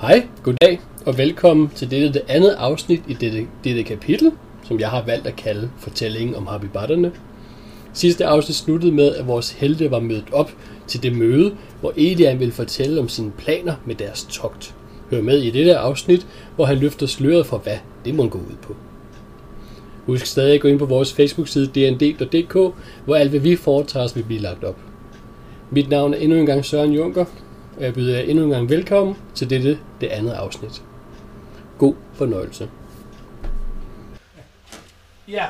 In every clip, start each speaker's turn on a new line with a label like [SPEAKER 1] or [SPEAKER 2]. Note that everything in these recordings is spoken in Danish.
[SPEAKER 1] Hej, goddag og velkommen til dette det andet afsnit i dette, dette kapitel, som jeg har valgt at kalde Fortællingen om Habibatterne. Sidste afsnit sluttede med, at vores helte var mødt op til det møde, hvor Elian ville fortælle om sine planer med deres togt. Hør med i dette afsnit, hvor han løfter sløret for, hvad det må gå ud på. Husk stadig at gå ind på vores Facebook-side dnd.dk, hvor alt hvad vi foretager os vil blive lagt op. Mit navn er endnu en gang Søren Junker, og jeg byder jer endnu en gang velkommen til dette, det andet afsnit. God fornøjelse. Ja,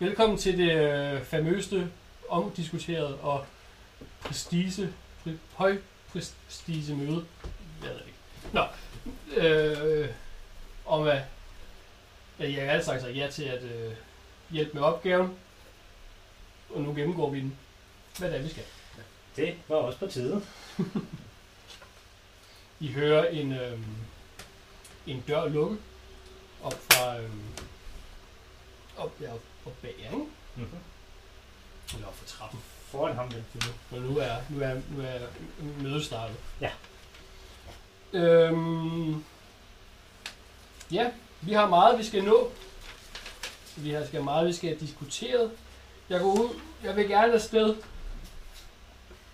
[SPEAKER 1] velkommen til det øh, famøse, omdiskuterede og prestige, pri- høj prestige møde. Jeg ved det ikke. Nå, øh, om at at jeg har altså sagt ja til at øh, hjælpe med opgaven, og nu gennemgår vi den. Hvad det er, vi skal.
[SPEAKER 2] Det var også på tide.
[SPEAKER 1] I hører en, øh, en dør lukke op fra øh, op, ja, op, op bag jer, ikke?
[SPEAKER 2] Mm-hmm.
[SPEAKER 1] Eller op fra trappen.
[SPEAKER 2] Foran ham vel.
[SPEAKER 1] Det er nu. Men nu er, nu er, nu er mødet startet.
[SPEAKER 2] Ja.
[SPEAKER 1] Øhm, ja, vi har meget, vi skal nå. Vi har skal meget, vi skal have diskuteret. Jeg går ud. Jeg vil gerne afsted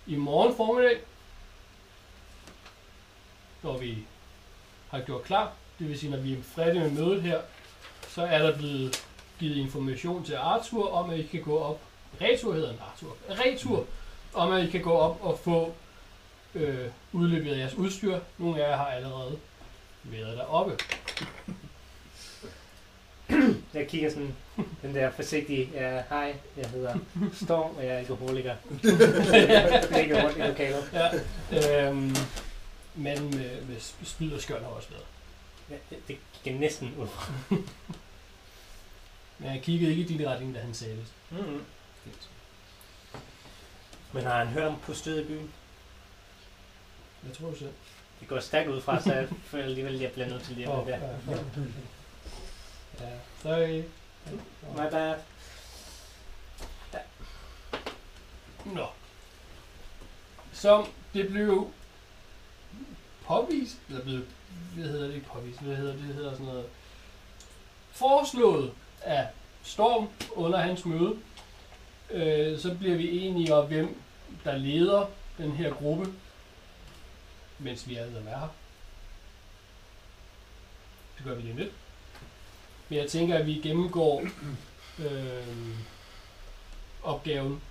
[SPEAKER 1] i morgen formiddag, når vi har gjort klar. Det vil sige, når vi er færdige med mødet her, så er der blevet givet information til Arthur om, at I kan gå op Retur hedder den, Arthur. Retur, om at I kan gå op og få øh, udleveret jeres udstyr. Nogle af jer har allerede været deroppe.
[SPEAKER 2] Jeg kigger sådan, den der forsigtige, ja, hej, jeg hedder Storm, og jeg er alkoholiker. Ligger rundt i lokalet.
[SPEAKER 1] Ja. Øhm, manden med, med spyd og skjold har også været.
[SPEAKER 2] Ja, det, det gik jeg næsten ud fra.
[SPEAKER 1] Men han kiggede ikke i din retning, da han sagde det.
[SPEAKER 2] Mm-hmm. Men har han hørt om på stød i byen?
[SPEAKER 1] Hvad tror du selv?
[SPEAKER 2] Det går stærkt ud fra, så jeg føler alligevel, at jeg bliver nødt til lige at
[SPEAKER 1] Åh,
[SPEAKER 2] oh, der.
[SPEAKER 1] ja, ja. øh, ja, sorry.
[SPEAKER 2] My bad.
[SPEAKER 1] Nå. Som det blev påvist, eller blev, hvad hedder det ikke påvist, hvad hedder det, det hedder sådan noget, foreslået af Storm under hans møde, øh, så bliver vi enige om, hvem der leder den her gruppe, mens vi alle er her. Det gør vi lige om lidt. Men jeg tænker, at vi gennemgår øh, opgaven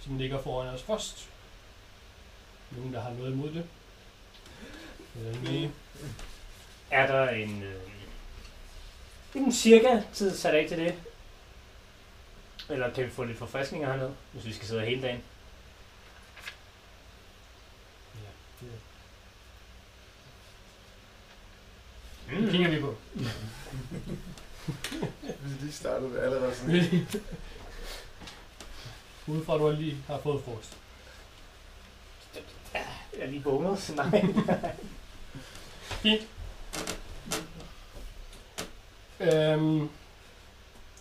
[SPEAKER 1] som ligger foran os først. Nogen, der har noget imod det. Eller nej.
[SPEAKER 2] Er der en... Øh, en cirka tid sat af til det? Eller kan vi få lidt forfriskninger hernede, hvis vi skal sidde her hele dagen?
[SPEAKER 1] Ja, det- det
[SPEAKER 2] Mm.
[SPEAKER 1] kigger vi på.
[SPEAKER 3] Vi lige Altså, startede allerede sådan.
[SPEAKER 1] Udefra, at du har lige har fået frokost.
[SPEAKER 2] Jeg er lige bunget, så nej.
[SPEAKER 1] Øhm,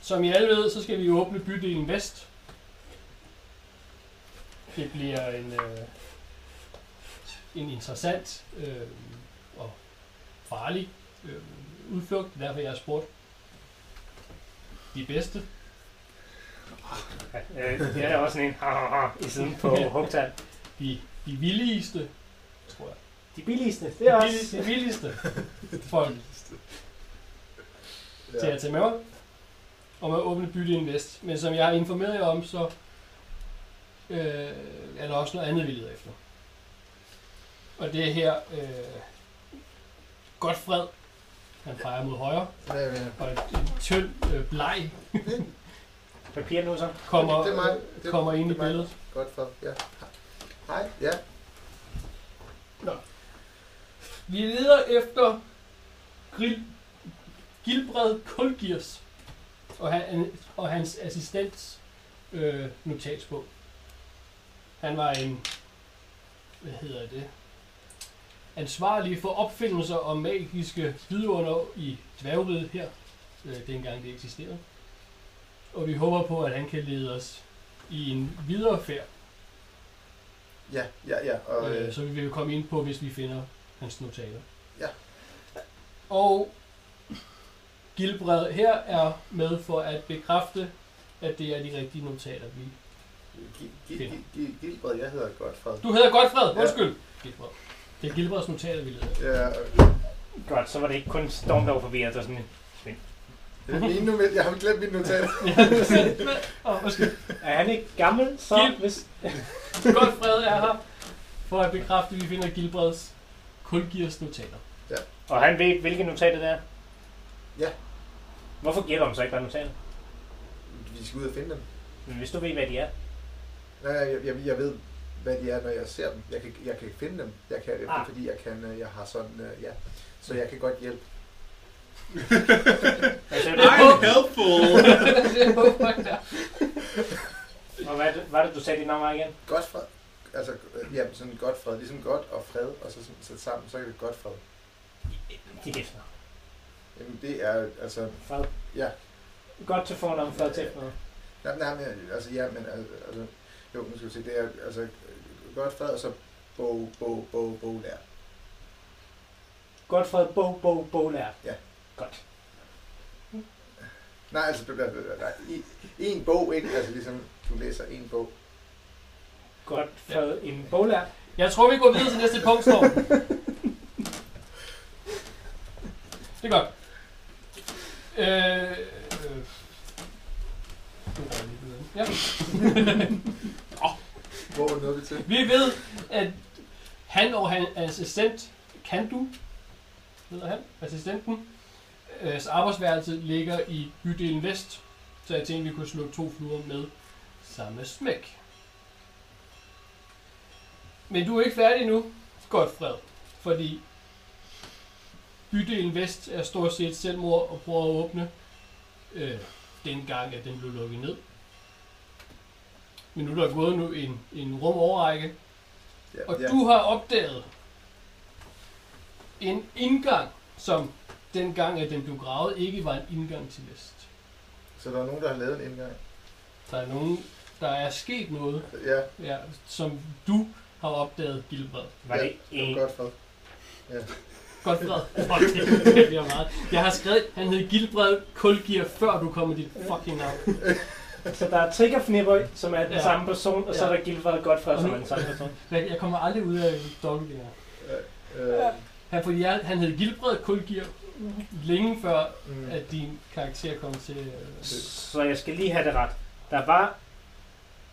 [SPEAKER 1] som I alle ved, så skal vi åbne bydelen Vest. Det bliver en, øh, en interessant øh, og farlig øh, udflugt, derfor jeg har spurgt de bedste.
[SPEAKER 2] Øh, jeg er også sådan en ha, ha, ha, i siden på Hugtal.
[SPEAKER 1] de, de villigste, tror jeg.
[SPEAKER 2] De billigste, det er
[SPEAKER 1] de, villi-
[SPEAKER 2] også...
[SPEAKER 1] de villigste folk ja. til at tage med mig om at åbne Bydelen Vest. Men som jeg har informeret jer om, så øh, er der også noget andet, vi leder efter. Og det er her øh, Godfred, han peger mod højre,
[SPEAKER 3] Ja, ja, ja.
[SPEAKER 1] og en en tynd øh, bleg
[SPEAKER 2] Papir nu så.
[SPEAKER 1] kommer,
[SPEAKER 3] Det er mig. Det er-
[SPEAKER 1] kommer ind i
[SPEAKER 3] det er mig.
[SPEAKER 1] billedet.
[SPEAKER 3] Godt for, ja. Hej, ja.
[SPEAKER 1] Vi leder efter Gril Gilbred Kulgiers og, han, og hans assistents øh, notatsbog. Han var en, hvad hedder det, ansvarlig for opfindelser og magiske vidunder i dværgriget her, øh, dengang det eksisterede. Og vi håber på, at han kan lede os i en videre færd,
[SPEAKER 3] Ja, øh, ja, ja. Og,
[SPEAKER 1] øh,
[SPEAKER 3] øh,
[SPEAKER 1] så vi vil komme ind på, hvis vi finder hans hans notater.
[SPEAKER 3] Ja.
[SPEAKER 1] Og Gilbred her er med for at bekræfte, at det er de rigtige notater, vi...
[SPEAKER 3] Gi- Gi- Gi- Gi- Gilbert, jeg hedder Godfred.
[SPEAKER 1] Du hedder Godfred,
[SPEAKER 3] Ja.
[SPEAKER 1] undskyld. Gilbred. Det er Gilbreds notater, vi leder.
[SPEAKER 3] Ja, øh, og
[SPEAKER 2] Godt, så var det ikke kun Storm, der var forvirret og sådan en.
[SPEAKER 3] det er mine notater. Jeg har glemt mine notater.
[SPEAKER 1] Åh, undskyld.
[SPEAKER 2] Er han ikke gammel, så
[SPEAKER 1] Gil-
[SPEAKER 2] hvis...
[SPEAKER 1] Godfred er her for at bekræfte, at vi finder Gilbreds kun giver os notater.
[SPEAKER 2] Og han ved, hvilke notater det er?
[SPEAKER 3] Ja.
[SPEAKER 2] Hvorfor gætter han så ikke, der er notater?
[SPEAKER 3] Vi skal ud og finde dem.
[SPEAKER 2] Men hvis du ved, hvad de er.
[SPEAKER 3] Nej, jeg, jeg, jeg ved, hvad de er, når jeg ser dem. Jeg kan, jeg kan ikke finde dem. Jeg kan det,
[SPEAKER 2] Ah.
[SPEAKER 3] ah. fordi jeg, kan, øh, jeg har sådan, øh, ja. Så jeg kan godt hjælpe.
[SPEAKER 2] Altså, det
[SPEAKER 4] I'm helpful!
[SPEAKER 2] og hvad, er det- hvad er det, du sagde dit navn var igen?
[SPEAKER 3] Godfred, altså, øh, ja, sådan Godfred, ligesom godt og fred, og så sådan sat sammen, så er det Godfred.
[SPEAKER 2] Dit efternavn.
[SPEAKER 3] Jamen, det er, altså,
[SPEAKER 2] Fred.
[SPEAKER 3] Ja.
[SPEAKER 2] Godt til fornavn, Fred til efternavn.
[SPEAKER 3] nej, nej, men, altså, ja, men, al- altså, jo, nu skal vi se, det er, altså, øh, Godfred, og så bog, bog, bog, bog, lær.
[SPEAKER 2] Godt Fred Bo Bo Bolær.
[SPEAKER 3] Ja.
[SPEAKER 2] Godt.
[SPEAKER 3] Nej, altså, det bliver, nej, i- en bog, ikke? Altså, ligesom, du læser en bog.
[SPEAKER 2] Godt Fred en Bolær.
[SPEAKER 1] Jeg tror, vi går videre til næste punkt, Storm. Det er godt. Øh, øh. Nu røg jeg lige videre. Ja.
[SPEAKER 3] Hvor nåede vi til?
[SPEAKER 1] Vi ved, at han og hans assistent, Kandu, hedder han, assistenten, øh, arbejdsværelse ligger i bydelen Vest, så jeg tænkte, vi kunne slå to fluer med samme smæk. Men du er ikke færdig nu, Godfred, fordi bydelen Vest er stort set et selvmord og prøver at åbne øh, dengang, at den blev lukket ned. Men nu er der gået nu en, en rum overrække,
[SPEAKER 3] Ja,
[SPEAKER 1] og
[SPEAKER 3] ja.
[SPEAKER 1] ja. du har opdaget en indgang, som dengang, at den blev gravet, ikke var en indgang til vest.
[SPEAKER 3] Så der er nogen, der har lavet en indgang.
[SPEAKER 1] Der er nogen, der er sket noget,
[SPEAKER 3] Ja,
[SPEAKER 1] ja, som du har opdaget, Gilbert.
[SPEAKER 2] Var
[SPEAKER 3] Ja,
[SPEAKER 2] det
[SPEAKER 3] det
[SPEAKER 2] en...
[SPEAKER 3] var Godfred.
[SPEAKER 1] Godt fred. Fuck, det, det bliver meget. Jeg har skrevet, han hed Gilbert Kulgier, før du kom med dit fucking navn.
[SPEAKER 2] Så der er Triggerfnipper, som er den
[SPEAKER 1] Ja.
[SPEAKER 2] ja. samme person, og ja. så er
[SPEAKER 1] Ja.
[SPEAKER 2] der Gilfred Godfred,
[SPEAKER 1] Og
[SPEAKER 2] som
[SPEAKER 1] nu-
[SPEAKER 2] er den samme person.
[SPEAKER 1] Jeg, jeg kommer aldrig ud af dobbelt her.
[SPEAKER 3] Øh,
[SPEAKER 1] Han, fordi jeg, han hed Gilbert Kulgier længe før,
[SPEAKER 3] mm,
[SPEAKER 1] at din karakter kom til... Øh,
[SPEAKER 2] Så jeg skal lige have det ret. Der var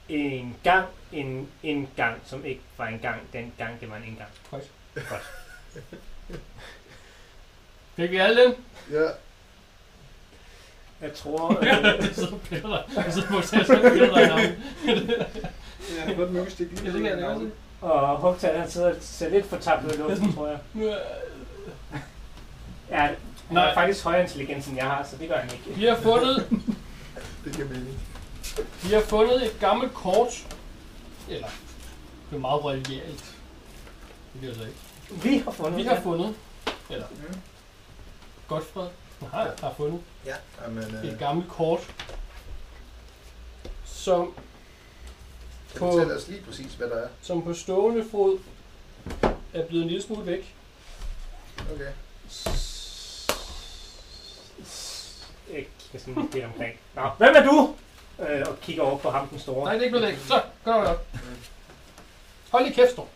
[SPEAKER 2] en gang, en, en gang, som ikke var en gang, den gang, det var en indgang.
[SPEAKER 1] Korrekt.
[SPEAKER 2] Godt.
[SPEAKER 1] Fik vi alle dem?
[SPEAKER 3] ja.
[SPEAKER 2] Jeg tror... Øh,
[SPEAKER 1] Ja, så bliver der. Så må jeg så bliver der navn.
[SPEAKER 4] Jeg har godt mystik lige.
[SPEAKER 1] Jeg tænker, at det er det.
[SPEAKER 2] og Hugtad, han sidder og ser lidt for tabt ud i luften, tror jeg.
[SPEAKER 1] Nu er-
[SPEAKER 2] Ja, han
[SPEAKER 1] Nej.
[SPEAKER 2] er faktisk højere intelligens, end jeg har, så det gør han ikke.
[SPEAKER 1] Vi har fundet,
[SPEAKER 3] Det giver mening.
[SPEAKER 1] vi har fundet et gammelt kort. Eller, det er meget religialt. Det bliver så ikke.
[SPEAKER 2] Vi har fundet
[SPEAKER 1] Vi
[SPEAKER 2] det.
[SPEAKER 1] har fundet, eller
[SPEAKER 3] Mm.
[SPEAKER 1] Godfred har, har fundet
[SPEAKER 3] Ja. Jamen, øh,
[SPEAKER 1] et gammelt kort, som,
[SPEAKER 3] kan
[SPEAKER 1] på-
[SPEAKER 3] du fortælle os lige præcis, hvad der er?
[SPEAKER 1] som på stående fod er blevet en lille smule væk.
[SPEAKER 3] Okay.
[SPEAKER 2] Jeg kigger sådan lidt omkring. Nå, hvem er du? Øh, og kigger over på ham den store.
[SPEAKER 1] Nej, det er ikke blevet væk. Så, gør det op. Hold lige kæft, Storm.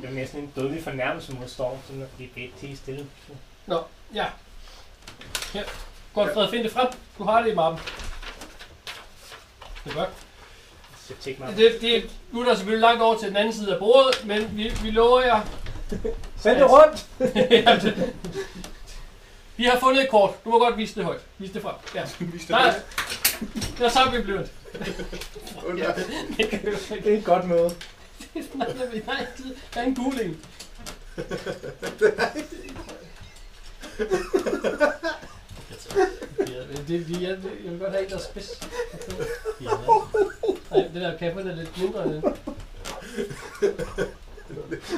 [SPEAKER 2] Det er næsten en dødelig fornærmelse mod Storm, sådan at blive bedt til stille.
[SPEAKER 1] Nå, ja. Her. Godt, Fred, find det frem. Du har det i mappen. Det er godt.
[SPEAKER 2] Så tjek mig.
[SPEAKER 1] Det, det, nu er der selvfølgelig langt over til den anden side af bordet, men vi, vi lover jer.
[SPEAKER 2] Send det rundt!
[SPEAKER 1] Jamen, det- vi har fundet et kort. Du må godt vise det højt. Vis det frem. Ja. Nej. Det er sammen, vi bliver det.
[SPEAKER 3] Oh, nej.
[SPEAKER 2] Det er et godt møde.
[SPEAKER 1] Nej, nej, det er en guling. Ja, men det, det, jeg, jeg vil godt have en, der er spids. Ja. Ej, den der kaffen er lidt mindre end den.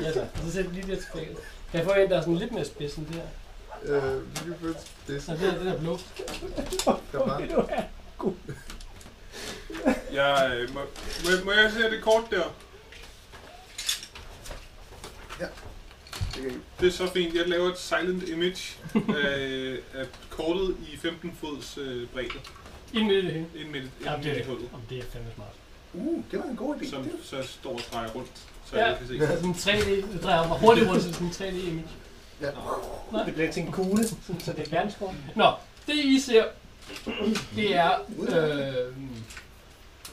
[SPEAKER 1] Ja, så, så sæt lige lidt tilbage. Kan jeg få en, der er sådan lidt mere spids end det her?
[SPEAKER 3] Øh, lige pludselig. Det er
[SPEAKER 1] Nej, det er den er blå.
[SPEAKER 3] der var.
[SPEAKER 2] Vil du have?
[SPEAKER 4] Jeg, øh, må, må, må jeg se det kort der?
[SPEAKER 3] Det kan I.
[SPEAKER 4] Det er så fint. Jeg laver et silent image af, af kortet i 15 fods øh, bredde.
[SPEAKER 1] Ind midt i det hele.
[SPEAKER 4] Ind midt, ind
[SPEAKER 1] Jamen, det
[SPEAKER 4] midt
[SPEAKER 1] er
[SPEAKER 4] i hullet,
[SPEAKER 1] Om det er fandme smart.
[SPEAKER 3] Uh, det var en god idé.
[SPEAKER 4] som
[SPEAKER 3] Det var-
[SPEAKER 4] så står og drejer rundt, så
[SPEAKER 1] Ja.
[SPEAKER 4] jeg kan se.
[SPEAKER 1] Det er Altså, sådan en 3D, det drejer mig hurtigt rundt, så det er sådan en 3D image.
[SPEAKER 3] Ja.
[SPEAKER 1] Nej. Det bliver til en kugle, sådan, så det er verdenskort. Nå, det I ser, det er, øh,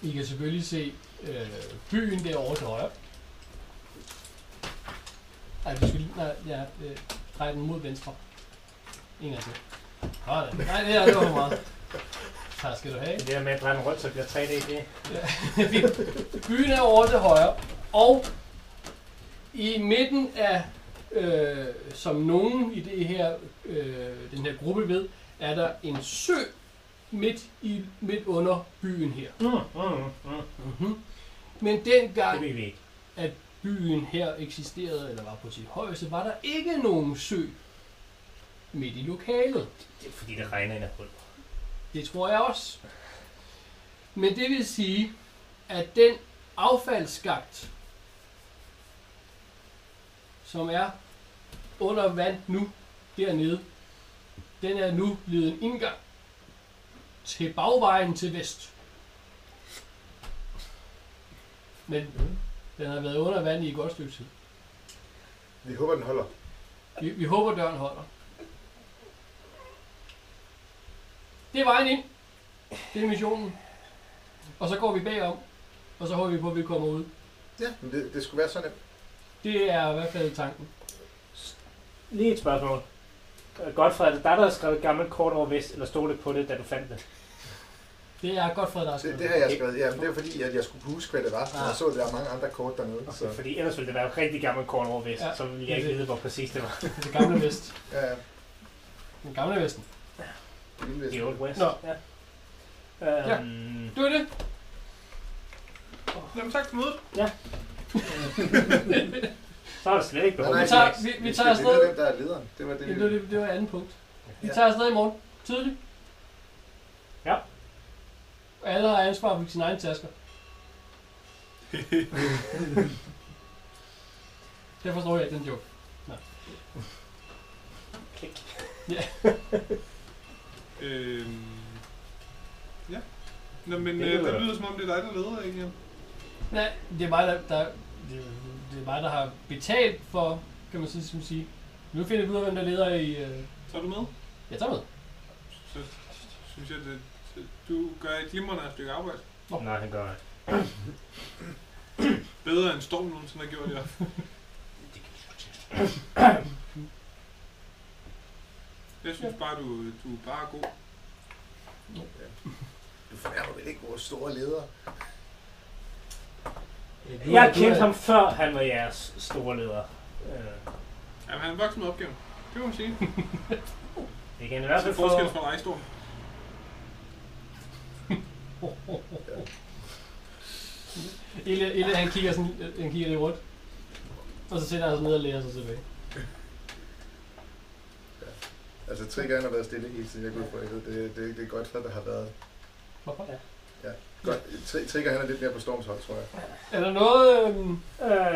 [SPEAKER 1] I kan selvfølgelig se øh, byen derovre til højre. Ej, du skal lige, nej, jeg øh, drejer den mod venstre. En gang til. Sådan. Nej, det er det var for meget. Tak skal du have.
[SPEAKER 2] Det der med at dreje rundt, så bliver 3D det.
[SPEAKER 1] Byen er over til højre, og i midten af, øh, som nogen i det her, øh, den her gruppe ved, er der en sø midt, i, midt under byen her.
[SPEAKER 2] Mm, mm, mm.
[SPEAKER 1] Mm-hmm. Men
[SPEAKER 2] Det
[SPEAKER 1] dengang
[SPEAKER 2] ved vi ikke.
[SPEAKER 1] byen her eksisterede, eller var på sit højeste, var der ikke nogen sø midt i lokalet.
[SPEAKER 2] Det er fordi, det regner ind af hul.
[SPEAKER 1] Det tror jeg også. Men det vil sige, at den affaldsskagt, som er under vand nu dernede, den er nu blevet en indgang til bagvejen til vest. Men den har været under vand i et godt stykke tid.
[SPEAKER 3] Vi håber, den holder.
[SPEAKER 1] Vi, vi håber, døren holder. Det er vejen ind. Det er missionen. Og så går vi bagom, og så håber vi på, at vi kommer ud.
[SPEAKER 3] Ja, men det, det skulle være sådan nemt.
[SPEAKER 1] Det er i hvert fald tanken.
[SPEAKER 2] Lige et spørgsmål. Øh, Godfred, er det dig, der har skrevet et gammelt kort over vest, eller stod det på det, da du fandt det?
[SPEAKER 1] Det er godt for dig.
[SPEAKER 3] Det, det har jeg skrevet. Ja, men det var fordi, at jeg skulle huske, hvad det var.
[SPEAKER 1] Ah.
[SPEAKER 3] Ah. Jeg så, at der er mange andre kort dernede. Så.
[SPEAKER 2] Så. Fordi ellers ville det være et rigtig gammelt kort over vest,
[SPEAKER 1] Ja.
[SPEAKER 2] ja. så ville jeg ikke vide, hvor præcis det var.
[SPEAKER 1] Det gamle vest.
[SPEAKER 3] Ja, ja.
[SPEAKER 1] Den gamle vesten.
[SPEAKER 3] Det er vildt, hvis-
[SPEAKER 2] The Old West.
[SPEAKER 1] Nå.
[SPEAKER 2] Ja. Øhm,
[SPEAKER 1] Det var det.
[SPEAKER 4] Jamen tak for mødet.
[SPEAKER 2] Så er der slet ikke behov.
[SPEAKER 3] Nej,
[SPEAKER 1] Vi
[SPEAKER 3] nej,
[SPEAKER 2] for
[SPEAKER 1] tager,
[SPEAKER 2] det.
[SPEAKER 1] vi, vi
[SPEAKER 3] skal
[SPEAKER 1] tager
[SPEAKER 3] finde ud af,
[SPEAKER 1] afsted.
[SPEAKER 3] hvem der er lederen. Det var det,
[SPEAKER 1] Ja,
[SPEAKER 3] vi...
[SPEAKER 1] det, var, det, det var andet punkt. Vi
[SPEAKER 3] Ja.
[SPEAKER 1] tager afsted i morgen. Tidligt.
[SPEAKER 2] Ja.
[SPEAKER 1] Alle har ansvar for sine egne tasker. Jeg forstår jeg ikke den joke.
[SPEAKER 2] Klik.
[SPEAKER 4] Øhm, ja. Nå, men
[SPEAKER 2] Det
[SPEAKER 4] øh,
[SPEAKER 2] lyder-
[SPEAKER 4] det lyder som om, det er dig, der leder, ikke?
[SPEAKER 1] Nej, det er mig, der, der det, det er mig, der har betalt for, kan man sige, som sige. Nu finder vi ud af, hvem der leder i... Øh...
[SPEAKER 4] Så er du med?
[SPEAKER 1] Jeg tager med.
[SPEAKER 4] Så synes jeg, at at du gør et glimrende stykke arbejde.
[SPEAKER 2] Nej, han gør det.
[SPEAKER 4] Bedre end Storm nogensinde har gjort det. Jeg synes bare, du, du er bare god.
[SPEAKER 3] Du fornærmer vel ikke vores store leder?
[SPEAKER 1] Du-
[SPEAKER 2] Jeg
[SPEAKER 1] du
[SPEAKER 2] kendte
[SPEAKER 1] er-
[SPEAKER 2] ham før, han var jeres store leder. Øh,
[SPEAKER 4] Jamen, han er vokset med opgaven. Det må man sige.
[SPEAKER 2] det kan i
[SPEAKER 4] Der
[SPEAKER 2] hvert
[SPEAKER 4] er
[SPEAKER 2] fald
[SPEAKER 4] en
[SPEAKER 2] få...
[SPEAKER 4] forskel fra dig, Storm.
[SPEAKER 1] Ille, Ille, han kigger, sådan, øh, han kigger lidt rundt. Og så sætter han sig ned og læner sig tilbage.
[SPEAKER 3] Altså, Triggeren har været stille hele tiden, jeg kunne få det. Det, det, det er godt, at der har været...
[SPEAKER 1] Hvorfor?
[SPEAKER 3] Godt. Tri- Trigger, han er lidt mere på Storms hold, tror jeg.
[SPEAKER 1] Er der noget, øh,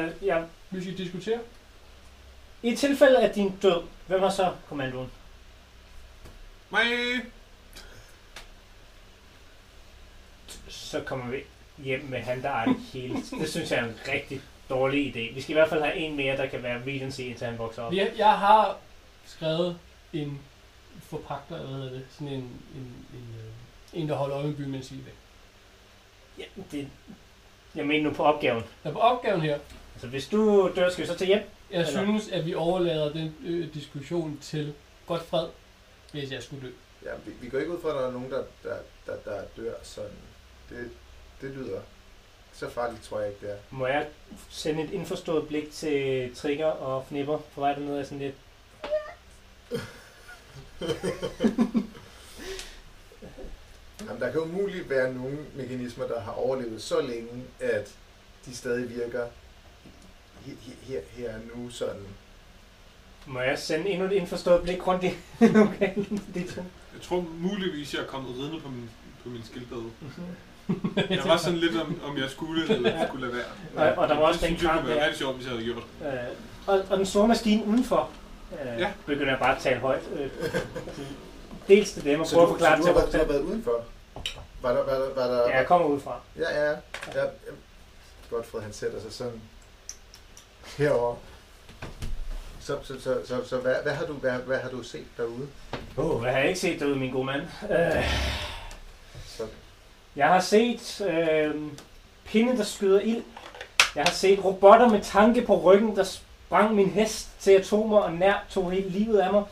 [SPEAKER 2] Øh, ja.
[SPEAKER 1] vi skal diskutere?
[SPEAKER 2] I tilfælde af din død, hvem har så kommandoen?
[SPEAKER 4] Mig!
[SPEAKER 2] så kommer vi hjem med han, der ejer det hele. Det synes jeg er en rigtig dårlig idé. Vi skal i hvert fald have en mere, der kan være Regency, indtil han vokser op.
[SPEAKER 1] Jeg, jeg har skrevet en forpagter, eller hvad hedder det, sådan en, en, en, øh, en der holder øje med byen, mens I er væk.
[SPEAKER 2] Ja, det, jeg mener nu på opgaven.
[SPEAKER 1] Der på opgaven her,
[SPEAKER 2] Altså, hvis du dør, skal vi så til hjem?
[SPEAKER 1] jeg
[SPEAKER 2] Eller-
[SPEAKER 1] synes, at vi overlader den øh, diskussion til Godfred, hvis jeg skulle dø.
[SPEAKER 3] Ja, vi, vi går ikke ud fra, at der er nogen, der, der, der, der dør sådan. Det, det lyder så farligt, tror jeg ikke, det er.
[SPEAKER 2] Må jeg sende et indforstået blik til Trigger og Fnipper på vej derned og sådan lidt...
[SPEAKER 3] Jamen, der kan umuligt være nogen mekanismer, der har overlevet så længe, at de stadig virker her, her- her, her nu sådan.
[SPEAKER 2] Må jeg sende endnu et indforstået blik rundt i lokalen? Det er to.
[SPEAKER 4] Jeg tror muligvis, jeg er kommet ridende på min, på min skildpadde.
[SPEAKER 2] Mhm.
[SPEAKER 4] Jeg var sådan lidt om, om jeg skulle eller skulle lade være.
[SPEAKER 2] Og, og der var også
[SPEAKER 4] Jeg
[SPEAKER 2] den
[SPEAKER 4] synes, det
[SPEAKER 2] kamp
[SPEAKER 4] kunne være
[SPEAKER 2] der.
[SPEAKER 4] rigtig sjovt, hvis jeg havde gjort det.
[SPEAKER 2] Øh, og, og den store maskine udenfor øh,
[SPEAKER 4] Ja.
[SPEAKER 2] ja. begynder jeg bare at tale højt. Øh, dels til dem og
[SPEAKER 3] Så
[SPEAKER 2] prøve
[SPEAKER 3] du,
[SPEAKER 2] at
[SPEAKER 3] så
[SPEAKER 2] forklare
[SPEAKER 3] du
[SPEAKER 2] til
[SPEAKER 3] har været, du
[SPEAKER 2] dem.
[SPEAKER 3] har været udenfor? Var der, var der, var der,
[SPEAKER 2] Ja, jeg kommer udefra.
[SPEAKER 3] Ja, ja, ja. ja. Godfred, han sætter sig sådan herover. Så, så, så, så, så hvad, hvad, har du, hvad, hvad har du set derude?
[SPEAKER 2] Oh, hvad har jeg ikke set derude, min gode mand? Øh,
[SPEAKER 3] Så,
[SPEAKER 2] jeg har set øh, pinde, der skyder ild. Jeg har set robotter med tanke på ryggen, der sprang min hest til atomer og nær tog hele livet af mig.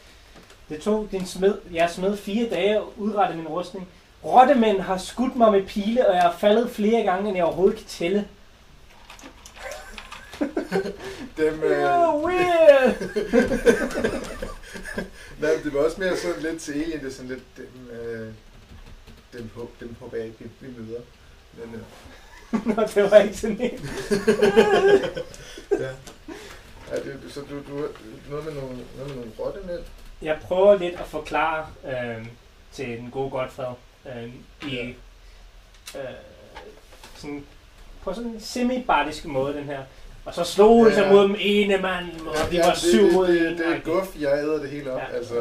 [SPEAKER 2] Det tog din smed, jeg smed fire dage at udrette min rustning. Rottemænd har skudt mig med pile, og jeg er faldet flere gange, end jeg overhovedet kan tælle.
[SPEAKER 3] dem, øh,
[SPEAKER 2] Oh, weird!
[SPEAKER 3] nej, det var også mere sådan lidt til Alien, det er sådan lidt dem, øh, dem, håb, dem håber jeg ikke, vi, vi møder. Men, øh,
[SPEAKER 2] Nå, det var ikke sådan en.
[SPEAKER 3] ja. ja det, så du, du noget med nogle, noget med nogle rottemænd?
[SPEAKER 2] Jeg prøver lidt at forklare øh, til den gode Godfred øh, i øh, sådan, på sådan en semi-bardisk måde, den her. Og så slog hun
[SPEAKER 3] Ja.
[SPEAKER 2] sig mod dem ene mand, og de
[SPEAKER 3] Ja,
[SPEAKER 2] var
[SPEAKER 3] det-
[SPEAKER 2] syv
[SPEAKER 3] det-
[SPEAKER 2] mod
[SPEAKER 3] det-
[SPEAKER 2] en.
[SPEAKER 3] Det er guf, jeg æder det hele op,
[SPEAKER 2] Ja.
[SPEAKER 3] altså.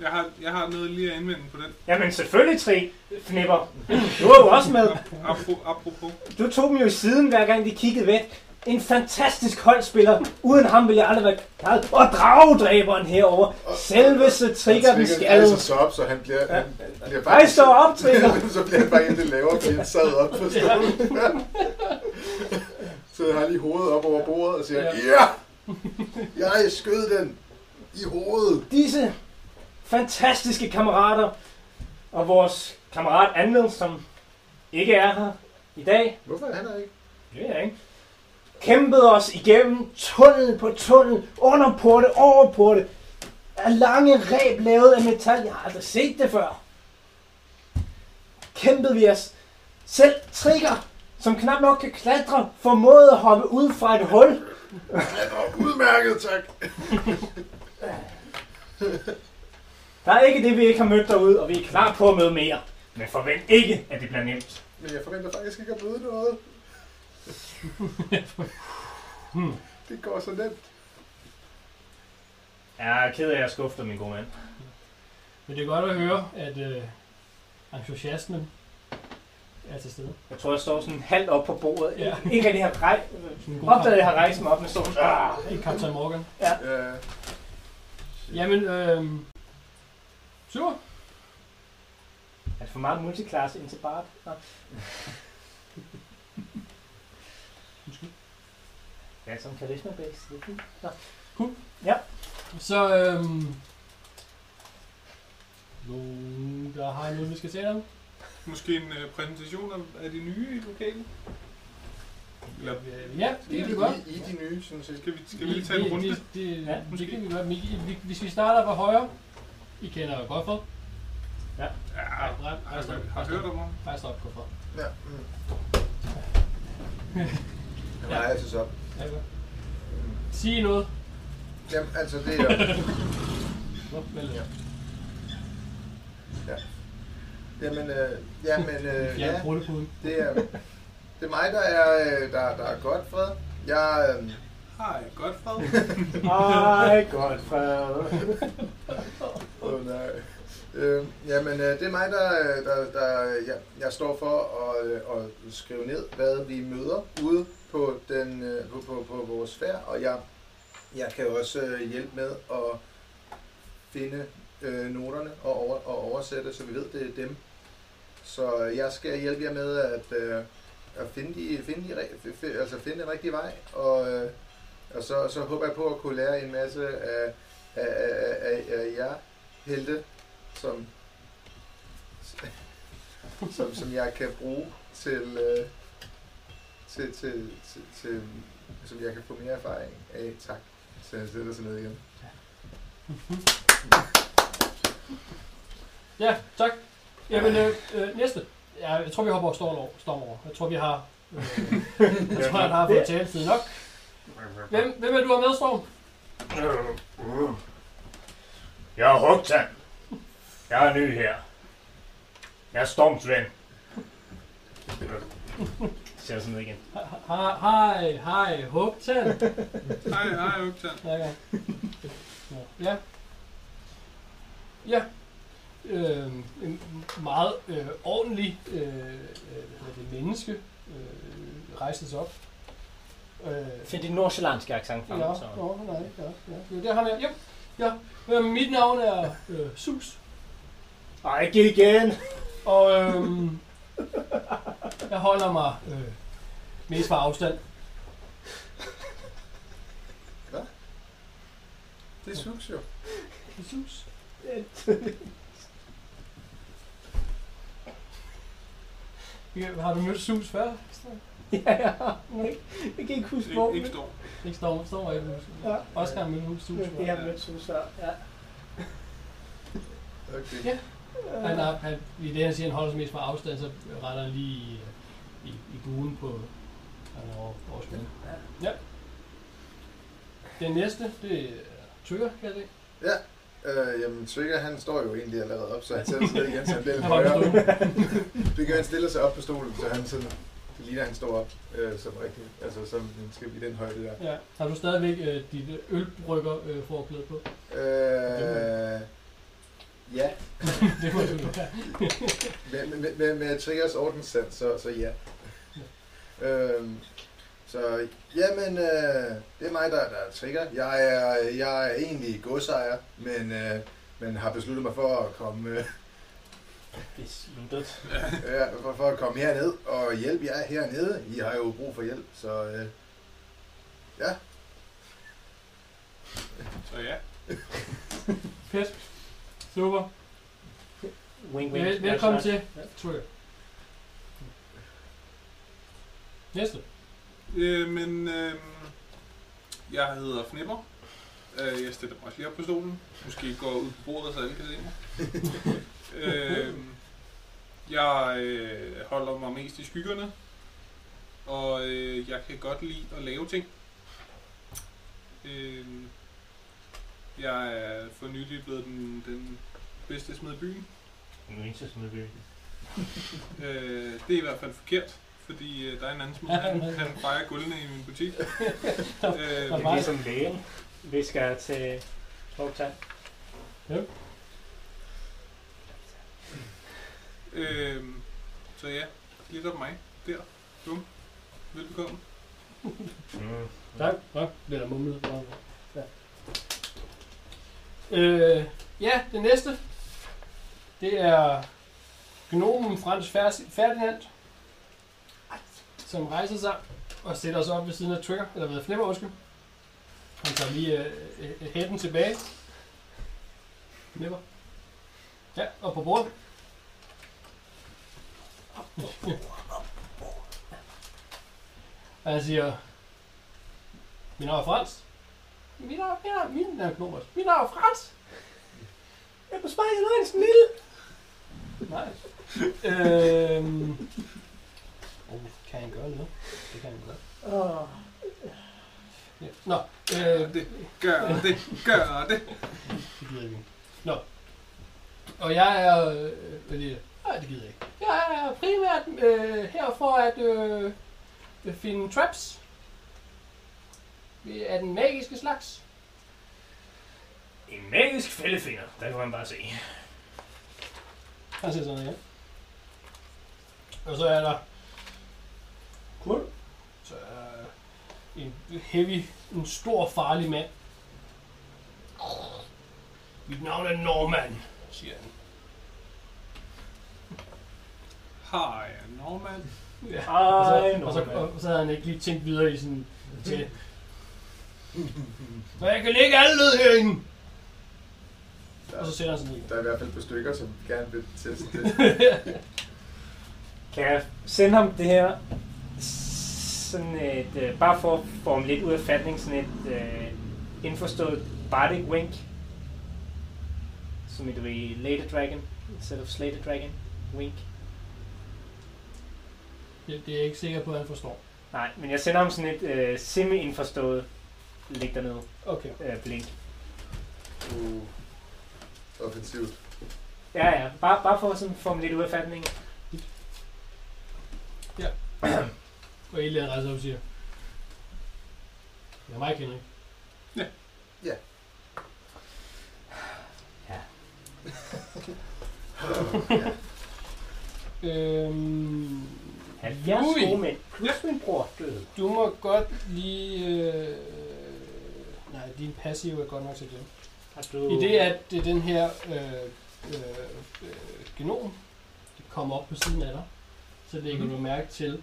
[SPEAKER 4] Jeg har, jeg har noget lige at indvende på den.
[SPEAKER 2] Jamen selvfølgelig, Tri. Fnipper. Du var jo også med.
[SPEAKER 4] Apropos. apropos.
[SPEAKER 2] Du tog dem jo i siden, hver gang de kiggede væk. En fantastisk holdspiller. Uden ham ville jeg aldrig være klar. Og dragdræberen herover. Selveste trigger den
[SPEAKER 3] Han altså- tvinger-
[SPEAKER 2] skal. altså-
[SPEAKER 3] rejser sig op, så han bliver,
[SPEAKER 2] Ja.
[SPEAKER 3] han bliver bare...
[SPEAKER 2] Rejs dig op, Trigger.
[SPEAKER 3] så bliver han bare endelig lavere, fordi han sad op på stolen. så har lige hovedet op over bordet og siger,
[SPEAKER 1] Ja.
[SPEAKER 3] ja, jeg skød den i hovedet.
[SPEAKER 2] disse fantastiske kammerater og vores kammerat Anved, som ikke er her i dag,
[SPEAKER 3] Hvorfor er han her ikke?
[SPEAKER 2] det ved jeg ikke, kæmpede os igennem tunnel på tunnel, under porte, over porte, af lange ræb lavet af metal. Jeg har aldrig set det før. Kæmpede vi os. Selv Trigger, som knap nok kan klatre, formåede at hoppe ud fra et hul.
[SPEAKER 3] Han var udmærket, tak.
[SPEAKER 2] Der er ikke det, vi ikke har mødt derude, og vi er klar på at møde mere. Men forvent ikke, at det bliver nemt.
[SPEAKER 3] Men jeg forventer faktisk ikke at møde noget. det går så nemt.
[SPEAKER 2] Jeg er ked af, at jeg skuffer min gode mand.
[SPEAKER 1] Men det er godt at høre, at øh, entusiasmen er til stede.
[SPEAKER 2] Jeg tror, jeg står sådan halvt op på bordet.
[SPEAKER 1] Ja.
[SPEAKER 2] Ja. Ikke at jeg har rej...
[SPEAKER 1] Sådan en god
[SPEAKER 2] Opdaget, at jeg
[SPEAKER 1] kamp.
[SPEAKER 2] har rejst mig op med solen. Ah.
[SPEAKER 1] I Captain Morgan.
[SPEAKER 3] Ja.
[SPEAKER 1] Jamen, øh, super.
[SPEAKER 2] Er det for meget multiklasse ind til Bart? Nå. Ja, som karisma base. Det er fint. Nå.
[SPEAKER 1] Så øh, nogen, der har noget, vi skal tale om?
[SPEAKER 4] Måske en øh, præsentation af, af de nye i lokalet? Eller
[SPEAKER 1] Øh, Ja,
[SPEAKER 3] I,
[SPEAKER 1] det kan vi godt.
[SPEAKER 3] i, I de nye, sådan set.
[SPEAKER 4] skal vi, skal vi lige tage en runde?
[SPEAKER 1] Det, det,
[SPEAKER 2] Ja,
[SPEAKER 1] det, det kan vi godt. Men I- vi- Hvis vi starter på højre, I kender jo Godfred.
[SPEAKER 4] Ja,
[SPEAKER 1] Nej,
[SPEAKER 4] har,
[SPEAKER 1] nej, rejs dig
[SPEAKER 4] har,
[SPEAKER 1] op.
[SPEAKER 4] har hørt om ham?
[SPEAKER 1] Rejs dig op, Godfred.
[SPEAKER 3] Ja. Mm. Han rejser sig op.
[SPEAKER 1] Ja, godt. Sig noget.
[SPEAKER 3] Jamen, altså det er...
[SPEAKER 1] Nå, vel, ja.
[SPEAKER 3] Jamen, øh, jamen, øh,
[SPEAKER 1] Ja,
[SPEAKER 3] ja,
[SPEAKER 1] brudekuden.
[SPEAKER 3] det er, det er mig, der er, øh, der, der er godt, Fred. Jeg, øh,
[SPEAKER 4] Hej, godt fred.
[SPEAKER 2] Ej, godt, Fred.
[SPEAKER 3] oh, nej. Øh, jamen, øh, det er mig, der, øh, der, der øh, jeg, jeg står for at, øh, at skrive ned, hvad vi møder ude på, den, øh, på, på, på vores færd, og jeg, jeg kan jo også øh, hjælpe med at finde øh, noterne og, over, og oversætte, så vi ved, det er dem. Så jeg skal hjælpe jer med at, øh, at finde, de, finde, de, re- f- f- altså finde den rigtige vej, og, øh, og så, så håber jeg på at kunne lære en masse af, af, af, af, af, af jer helte, som, som, som jeg kan bruge til, øh, til, til, til, til, som jeg kan få mere erfaring af. Tak. Så jeg sætter sig ned igen.
[SPEAKER 1] Ja, tak. Jamen, øh, øh, næste. Ja, jeg tror, vi hopper over storm over. Storm over. Jeg tror, vi har... Øh, jeg tror, han har fået taletid nok. Hvem, hvem er du har med, Storm?
[SPEAKER 2] Jeg er Hugtan. Jeg er ny her. Jeg er Storms ven. Ser sådan ned igen.
[SPEAKER 1] Hej, hej, hej, Hugtan.
[SPEAKER 4] Hej, hej, Øgtan.
[SPEAKER 1] Ja. ja. Ja. Øh, en meget øh, ordentlig øh, øh, hvad hedder det, menneske øh, rejste sig op. Øh,
[SPEAKER 2] Find din nordsjællandske accent frem.
[SPEAKER 1] Ja,
[SPEAKER 2] så.
[SPEAKER 1] nå, nej, ja, ja. Jo, det er ham her. Yep. Ja. Øh, mit navn er øh, Sus,
[SPEAKER 2] Ej, ikke igen!
[SPEAKER 1] og øh, jeg holder mig øh, mest fra afstand.
[SPEAKER 3] Det suges jo.
[SPEAKER 1] Det er Sus. Ja, Har du mødt Sus før?
[SPEAKER 2] ja, ja. Nej, Jeg kan ikke huske, hvor.
[SPEAKER 4] Ikke, ikke står.
[SPEAKER 1] Ikke Storm, Storm og Ebbe.
[SPEAKER 2] Ja.
[SPEAKER 1] Også har mødt Sus
[SPEAKER 2] Men Det
[SPEAKER 1] før.
[SPEAKER 2] har mødt Susar, ja.
[SPEAKER 3] Okay.
[SPEAKER 1] Ja. Han er, han, I det, han siger, han holder sig mest fra afstand, så retter han lige i, i, i buen på han er over, over skulderen. Ja. Den næste, det er Tøger, kan jeg se.
[SPEAKER 3] Øh, jamen, Trigger, han står jo egentlig allerede op, så han sætter sig ned igen, så han bliver lidt
[SPEAKER 1] Han holder
[SPEAKER 3] højere.
[SPEAKER 1] stolen.
[SPEAKER 3] Det gør, han stiller sig op på stolen, så han sådan, det ligner, han står op øh, som rigtigt, altså som den skal blive den højde der.
[SPEAKER 1] Ja. Har du stadigvæk øh, dit øh, ølbrygger øh, forklæde på?
[SPEAKER 3] Øh, ja,
[SPEAKER 1] det må du være.
[SPEAKER 3] med, med, med, med Triggers ordenssand, så, så ja. Øhm, så jamen, øh, det er mig, der, der er Trigger. Jeg er, jeg er egentlig godsejer, men, øh, men har besluttet mig for at komme øh,
[SPEAKER 2] Besluttet.
[SPEAKER 3] Ja, for, for at komme herned og hjælpe jer hernede. I har jo brug for hjælp, så øh,
[SPEAKER 4] Så ja.
[SPEAKER 1] Fedt. Super.
[SPEAKER 2] Wing, wing.
[SPEAKER 1] Vel, velkommen til
[SPEAKER 2] Ja.
[SPEAKER 1] Tøger. Næste.
[SPEAKER 4] Øh, men øh, jeg hedder Fnipper. Øh, jeg stiller mig også lige op på stolen. Måske går jeg ud på bordet, så alle kan se mig. øh, jeg øh, holder mig mest i skyggerne. Og øh, jeg kan godt lide at lave ting. Øh, jeg er for nylig blevet den, den bedste smed i byen. Øh, det er i hvert fald forkert, fordi øh, der er en anden smule, han, han fejrer guldene i min butik. øh,
[SPEAKER 2] Det er ligesom lægen. Vi skal til Torgtan.
[SPEAKER 4] øh, så ja, lidt om mig. Der. Bum. Velbekomme.
[SPEAKER 2] Mm.
[SPEAKER 1] Tak. Ja, det er der mumlet. Ja. Øh, ja, det næste. Det er gnomen Frans Fers- Ferdinand, som rejser sig og sætter sig op ved siden af Trigger, eller ved Flipper, undskyld. Han tager lige øh, øh, hætten tilbage. Flipper. Ja, og på bordet. Og han siger, mit navn er Frans. Mit navn, mit navn, mit navn er Knoppers. Mit navn er Frans. Jeg på spejl, jeg en snille. Nej. øhm. Oh, kan han gøre noget? Det kan han godt.
[SPEAKER 2] Oh.
[SPEAKER 1] Ja. Nå, øh,
[SPEAKER 4] Det gør det, gør det.
[SPEAKER 1] det gider jeg ikke. Nå. Og jeg er... Øh, hvad er det? Nej, det gider jeg ikke. Jeg er primært øh, her for at øh, øh, finde traps. Af den magiske slags.
[SPEAKER 2] En magisk fældefinger, der kan man bare se.
[SPEAKER 1] Han ser sådan her. Og så er der... Cool. Så er en heavy, en stor farlig mand. Mit navn er Norman, siger han.
[SPEAKER 4] Hej, Norman.
[SPEAKER 1] Ja. Og
[SPEAKER 2] Hej,
[SPEAKER 1] så, og, så,
[SPEAKER 2] Norman.
[SPEAKER 1] og så havde han ikke lige tænkt videre i sådan til. Og jeg kan lægge alle ned herinde! Og så sætter han sig ned igen.
[SPEAKER 3] der er i hvert fald på stykker, som gerne vil teste det.
[SPEAKER 2] Kan jeg sende ham det her? Sådan et, øh, bare for at få ham lidt ud af fatning, sådan et øh, indforstået bardic wink. Som et du ved, Later Dragon, instead of Slater Dragon, wink.
[SPEAKER 1] Det, det er jeg ikke sikker på, at han forstår.
[SPEAKER 2] Nej, men jeg sender ham sådan et øh, semi-indforstået, læg dig ned,
[SPEAKER 1] Okay.
[SPEAKER 2] øh, blink.
[SPEAKER 3] Uh, offensivt.
[SPEAKER 2] Ja, ja, bare, bare for sådan at få ham lidt ud af fatning.
[SPEAKER 1] Og Elian rejser op og siger, det er mig, Henrik. Øhm,
[SPEAKER 2] 70
[SPEAKER 1] Ui.
[SPEAKER 2] gode mænd, plus min bror døde.
[SPEAKER 1] du må godt lige... Øh, nej, din passiv er godt nok til det.
[SPEAKER 2] Har du...
[SPEAKER 1] I det, at det er den her øh, øh, øh, genom, der kommer op på siden af dig, så lægger mm.
[SPEAKER 4] Mhm.
[SPEAKER 1] du mærke til,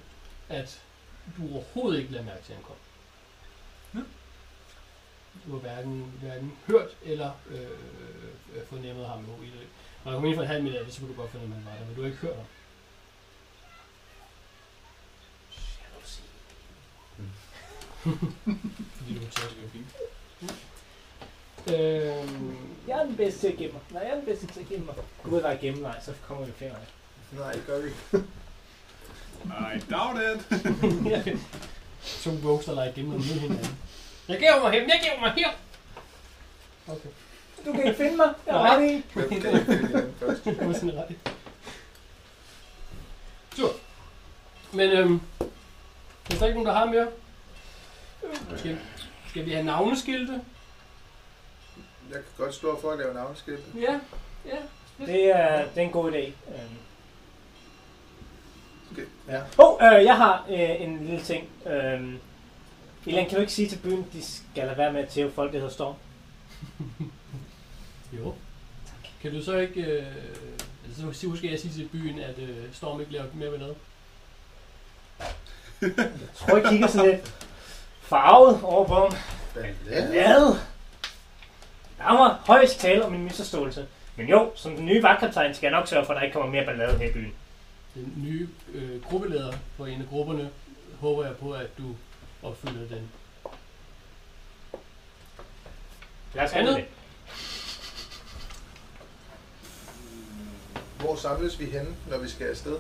[SPEAKER 1] at du overhovedet ikke lader mærke til, at han kom.
[SPEAKER 4] Ja.
[SPEAKER 1] Du har hverken, hverken hørt eller øh, øh, fornemmet ham i det. Når han kom ind for en halv meter, af det, så kunne du godt fornemme, at han var der, men du har ikke hørt ham.
[SPEAKER 2] Jalousi.
[SPEAKER 4] Mm.
[SPEAKER 1] Fordi du er
[SPEAKER 4] Det
[SPEAKER 1] tæt.
[SPEAKER 4] er fint.
[SPEAKER 1] Øhm,
[SPEAKER 2] Jeg er den bedste til at gemme mig. Nej, jeg er den bedste til at gemme mig. Gud, der er gemmeleg, så kommer vi flere af.
[SPEAKER 3] Nej, det gør vi ikke.
[SPEAKER 4] I doubt it.
[SPEAKER 1] To rogues, der leger gennem mod hinanden. Jeg giver mig her, jeg giver mig her! Okay.
[SPEAKER 2] Du kan ikke finde mig. Jeg
[SPEAKER 1] Nej.
[SPEAKER 2] har det ikke.
[SPEAKER 3] Hvem kan ikke finde hinanden først?
[SPEAKER 1] Det var sådan ret. Tur. Men øhm, hvis der ikke er nogen, der har mere, øh, skal, skal vi have navneskilte?
[SPEAKER 3] Jeg kan godt slå for at lave navnskilt.
[SPEAKER 1] Ja, ja.
[SPEAKER 2] Det er, det er en god idé. Øhm.
[SPEAKER 3] Okay.
[SPEAKER 2] Ja. Oh, øh, jeg har øh, en lille ting. Øhm. Elan, kan du ikke sige til byen, de skal lade være med at tæve folk, der hedder Storm?
[SPEAKER 1] Jo. Tak. Kan du så ikke... Øh, altså, så husker jeg at sige til byen, at øh, Storm ikke laver mere med noget.
[SPEAKER 2] Jeg tror, jeg kigger sådan lidt farvet over på ham.
[SPEAKER 3] Ballade.
[SPEAKER 2] Hvad? Der var højst tale om en misforståelse. Men jo, som den nye vagtkaptajn skal jeg nok sørge for, at der ikke kommer mere ballade her i byen.
[SPEAKER 1] Den nye øh, gruppeleder for en af grupperne, håber jeg på, at du opfylder den
[SPEAKER 2] Lad
[SPEAKER 1] Andet?
[SPEAKER 2] os handle det.
[SPEAKER 3] Hvor samles vi henne, når vi skal afsted?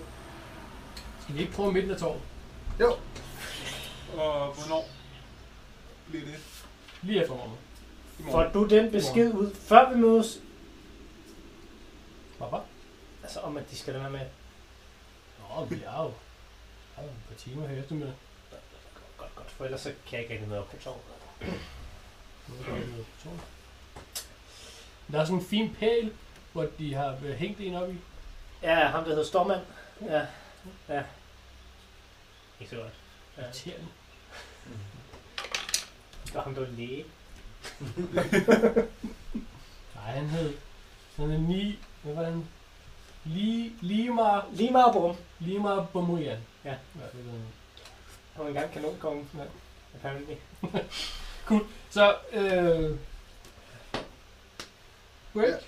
[SPEAKER 1] Skal vi ikke prøve midten af torvet?
[SPEAKER 3] Jo,
[SPEAKER 4] Og hvornår bliver det?
[SPEAKER 1] Lige efter morgen.
[SPEAKER 4] I
[SPEAKER 2] Får
[SPEAKER 4] morgen.
[SPEAKER 2] du den besked ud, før vi mødes?
[SPEAKER 1] Papa?
[SPEAKER 2] Altså om, at de skal lade være med.
[SPEAKER 1] Nå, vi er jo, er jo et par timer her i eftermiddag.
[SPEAKER 2] Godt, godt, for ellers så kan jeg ikke rigtig noget op på torvet.
[SPEAKER 1] Nu er der noget på torvet. Der er sådan en fin pæl, hvor de har øh, hængt en op i.
[SPEAKER 2] Ja, ham der hedder Stormand. Ja, ja. Ikke så godt. Ja.
[SPEAKER 1] Irriterende.
[SPEAKER 2] Og ham der var læge.
[SPEAKER 1] Nej, han hed... Han hed Ni... Hvad var han? Li, Lima...
[SPEAKER 2] Lige meget brum.
[SPEAKER 1] Lima Bomurian.
[SPEAKER 2] Ja.
[SPEAKER 1] ja det ved jeg.
[SPEAKER 2] Han var engang kanonkongen.
[SPEAKER 1] Ja.
[SPEAKER 2] Apparently.
[SPEAKER 1] Så, øh... Work.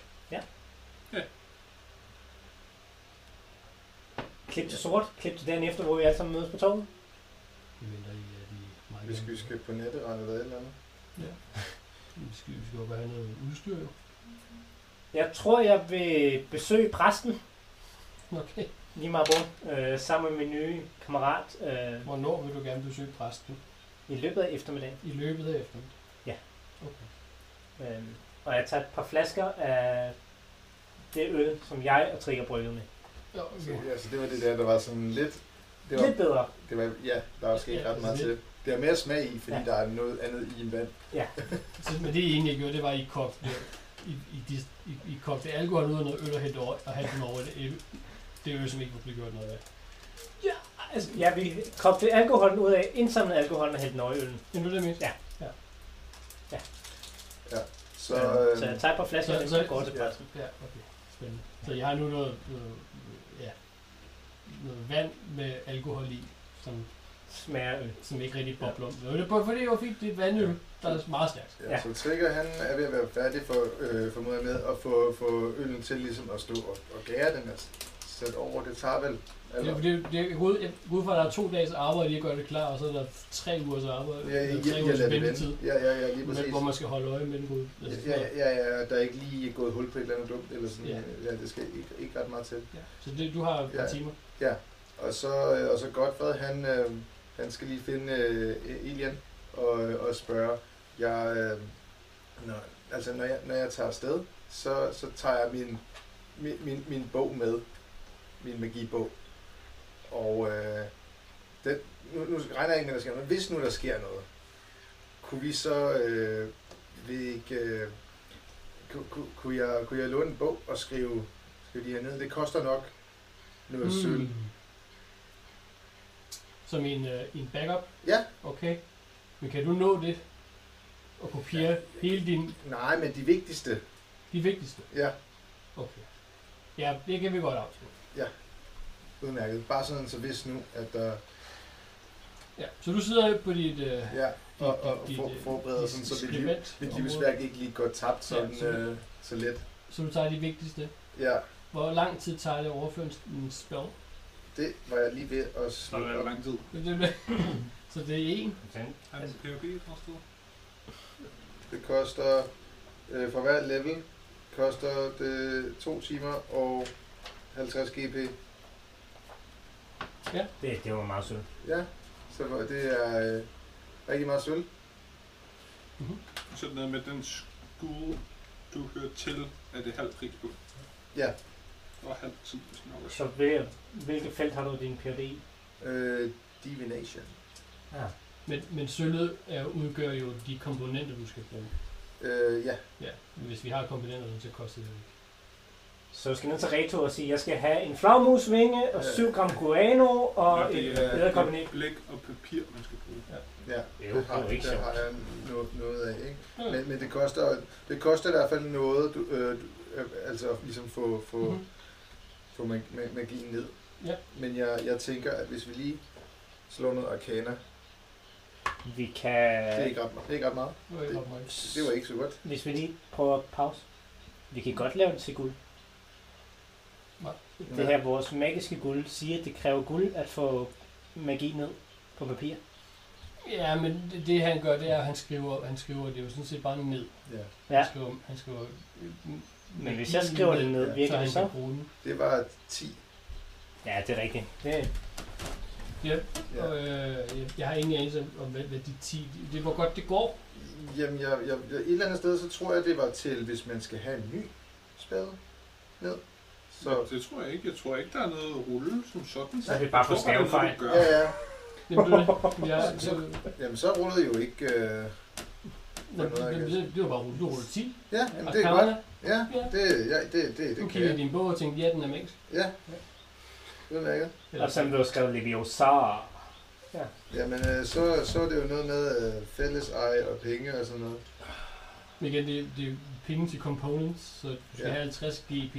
[SPEAKER 2] Klip til sort. Klip til dagen efter, hvor vi alle sammen mødes på torvet.
[SPEAKER 1] Vi venter i, at de meget
[SPEAKER 3] vi skal, vi skal på netteren eller et eller andet.
[SPEAKER 1] Vi skal, vi skal jo bare have noget udstyr, jo.
[SPEAKER 2] Jeg tror, jeg vil besøge præsten.
[SPEAKER 1] Okay.
[SPEAKER 2] Lige meget brum. Øh, sammen med min nye kammerat. Øh,
[SPEAKER 1] Hvornår vil du gerne besøge præsten?
[SPEAKER 2] I løbet af eftermiddagen.
[SPEAKER 1] I løbet af eftermiddagen?
[SPEAKER 2] Ja.
[SPEAKER 1] Okay.
[SPEAKER 2] Øh, og jeg tager et par flasker af det øl, som jeg og Trigger brygget med.
[SPEAKER 1] Ja,
[SPEAKER 3] Så,
[SPEAKER 1] okay.
[SPEAKER 3] ja, så det var det der, der var sådan lidt... Det var,
[SPEAKER 2] Lidt bedre.
[SPEAKER 3] det var, ja, der var sket ret meget til det. Det er mere smag i, fordi
[SPEAKER 2] Ja.
[SPEAKER 3] der er noget andet i en vand.
[SPEAKER 1] Så, Altså, men det I egentlig gjorde, det var, at I kogte, I, I, dis- I, I kogte alkohol ud af noget øl og hældte over, og hældte den over det øl. Det øl, som ikke kunne blive gjort noget af.
[SPEAKER 2] Altså, ja, vi kogte alkoholen ud af, indsamlede alkoholen og hældte nøgølen.
[SPEAKER 1] Det er nu det mindst.
[SPEAKER 2] Ja.
[SPEAKER 3] Så,
[SPEAKER 2] Så, øh, så jeg
[SPEAKER 3] øh,
[SPEAKER 2] tager et par flasker,
[SPEAKER 1] så-
[SPEAKER 2] og
[SPEAKER 1] så-
[SPEAKER 2] så går til
[SPEAKER 3] ja.
[SPEAKER 2] pressen.
[SPEAKER 1] Ja, okay. Spændende. Så jeg har nu noget, noget, ja, noget vand med alkohol i, som, øh,
[SPEAKER 2] Smager øl.
[SPEAKER 1] som ikke rigtig bobler. Ja. Det var fordi, jeg fik det vandøl, der er meget stærkt.
[SPEAKER 3] ja,
[SPEAKER 2] Ja.
[SPEAKER 3] så Trigger han er ved at være færdig for, øh, formoder jeg, med at få, få øllen til ligesom at stå og, og gære den og sætte over. Det tager vel...
[SPEAKER 1] Det er,
[SPEAKER 3] Eller,
[SPEAKER 1] fordi, det er, jeg går ud- jeg går ud fra, at der er to dages arbejde, i at gøre det klar, og så er der tre ugers arbejde.
[SPEAKER 3] ja, ja,
[SPEAKER 1] eller
[SPEAKER 3] ja,
[SPEAKER 1] tre
[SPEAKER 3] ja,
[SPEAKER 1] ugers
[SPEAKER 3] lad det
[SPEAKER 1] ventetid.
[SPEAKER 3] vende. ja, ja, ja, lige
[SPEAKER 1] Men,
[SPEAKER 3] præcis.
[SPEAKER 1] hvor man skal holde øje med den gode. Altså,
[SPEAKER 3] Ja, ja, ja, ja, der er ikke lige gået hul på et eller andet dumt, eller sådan,
[SPEAKER 1] Ja.
[SPEAKER 3] ja, ja det skal ikke, ikke ret meget til.
[SPEAKER 1] Så det, du har et par
[SPEAKER 3] Ja.
[SPEAKER 1] timer.
[SPEAKER 3] Og så, øh, og så Godfred, han, øh, han skal lige finde øh, Elian og, øh, og spørge, jeg, øh, når, altså når jeg, når jeg tager afsted, så, så tager jeg min, min, min, min bog med, min magibog, og, øh, det, nu, nu regner jeg ikke med, at der sker noget. Hvis nu der sker noget, kunne vi så... Øh, vi ikke, øh, ku- ku- kunne, jeg, kunne jeg låne en bog og skrive, skrive de her ned? Det koster nok noget mm. sølv.
[SPEAKER 1] Som en, Hmm. øh, en backup?
[SPEAKER 3] Ja.
[SPEAKER 1] Okay. Men kan du nå det? Og kopiere ja. hele din,
[SPEAKER 3] Nej, men de vigtigste.
[SPEAKER 1] de vigtigste?
[SPEAKER 3] Ja,
[SPEAKER 1] Okay. Ja, det kan vi godt afslutte.
[SPEAKER 3] udmærket. Bare sådan, så hvis nu, at der...
[SPEAKER 1] Ja, så du sidder på dit... Øh,
[SPEAKER 3] Ja, og, og, og
[SPEAKER 1] dit,
[SPEAKER 3] for,
[SPEAKER 1] øh,
[SPEAKER 3] forbereder
[SPEAKER 1] dit
[SPEAKER 3] sådan, så mit, liv,
[SPEAKER 1] skribent-
[SPEAKER 3] mit
[SPEAKER 1] område.
[SPEAKER 3] livsværk ikke lige går tabt sådan
[SPEAKER 1] Ja,
[SPEAKER 3] ja,
[SPEAKER 1] så-
[SPEAKER 3] øh, så let.
[SPEAKER 1] Så du tager de vigtigste.
[SPEAKER 3] Ja,
[SPEAKER 1] Hvor lang tid tager det at overføre en- en spell?
[SPEAKER 3] det var jeg lige ved at
[SPEAKER 4] Så er
[SPEAKER 3] slutte
[SPEAKER 4] det
[SPEAKER 3] op.
[SPEAKER 4] lang tid.
[SPEAKER 1] Det- det- det- Så det er en.
[SPEAKER 4] Han er en PhD, tror jeg.
[SPEAKER 3] Det koster... Øh, for hver level koster det 2 timer og 50 GP.
[SPEAKER 2] Det, det var meget sødt.
[SPEAKER 3] Ja, så hvor- det er øh, rigtig meget sølv.
[SPEAKER 4] Så noget med den skole, du hører til, er det halv pris på.
[SPEAKER 3] Ja.
[SPEAKER 4] Og halv tid, hvis den er over.
[SPEAKER 2] Så hvil, hvilket felt har du din PhD i?
[SPEAKER 3] Øh, divination.
[SPEAKER 2] Ja.
[SPEAKER 1] Men, men sølvet er, udgør jo de komponenter, du skal bruge.
[SPEAKER 3] Øh, ja,
[SPEAKER 1] Ja, men hvis vi har komponenterne, så koster det jo ikke.
[SPEAKER 2] Så du skal ned til Reto og sige, at jeg skal have en flagmusvinge og 7 gram guano
[SPEAKER 4] Nå,
[SPEAKER 2] og
[SPEAKER 4] det
[SPEAKER 2] et
[SPEAKER 4] er-
[SPEAKER 2] æderkompagnet.
[SPEAKER 4] Blæk og papir, man skal bruge.
[SPEAKER 3] ja.
[SPEAKER 2] Jo,
[SPEAKER 3] det
[SPEAKER 2] det er
[SPEAKER 3] har,
[SPEAKER 2] jo ikke
[SPEAKER 3] det
[SPEAKER 2] sjovt.
[SPEAKER 3] har jeg no- noget af, ikke?
[SPEAKER 1] Mm.
[SPEAKER 3] Men, men det, koster, det koster i hvert fald noget, du, øh, du, øh, altså at ligesom få, få,
[SPEAKER 1] Mhm.
[SPEAKER 3] få mag- mag- magien ned.
[SPEAKER 1] Ja.
[SPEAKER 3] Men jeg, jeg tænker, at hvis vi lige slår noget arcana,
[SPEAKER 2] Vi kan...
[SPEAKER 3] det, er ikke ret, det er ikke ret meget.
[SPEAKER 1] Det var ikke ret meget.
[SPEAKER 3] Det var ikke så godt.
[SPEAKER 2] Hvis vi lige prøver at pause. Vi kan godt lave det til guld.
[SPEAKER 1] Nej.
[SPEAKER 2] Det her, vores magiske guld, siger, at det kræver guld at få magi ned på papir.
[SPEAKER 1] Ja, men det, det, han gør, det er, at han skriver, han skriver det er jo sådan set bare ned.
[SPEAKER 3] Ja.
[SPEAKER 2] Ja.
[SPEAKER 1] Han skriver, han skriver øh,
[SPEAKER 2] Men hvis jeg skriver det ned, virker
[SPEAKER 1] så han
[SPEAKER 2] det så?
[SPEAKER 1] kan bruge den.
[SPEAKER 3] Det var 10.
[SPEAKER 2] Ja, det er rigtigt. Det,
[SPEAKER 3] Ja.
[SPEAKER 1] Og, øh, jeg, jeg har ingen anelse om, om, hvad, hvad de 10... Det, det, hvor godt det går.
[SPEAKER 3] Jamen, jeg, jeg, jeg, et eller andet sted, så tror jeg, det var til, hvis man skal have en ny spade ned.
[SPEAKER 4] Så
[SPEAKER 3] Så,
[SPEAKER 4] det tror jeg ikke. Jeg tror ikke, der er noget at rulle som sådan.
[SPEAKER 2] så er det bare for stavefejl.
[SPEAKER 4] Ja.
[SPEAKER 3] ja, ja.
[SPEAKER 1] Jamen, det, det, jeg, det,
[SPEAKER 3] Så- Jamen, så rullede jo ikke... Øh,
[SPEAKER 1] det, det, det, det var bare rullet. Du rullede 10.
[SPEAKER 3] ja,
[SPEAKER 1] Og
[SPEAKER 3] jamen, det er
[SPEAKER 1] Karla,
[SPEAKER 3] godt. Ja,
[SPEAKER 1] Ja.
[SPEAKER 3] det, ja, det, det,
[SPEAKER 1] Du
[SPEAKER 3] det kan
[SPEAKER 1] kiggede i
[SPEAKER 3] jeg.
[SPEAKER 1] din bog og tænkte, ja, den er magisk.
[SPEAKER 3] Ja, udmærket.
[SPEAKER 2] Og så blev skrevet Leviosa.
[SPEAKER 3] Jamen, øh, så, så er det jo noget med øh, fælles eje og penge og sådan noget.
[SPEAKER 1] Men igen, det, det er penge til components, så du skal
[SPEAKER 3] Ja.
[SPEAKER 1] have 50 GP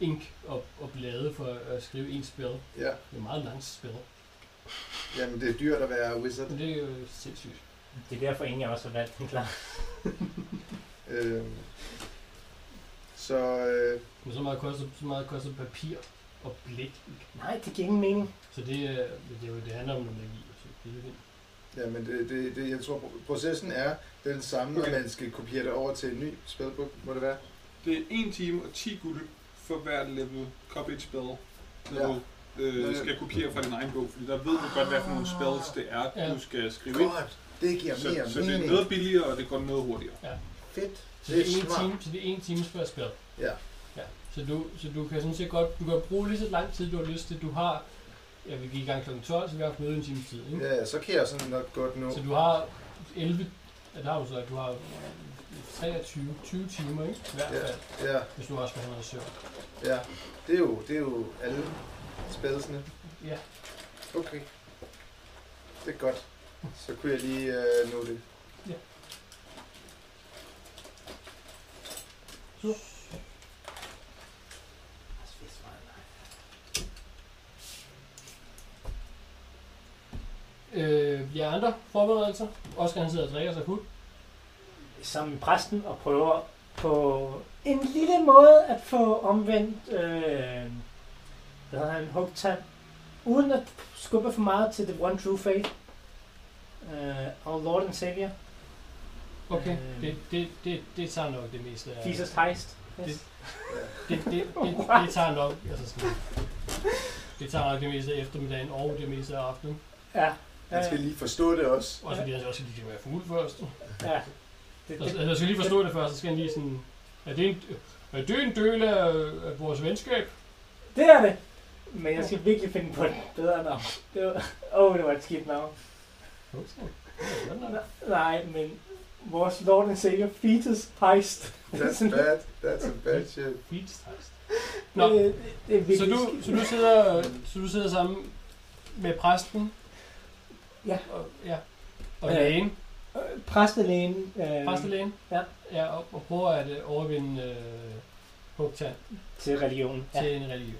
[SPEAKER 1] ink og, og blade for at skrive en spil.
[SPEAKER 3] Ja,
[SPEAKER 1] Det er et meget langt spil.
[SPEAKER 3] jamen, det er dyrt at være wizard.
[SPEAKER 1] Men det er jo sindssygt.
[SPEAKER 2] Det er derfor, ingen af os har valgt den klar.
[SPEAKER 3] Øh, så, øh,
[SPEAKER 1] Men så meget koster, så meget koster papir og blæk.
[SPEAKER 2] Nej, det giver ingen mening.
[SPEAKER 1] Så det, er- det, er jo, det handler om noget magi. Så det er jo vildt.
[SPEAKER 3] jamen, det, det, det, jeg tror, processen er den samme, når
[SPEAKER 4] Okay.
[SPEAKER 3] man skal kopiere det over til en ny spilbog, må det være.
[SPEAKER 4] Det er 1 time og 10 guld for hver level copy spell, når
[SPEAKER 3] Ja.
[SPEAKER 4] du øh,
[SPEAKER 3] Men-
[SPEAKER 4] skal kopiere fra din egen bog, fordi der ved du godt, hvad for nogle spells det er,
[SPEAKER 1] Ja.
[SPEAKER 4] du skal skrive ind.
[SPEAKER 3] Godt, det giver
[SPEAKER 4] Så,
[SPEAKER 3] mere
[SPEAKER 4] så det
[SPEAKER 3] mening.
[SPEAKER 4] er noget billigere, og det går noget hurtigere.
[SPEAKER 3] Fedt.
[SPEAKER 1] Så
[SPEAKER 3] Det
[SPEAKER 1] det
[SPEAKER 3] er
[SPEAKER 1] er en
[SPEAKER 3] smart.
[SPEAKER 1] time, så det er en times før spil.
[SPEAKER 3] Ja.
[SPEAKER 1] ja. Så, du, så du kan sådan set godt, du kan bruge lige så lang tid, du har lyst til. Du har, ja, vi gik i gang kl. 12, så vi har haft møde i en times tid. Ikke?
[SPEAKER 3] Ja, så kan jeg sådan nok godt nå.
[SPEAKER 1] Så du har 11, ja, der har du så, at du har 23, 20 timer, ikke? I hvert
[SPEAKER 3] Ja.
[SPEAKER 1] fald,
[SPEAKER 3] Ja,
[SPEAKER 1] hvis du også skal have noget søvn.
[SPEAKER 3] ja. Det er jo, det er jo alle spædelsene.
[SPEAKER 1] Ja.
[SPEAKER 3] Okay. Det er godt. Så kunne jeg lige øh, nå det.
[SPEAKER 1] Øh, jeg andre forberedelser. Oscar han sidder og drikker sig fuld.
[SPEAKER 2] Sammen med præsten og prøver på en lille måde at få omvendt, øh, hvad hedder han, hugtand, uden at skubbe for meget til The One True Faith. Øh, og Lord and Savior,
[SPEAKER 1] Okay,
[SPEAKER 2] Øh.
[SPEAKER 1] det, det, det, det tager nok det meste af...
[SPEAKER 2] Jesus Heist.
[SPEAKER 1] Det-
[SPEAKER 2] Yes.
[SPEAKER 1] Det, det, det, det, det tager nok, altså sådan, det tager nok det meste af eftermiddagen og det meste af aftenen.
[SPEAKER 2] Ja, øh,
[SPEAKER 3] Man skal lige forstå det også.
[SPEAKER 1] Også fordi han også lige skal være fuld først.
[SPEAKER 2] ja. Det,
[SPEAKER 1] Altså,
[SPEAKER 2] det,
[SPEAKER 1] jeg skal lige forstå det først, så skal han lige sådan... Er det en, er det en del af, af vores venskab?
[SPEAKER 2] det er det. Men jeg skal virkelig finde på et bedre navn. Det var, oh, det var et skidt navn. Nej, men vores Lord and Savior Fetus Heist.
[SPEAKER 3] That's bad. That's a bad shit.
[SPEAKER 1] Nå.
[SPEAKER 2] Det, det, Øh, det er virkelig
[SPEAKER 1] Så du,
[SPEAKER 2] skidt.
[SPEAKER 1] så du sidder, så du sidder sammen med præsten?
[SPEAKER 2] Ja.
[SPEAKER 1] Og, ja. Og
[SPEAKER 2] Ja.
[SPEAKER 1] lægen,
[SPEAKER 2] Øh, Præstelægen. Øh,
[SPEAKER 1] præstelægen?
[SPEAKER 2] ja.
[SPEAKER 1] ja og, og prøver at øh, overvinde øh, Hugtan
[SPEAKER 2] Til religionen.
[SPEAKER 1] ja. til en religion.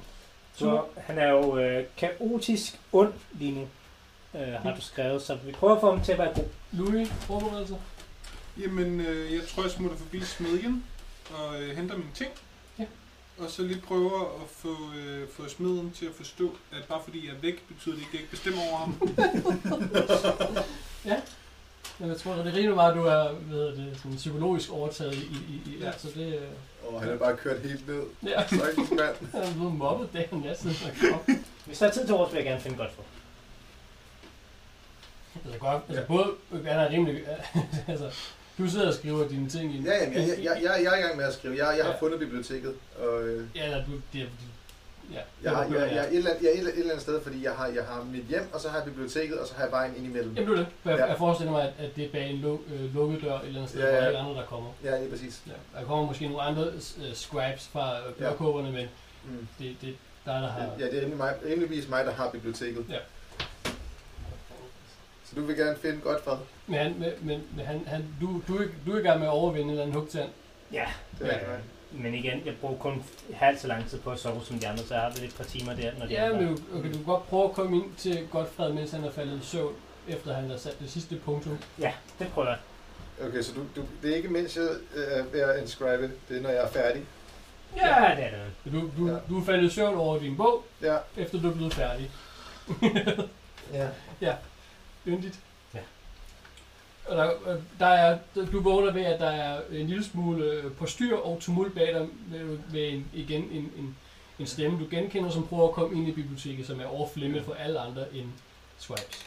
[SPEAKER 2] Så han er jo øh, kaotisk ond lige nu, øh,
[SPEAKER 1] Mm.
[SPEAKER 2] har du skrevet, så vi prøver at få ham til at være god.
[SPEAKER 1] Louis, forberedelse?
[SPEAKER 4] Jamen, øh, jeg tror, jeg smutter forbi smedjen og øh, henter mine ting.
[SPEAKER 1] Ja.
[SPEAKER 4] Og så lige prøver at få, øh, få smeden til at forstå, at bare fordi jeg er væk, betyder det ikke, at jeg ikke bestemmer over ham.
[SPEAKER 1] Jamen, Jeg tror, det er rimelig meget, du er hvad hedder det, sådan psykologisk overtaget i, i, i ja.
[SPEAKER 4] Ja.
[SPEAKER 1] så det øh,
[SPEAKER 3] Og han er bare kørt helt ned.
[SPEAKER 1] ja.
[SPEAKER 3] Stakkels mand.
[SPEAKER 1] Jeg er blevet mobbet dag og nat siden jeg kom.
[SPEAKER 2] Hvis der er tid til overs, vil jeg gerne finde godt for.
[SPEAKER 1] Altså, godt, altså både er der rimelig... altså, du sidder og skriver dine ting i... en-
[SPEAKER 3] Ja, jamen, jeg, jeg, jeg, jeg er i gang med at skrive. Jeg, jeg har
[SPEAKER 1] Ja.
[SPEAKER 3] fundet biblioteket, og øh,
[SPEAKER 1] Ja, eller du... Det, er- ja,
[SPEAKER 3] jeg har, jeg,
[SPEAKER 1] ja,
[SPEAKER 3] jeg, er et, eller andet, jeg er et, eller- et eller andet sted, fordi jeg har, jeg har mit hjem, og så har jeg biblioteket, og så har jeg vejen ind imellem.
[SPEAKER 1] Jamen, du det. For jeg,
[SPEAKER 3] Ja.
[SPEAKER 1] jeg forestiller mig, at, at det er bag en luk, øh, lukket dør et eller andet sted,
[SPEAKER 3] Ja,
[SPEAKER 1] ja, ja.
[SPEAKER 3] ja.
[SPEAKER 1] hvor alle andre, der kommer.
[SPEAKER 3] Ja, lige præcis.
[SPEAKER 1] Ja. Der kommer måske nogle andre øh, scribes fra øh, blokkubberne, men
[SPEAKER 3] Mm.
[SPEAKER 1] det, det der er der har...
[SPEAKER 3] Ja, det er rimelig mig, rimeligvis mig, der har biblioteket.
[SPEAKER 1] Ja.
[SPEAKER 3] Så du vil gerne finde godt for
[SPEAKER 1] Men, han, men, men, men han, han, du, du, er, ikke- du er i gang med at overvinde en eller anden hugtand.
[SPEAKER 2] Ja,
[SPEAKER 3] det
[SPEAKER 1] Ja.
[SPEAKER 3] er ja.
[SPEAKER 2] men igen, jeg bruger kun halvt så lang tid på at sove som de andre, så jeg har lidt et par timer der, når de
[SPEAKER 1] Ja, men
[SPEAKER 2] andre.
[SPEAKER 1] du, okay, du kan godt prøve at komme ind til Godfred, mens han er faldet i søvn, efter han har sat det sidste punktum.
[SPEAKER 2] Ja, det prøver jeg.
[SPEAKER 3] Okay, så du, du, det er ikke mens jeg øh, er ved at inscribe, det er når jeg er færdig.
[SPEAKER 2] Ja, det er det.
[SPEAKER 1] Du, du,
[SPEAKER 3] Ja.
[SPEAKER 1] ja. du er faldet i søvn over din bog,
[SPEAKER 3] Ja.
[SPEAKER 1] efter du er blevet færdig.
[SPEAKER 3] ja.
[SPEAKER 1] Yndigt.
[SPEAKER 2] Ja.
[SPEAKER 1] Og der, øh, der er, du vågner ved, at der er en lille smule øh, postyr og tumult bag dig med, med en, igen en, en, en stemme, du genkender, som prøver at komme ind i biblioteket, som er overflemmet for alle andre end Swipes.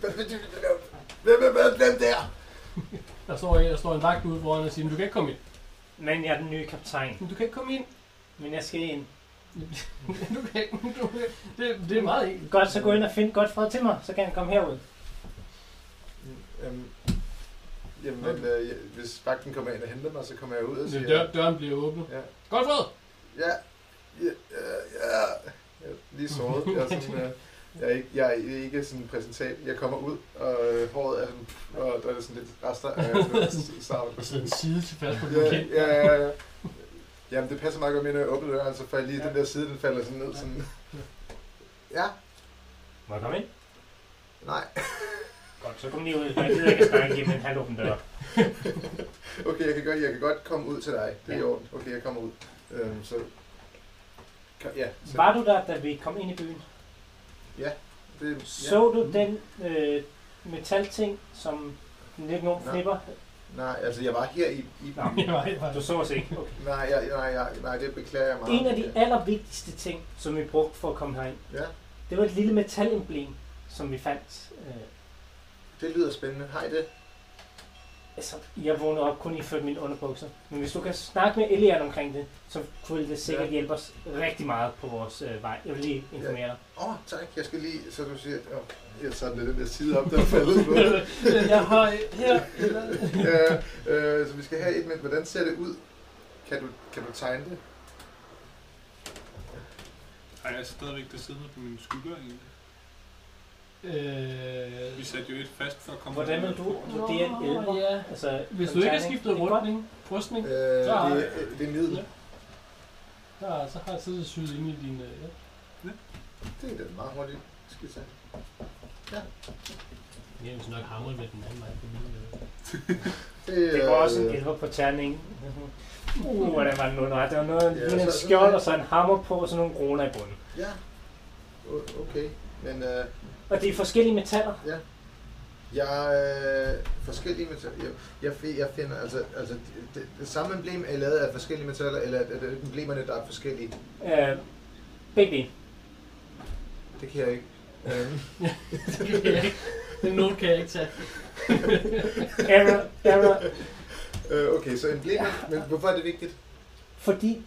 [SPEAKER 3] Hvad vil du lave? Hvem, hvem, hvem, hvem der?
[SPEAKER 1] Der står, en- der står en vagt ude foran og siger, du kan ikke komme ind.
[SPEAKER 2] Men jeg er den nye kaptajn,
[SPEAKER 1] Du kan ikke komme ind.
[SPEAKER 2] men jeg skal ind.
[SPEAKER 1] du kan ikke. Du kan. Det, det er meget enkelt.
[SPEAKER 2] Godt, så gå ind og find godt fred til mig, så kan han komme herud.
[SPEAKER 3] Øhm, jamen, men, øh, jeg- hvis vagten kommer ind og henter mig, så kommer jeg ud og siger...
[SPEAKER 1] Dør, døren bliver åbnet.
[SPEAKER 3] Ja.
[SPEAKER 1] Godfred!
[SPEAKER 3] Ja. Ja. øh, ja. Jeg er lige såret. Jeg er, sådan, øh, jeg, er ikke, jeg er ikke sådan præsentabel. Jeg kommer ud, og øh, håret er sådan... Og der er sådan lidt rester af øh, sarven
[SPEAKER 1] Sådan
[SPEAKER 3] på siden.
[SPEAKER 1] en side til fast på din
[SPEAKER 3] Ja,
[SPEAKER 1] kind.
[SPEAKER 3] ja, ja, ja. Jamen, det passer meget godt med, når jeg åbner døren, så får jeg lige den der side, den falder sådan ned. Sådan. Ja,
[SPEAKER 2] Må jeg komme ind?
[SPEAKER 3] nej.
[SPEAKER 2] Godt, så kom lige ud. Jeg gider ikke at snakke igennem en halvåben dør.
[SPEAKER 3] Okay, jeg kan godt, jeg kan godt komme ud til dig. Det er i
[SPEAKER 2] Ja.
[SPEAKER 3] orden. Okay, jeg kommer ud. Øhm, så... Kom- Ja, så...
[SPEAKER 2] Var du der, da vi kom ind i byen?
[SPEAKER 3] Det, ja.
[SPEAKER 2] Så du
[SPEAKER 3] Mm.
[SPEAKER 2] den øh, metalting, som den lidt nogen
[SPEAKER 3] Nå.
[SPEAKER 2] flipper?
[SPEAKER 3] Nej, altså, jeg var her i... i
[SPEAKER 2] Nå.
[SPEAKER 1] Ja, nej, nej.
[SPEAKER 2] Du så os ikke. Okay.
[SPEAKER 3] Nej, jeg, nej, jeg, nej, det beklager jeg meget.
[SPEAKER 2] En af de allervigtigste ting, som vi brugte for at komme herind,
[SPEAKER 3] Ja,
[SPEAKER 2] det var et lille metalemblem, som vi fandt. Øh,
[SPEAKER 3] det lyder spændende. Hej det.
[SPEAKER 2] altså, jeg vågnede op kun i ført mine underbukser. Men hvis du kan snakke med Elian omkring det, så kunne det sikkert
[SPEAKER 3] Ja.
[SPEAKER 2] hjælpe os rigtig meget på vores øh, vej. Jeg vil lige informere dig.
[SPEAKER 3] Åh, oh, tak. Jeg skal lige... Så du siger... Oh, jeg tager lidt den der side op, der er faldet på.
[SPEAKER 1] Jeg har her...
[SPEAKER 3] øh, øh, så vi skal have et med, hvordan ser det ud? Kan du, kan du tegne det?
[SPEAKER 4] Ej, jeg er stadigvæk der siddende på mine skygger egentlig.
[SPEAKER 1] Øh,
[SPEAKER 4] Vi satte jo et fast for at komme
[SPEAKER 2] Hvordan vil
[SPEAKER 4] derned.
[SPEAKER 2] du vurdere en elver?
[SPEAKER 1] ja.
[SPEAKER 2] Altså,
[SPEAKER 1] Hvis
[SPEAKER 2] som
[SPEAKER 1] du ikke har
[SPEAKER 2] terning?
[SPEAKER 1] skiftet
[SPEAKER 2] Det er godt.
[SPEAKER 1] rustning, rustning
[SPEAKER 3] Øh, det,
[SPEAKER 1] har
[SPEAKER 3] er- det er middel.
[SPEAKER 1] Ja. der, så har jeg siddet syet inde i din... øh, Ja.
[SPEAKER 3] Det er da meget hurtigt. Skal vi tage.
[SPEAKER 1] Jeg vil nok hamret med den anden vej på min...
[SPEAKER 2] Det var også en
[SPEAKER 3] øh,
[SPEAKER 2] elver på terningen. Uh, hvordan var den underret? Det var noget,
[SPEAKER 3] Ja,
[SPEAKER 2] ja, en
[SPEAKER 3] så- så-
[SPEAKER 2] skjold og så en hammer på, og så nogle kroner i bunden.
[SPEAKER 3] Ja. O- Okay. Men øh,
[SPEAKER 2] Og det er forskellige metaller.
[SPEAKER 3] jeg... Øh, forskellige metaller... Jeg, jeg, fi- jeg finder... Altså, altså det, det, det samme emblem er lavet af forskellige metaller, eller er det emblemerne, der er forskellige?
[SPEAKER 2] Øh, begge dele.
[SPEAKER 3] Det kan jeg ikke. Øh,
[SPEAKER 1] Den note kan jeg ikke tage.
[SPEAKER 2] Error, error.
[SPEAKER 3] øh, okay, så emblemer... Men hvorfor er det vigtigt?
[SPEAKER 2] Fordi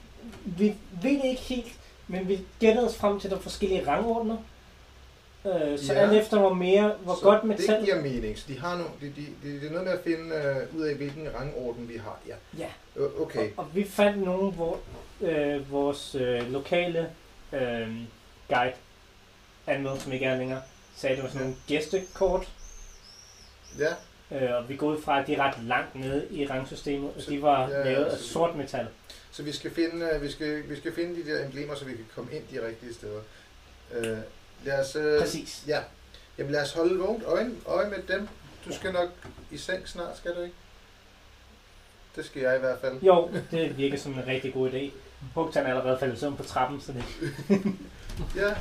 [SPEAKER 2] vi ved ikke helt, Men vi gættede os frem til, at der er forskellige rangordner. Øh, så
[SPEAKER 3] Ja.
[SPEAKER 2] ja. alt efter, hvor mere, hvor
[SPEAKER 3] Så
[SPEAKER 2] godt
[SPEAKER 3] det
[SPEAKER 2] metal...
[SPEAKER 3] giver mening. Så de har no, de, de, de, det er noget med at finde øh, ud af, hvilken rangorden vi har. Ja.
[SPEAKER 2] Ja.
[SPEAKER 3] Øh, Okay.
[SPEAKER 2] Og, og vi fandt nogen, hvor øh, vores øh, lokale øh, guide, anmeldte, som ikke er længere, sagde, at det var sådan nogle gæstekort.
[SPEAKER 3] Ja.
[SPEAKER 2] Øh, og vi går ud fra, at de er ret langt nede i rangsystemet, og
[SPEAKER 3] Så-
[SPEAKER 2] de var
[SPEAKER 3] ja, ja,
[SPEAKER 2] ja, lavet af
[SPEAKER 3] så-
[SPEAKER 2] sort metal.
[SPEAKER 3] Så vi skal finde, øh, vi skal, vi skal finde de der emblemer, så vi kan komme ind de rigtige steder. Øh, lad os, øh,
[SPEAKER 2] Præcis.
[SPEAKER 3] Ja. Jamen lad os holde vågent øje, øje med dem. Du skal nok i seng snart, skal du ikke? Det skal jeg i hvert fald.
[SPEAKER 2] Jo, det virker som en rigtig god idé. Hugtan er allerede faldet i søvn på trappen, så det
[SPEAKER 3] Ja.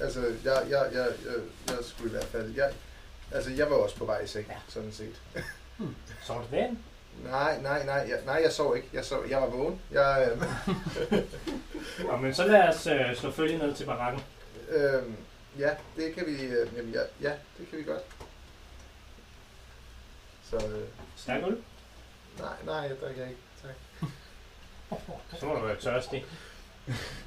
[SPEAKER 3] Altså, jeg, jeg, jeg, jeg, jeg skulle i hvert fald... Jeg, altså, jeg var også på vej i seng,
[SPEAKER 2] Ja.
[SPEAKER 3] sådan set.
[SPEAKER 2] så var det værd.
[SPEAKER 3] Nej, nej, nej, jeg, nej, jeg sov ikke. Jeg, sov, jeg var vågen. Jeg, øh,
[SPEAKER 2] Nå, men så lad os øh, slå følge ned til barakken.
[SPEAKER 3] øh, ja, det kan vi... Øh, jamen, ja, ja, det kan vi godt. Så øh,
[SPEAKER 2] Stærk øl.
[SPEAKER 3] nej, nej, jeg drikker ikke. Tak.
[SPEAKER 2] Så må du være tørstig.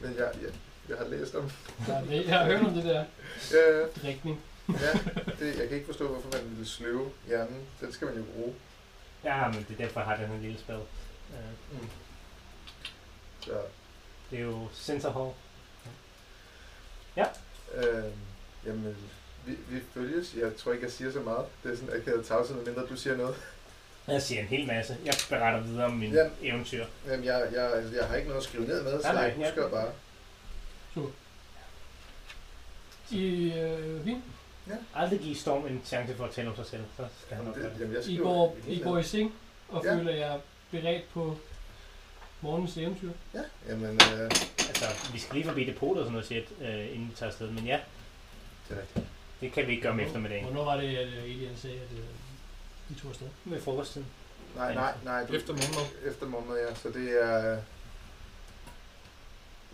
[SPEAKER 3] Men jeg, jeg, jeg har læst om...
[SPEAKER 1] Ja, det, jeg har hørt om det der
[SPEAKER 3] Ja, ja,
[SPEAKER 1] drikning.
[SPEAKER 3] ja. Det, jeg kan ikke forstå, hvorfor man ville sløve hjernen. Den skal man jo bruge.
[SPEAKER 2] Ja, men det er derfor, jeg har den her lille spil. Øh,
[SPEAKER 3] Så,
[SPEAKER 2] det er jo sensorhår.
[SPEAKER 3] øh, jamen, vi, vi følges. Jeg tror ikke, jeg siger så meget. Det er sådan, at jeg kan tavse, mindre du siger noget.
[SPEAKER 2] Jeg siger en hel masse. Jeg beretter videre om mine
[SPEAKER 3] Ja.
[SPEAKER 2] ja. eventyr.
[SPEAKER 3] Jamen, jeg, jeg, altså, jeg har ikke noget at skrive ned med, så
[SPEAKER 2] Nej, nej,
[SPEAKER 3] jeg husker
[SPEAKER 2] jeg-
[SPEAKER 3] bare.
[SPEAKER 1] I, øh, vi,
[SPEAKER 2] Aldrig give Storm en chance for at tale om sig selv, så skal han
[SPEAKER 3] Jamen,
[SPEAKER 2] nok gøre
[SPEAKER 3] det,
[SPEAKER 2] det.
[SPEAKER 3] jamen, jeg
[SPEAKER 1] I
[SPEAKER 3] skriver
[SPEAKER 1] går,
[SPEAKER 3] det
[SPEAKER 1] I
[SPEAKER 3] hele
[SPEAKER 1] går
[SPEAKER 3] ned.
[SPEAKER 1] i seng og
[SPEAKER 3] Ja.
[SPEAKER 1] føler jer beredt på morgens eventyr.
[SPEAKER 3] Ja, jamen, øh,
[SPEAKER 2] Altså, vi skal lige forbi depotet og sådan noget shit, øh, inden vi tager afsted. Men ja,
[SPEAKER 3] det er rigtigt.
[SPEAKER 2] det kan vi ikke gøre om eftermiddagen.
[SPEAKER 1] Hvornår var det, at øh, Elian sagde, at øh, de tog afsted?
[SPEAKER 2] Med frokosttiden.
[SPEAKER 3] Nej, nej, nej. Du,
[SPEAKER 4] Efter måneder.
[SPEAKER 3] Efter måneder, ja. Så det er... øh,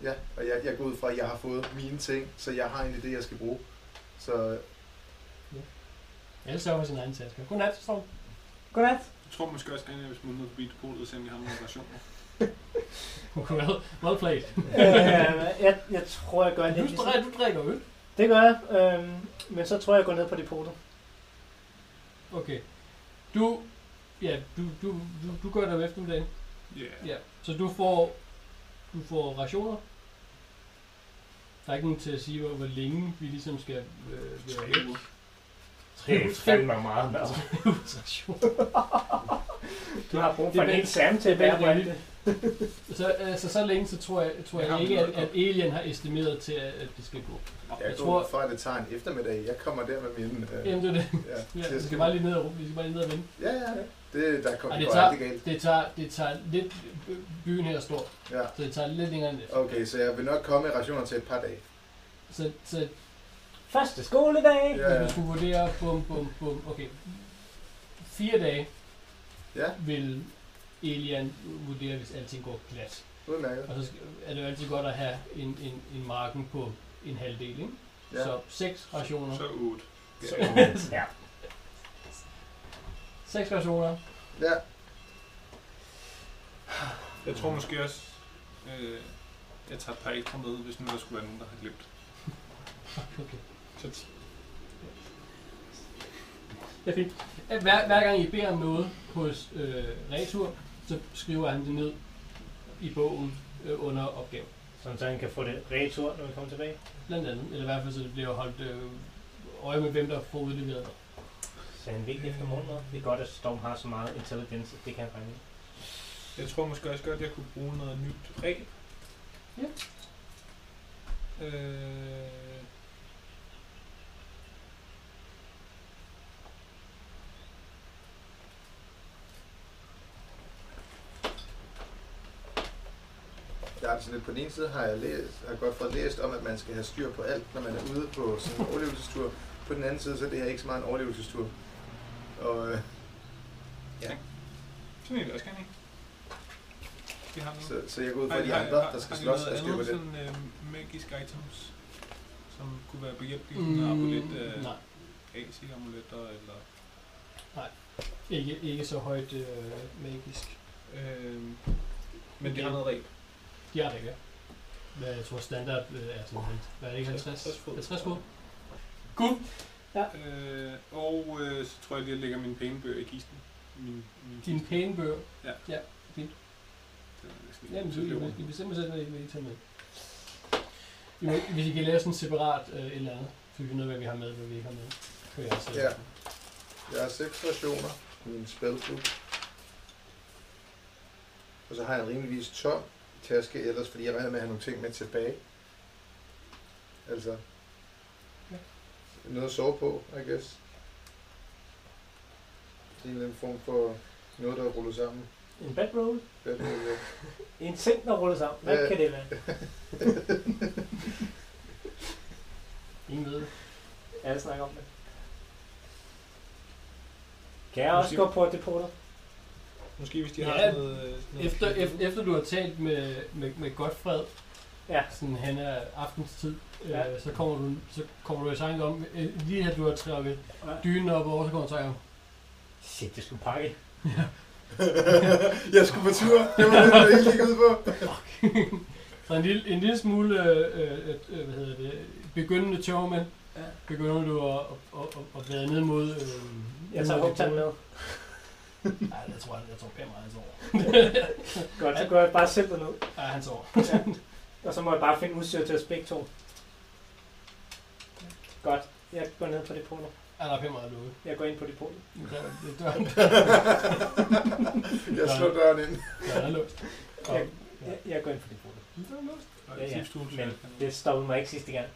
[SPEAKER 3] Ja, og jeg, jeg går ud fra, at jeg har fået mine ting, så jeg har egentlig det, jeg skal bruge. Så
[SPEAKER 1] Alle sørger for sin egen taske. Godnat, Storm.
[SPEAKER 2] Godnat.
[SPEAKER 4] Jeg tror måske også gerne, at jeg vil smutte ned forbi depotet og se, om vi har nogle relationer.
[SPEAKER 1] Well, well played.
[SPEAKER 2] øh, jeg, jeg tror, jeg gør lidt
[SPEAKER 1] Du,
[SPEAKER 2] ligesom-
[SPEAKER 1] drik, du drikker øl.
[SPEAKER 2] Det gør jeg, øh, men så tror jeg, jeg går ned på depotet.
[SPEAKER 1] Okay. Du, ja, du, du, du, du gør det om eftermiddagen.
[SPEAKER 4] Yeah.
[SPEAKER 1] Ja, så du får, du får rationer. Der er ikke nogen til at sige, hvor, hvor længe vi ligesom skal øh, være
[SPEAKER 4] Tre
[SPEAKER 1] væk.
[SPEAKER 4] uger.
[SPEAKER 1] Tre
[SPEAKER 2] meget mad.
[SPEAKER 1] uges ration.
[SPEAKER 2] Du har brug
[SPEAKER 1] Det
[SPEAKER 2] for
[SPEAKER 1] er
[SPEAKER 2] en
[SPEAKER 1] vel-
[SPEAKER 2] hel sam til at
[SPEAKER 1] det er
[SPEAKER 2] bære på
[SPEAKER 1] vel
[SPEAKER 2] alt det.
[SPEAKER 1] Så, altså, så længe, så tror jeg, tror
[SPEAKER 4] Det
[SPEAKER 1] jeg
[SPEAKER 4] har
[SPEAKER 1] ikke,
[SPEAKER 4] vi
[SPEAKER 1] at,
[SPEAKER 4] nok.
[SPEAKER 1] at Alien har estimeret til, at at det skal gå.
[SPEAKER 3] jeg,
[SPEAKER 1] Jeg
[SPEAKER 3] jeg går
[SPEAKER 1] tror-
[SPEAKER 3] ud fra, at det tager en eftermiddag. Jeg kommer der med mine... Øh,
[SPEAKER 1] Jamen, det er det.
[SPEAKER 3] ja,
[SPEAKER 1] Ja,
[SPEAKER 3] til
[SPEAKER 1] vi
[SPEAKER 3] at
[SPEAKER 1] skal
[SPEAKER 3] skrive.
[SPEAKER 1] bare lige ned og råbe, vi skal bare lige ned og vende.
[SPEAKER 3] Ja, ja. Det, der kom
[SPEAKER 1] Ej,
[SPEAKER 3] Ej,
[SPEAKER 1] det
[SPEAKER 3] det går
[SPEAKER 1] tager-
[SPEAKER 3] aldrig galt.
[SPEAKER 1] Det tager, det tager lidt, byen her er stor,
[SPEAKER 3] Ja.
[SPEAKER 1] så det tager lidt længere end det.
[SPEAKER 3] Okay, så jeg vil nok komme i rationer til et par dage.
[SPEAKER 1] Så, så
[SPEAKER 2] Første skoledag!
[SPEAKER 3] Ja,
[SPEAKER 1] hvis
[SPEAKER 3] ja.
[SPEAKER 1] man skulle vurdere, bum, bum, bum, okay. Fire dage
[SPEAKER 3] Ja.
[SPEAKER 1] vil Elian vurdere, hvis alting går glat.
[SPEAKER 3] Udmærket.
[SPEAKER 1] Og så skal- er det jo altid godt at have en, en, en marken på en halvdel, ikke?
[SPEAKER 3] Ja.
[SPEAKER 1] Så seks rationer.
[SPEAKER 4] Så otte.
[SPEAKER 3] Så-
[SPEAKER 2] Ja.
[SPEAKER 1] Seks rationer.
[SPEAKER 3] Ja,
[SPEAKER 4] Jeg tror måske også, øh, jeg tager et par ekstra med, hvis nu der skulle være nogen, der har glemt.
[SPEAKER 1] Okay.
[SPEAKER 4] Så ti.
[SPEAKER 1] Det er fint. Hver, hver gang I beder om noget hos øh, Retur, så skriver han det ned i bogen øh, under opgaven.
[SPEAKER 2] Sådan så han kan få det retur, når vi kommer tilbage.
[SPEAKER 1] Blandt andet. Eller i hvert fald, så det bliver holdt øh, øje med, hvem der får udleveret hvad.
[SPEAKER 2] Så han vigtig efter måneder. Det er godt, at Storm har så meget intelligens, at det kan han regne ud.
[SPEAKER 4] Jeg tror måske også godt, at jeg kunne bruge noget nyt reb.
[SPEAKER 1] Ja.
[SPEAKER 4] Øh,
[SPEAKER 3] der er sådan altså, lidt på den ene side har jeg læst, har jeg godt fået læst om, at man skal have styr på alt, når man er ude på sådan en overlevelsestur. På den anden side, så er det her ikke så meget en overlevelsestur. Og øh,
[SPEAKER 4] sådan en vil jeg også gerne have. Vi har noget.
[SPEAKER 3] så, så jeg går ud fra de andre, der skal slås og styr på det.
[SPEAKER 4] Sådan øh, magiske items, som kunne være behjælpelige, mm, sådan en amulet, øh,
[SPEAKER 1] nej,
[SPEAKER 4] AC-amuletter, eller
[SPEAKER 1] ikke, ikke så højt øh, magisk.
[SPEAKER 4] Øh, men det har noget reb.
[SPEAKER 1] De har det ikke. hvad jeg tror standard øh, er sådan lidt. Hvad er det ikke, 50?
[SPEAKER 4] 50 fod.
[SPEAKER 1] 50 fod. Cool.
[SPEAKER 4] Øh, og øh, så tror jeg lige, at jeg lægger mine penge bøger i kisten. Min, min
[SPEAKER 1] Dine pæne bøger.
[SPEAKER 4] Ja.
[SPEAKER 1] Ja,
[SPEAKER 4] Den er næsten ikke
[SPEAKER 1] Jamen, så
[SPEAKER 4] til at leve
[SPEAKER 1] I, I bestemmer selv, hvad I vil tage med. I må, hvis I kan lave sådan en separat øh, et eller andet, så vi finder ud af, hvad vi har med, hvad vi ikke har med. Kører jeg selv.
[SPEAKER 3] Ja. Jeg har seks rationer i min spelbook. Og så har jeg en rimeligvis tom taske ellers, fordi jeg regner med at have nogle ting med tilbage. Altså.
[SPEAKER 1] Ja.
[SPEAKER 3] Noget at sove på, I guess. Det er en eller anden form for noget, der ruller sammen.
[SPEAKER 2] En bedroll?
[SPEAKER 3] Hvad er det,
[SPEAKER 2] En ting, der ruller sammen. Hvad
[SPEAKER 3] Ja.
[SPEAKER 2] kan det være?
[SPEAKER 1] Ingen ved det.
[SPEAKER 2] Alle snakker om det. Kan jeg også
[SPEAKER 4] Måske-
[SPEAKER 2] gå på depoter?
[SPEAKER 4] Måske hvis de
[SPEAKER 1] Ja,
[SPEAKER 4] har sådan noget... øh, sådan noget
[SPEAKER 1] Efter, efter, efter du har talt med, med, med Godfred,
[SPEAKER 2] Ja.
[SPEAKER 1] sådan han er aftenstid, ja.
[SPEAKER 2] Ja.
[SPEAKER 1] øh, så, kommer du, så kommer du i tanke om, øh, lige at du har trukket dynen op over, så kommer du i tanke om,
[SPEAKER 2] Shit, det skulle pakke.
[SPEAKER 3] jeg skulle på tur. Det var det, jeg ikke gik ud på.
[SPEAKER 1] så en lille, en lille smule, øh, øh, øh, hvad hedder det, begyndende tørmænd,
[SPEAKER 2] Ja.
[SPEAKER 1] begynder du at, at, at, at, at være ned mod... Øh,
[SPEAKER 2] Jeg
[SPEAKER 1] ned
[SPEAKER 2] tager
[SPEAKER 1] mod
[SPEAKER 2] hugtand
[SPEAKER 1] dit-
[SPEAKER 2] med.
[SPEAKER 1] Nej, jeg tror, jeg, jeg tror pænt meget, han sover.
[SPEAKER 2] Godt, så går jeg bare selv derned.
[SPEAKER 1] Ja, han sover.
[SPEAKER 2] Og så må jeg bare finde udstyr til os begge to. Godt. Jeg går ned på depoter.
[SPEAKER 1] Ja, der er pænt meget lukket.
[SPEAKER 2] Jeg går ind på depotet.
[SPEAKER 1] Der- det- Døren
[SPEAKER 3] jeg slår døren ind.
[SPEAKER 1] døren er låst. Og,
[SPEAKER 2] Jeg, jeg, jeg går ind på depotet.
[SPEAKER 1] døren er låst.
[SPEAKER 4] Og
[SPEAKER 2] Ja, ja.
[SPEAKER 4] tipstue til-
[SPEAKER 2] Men det stoppede mig ikke sidste gang.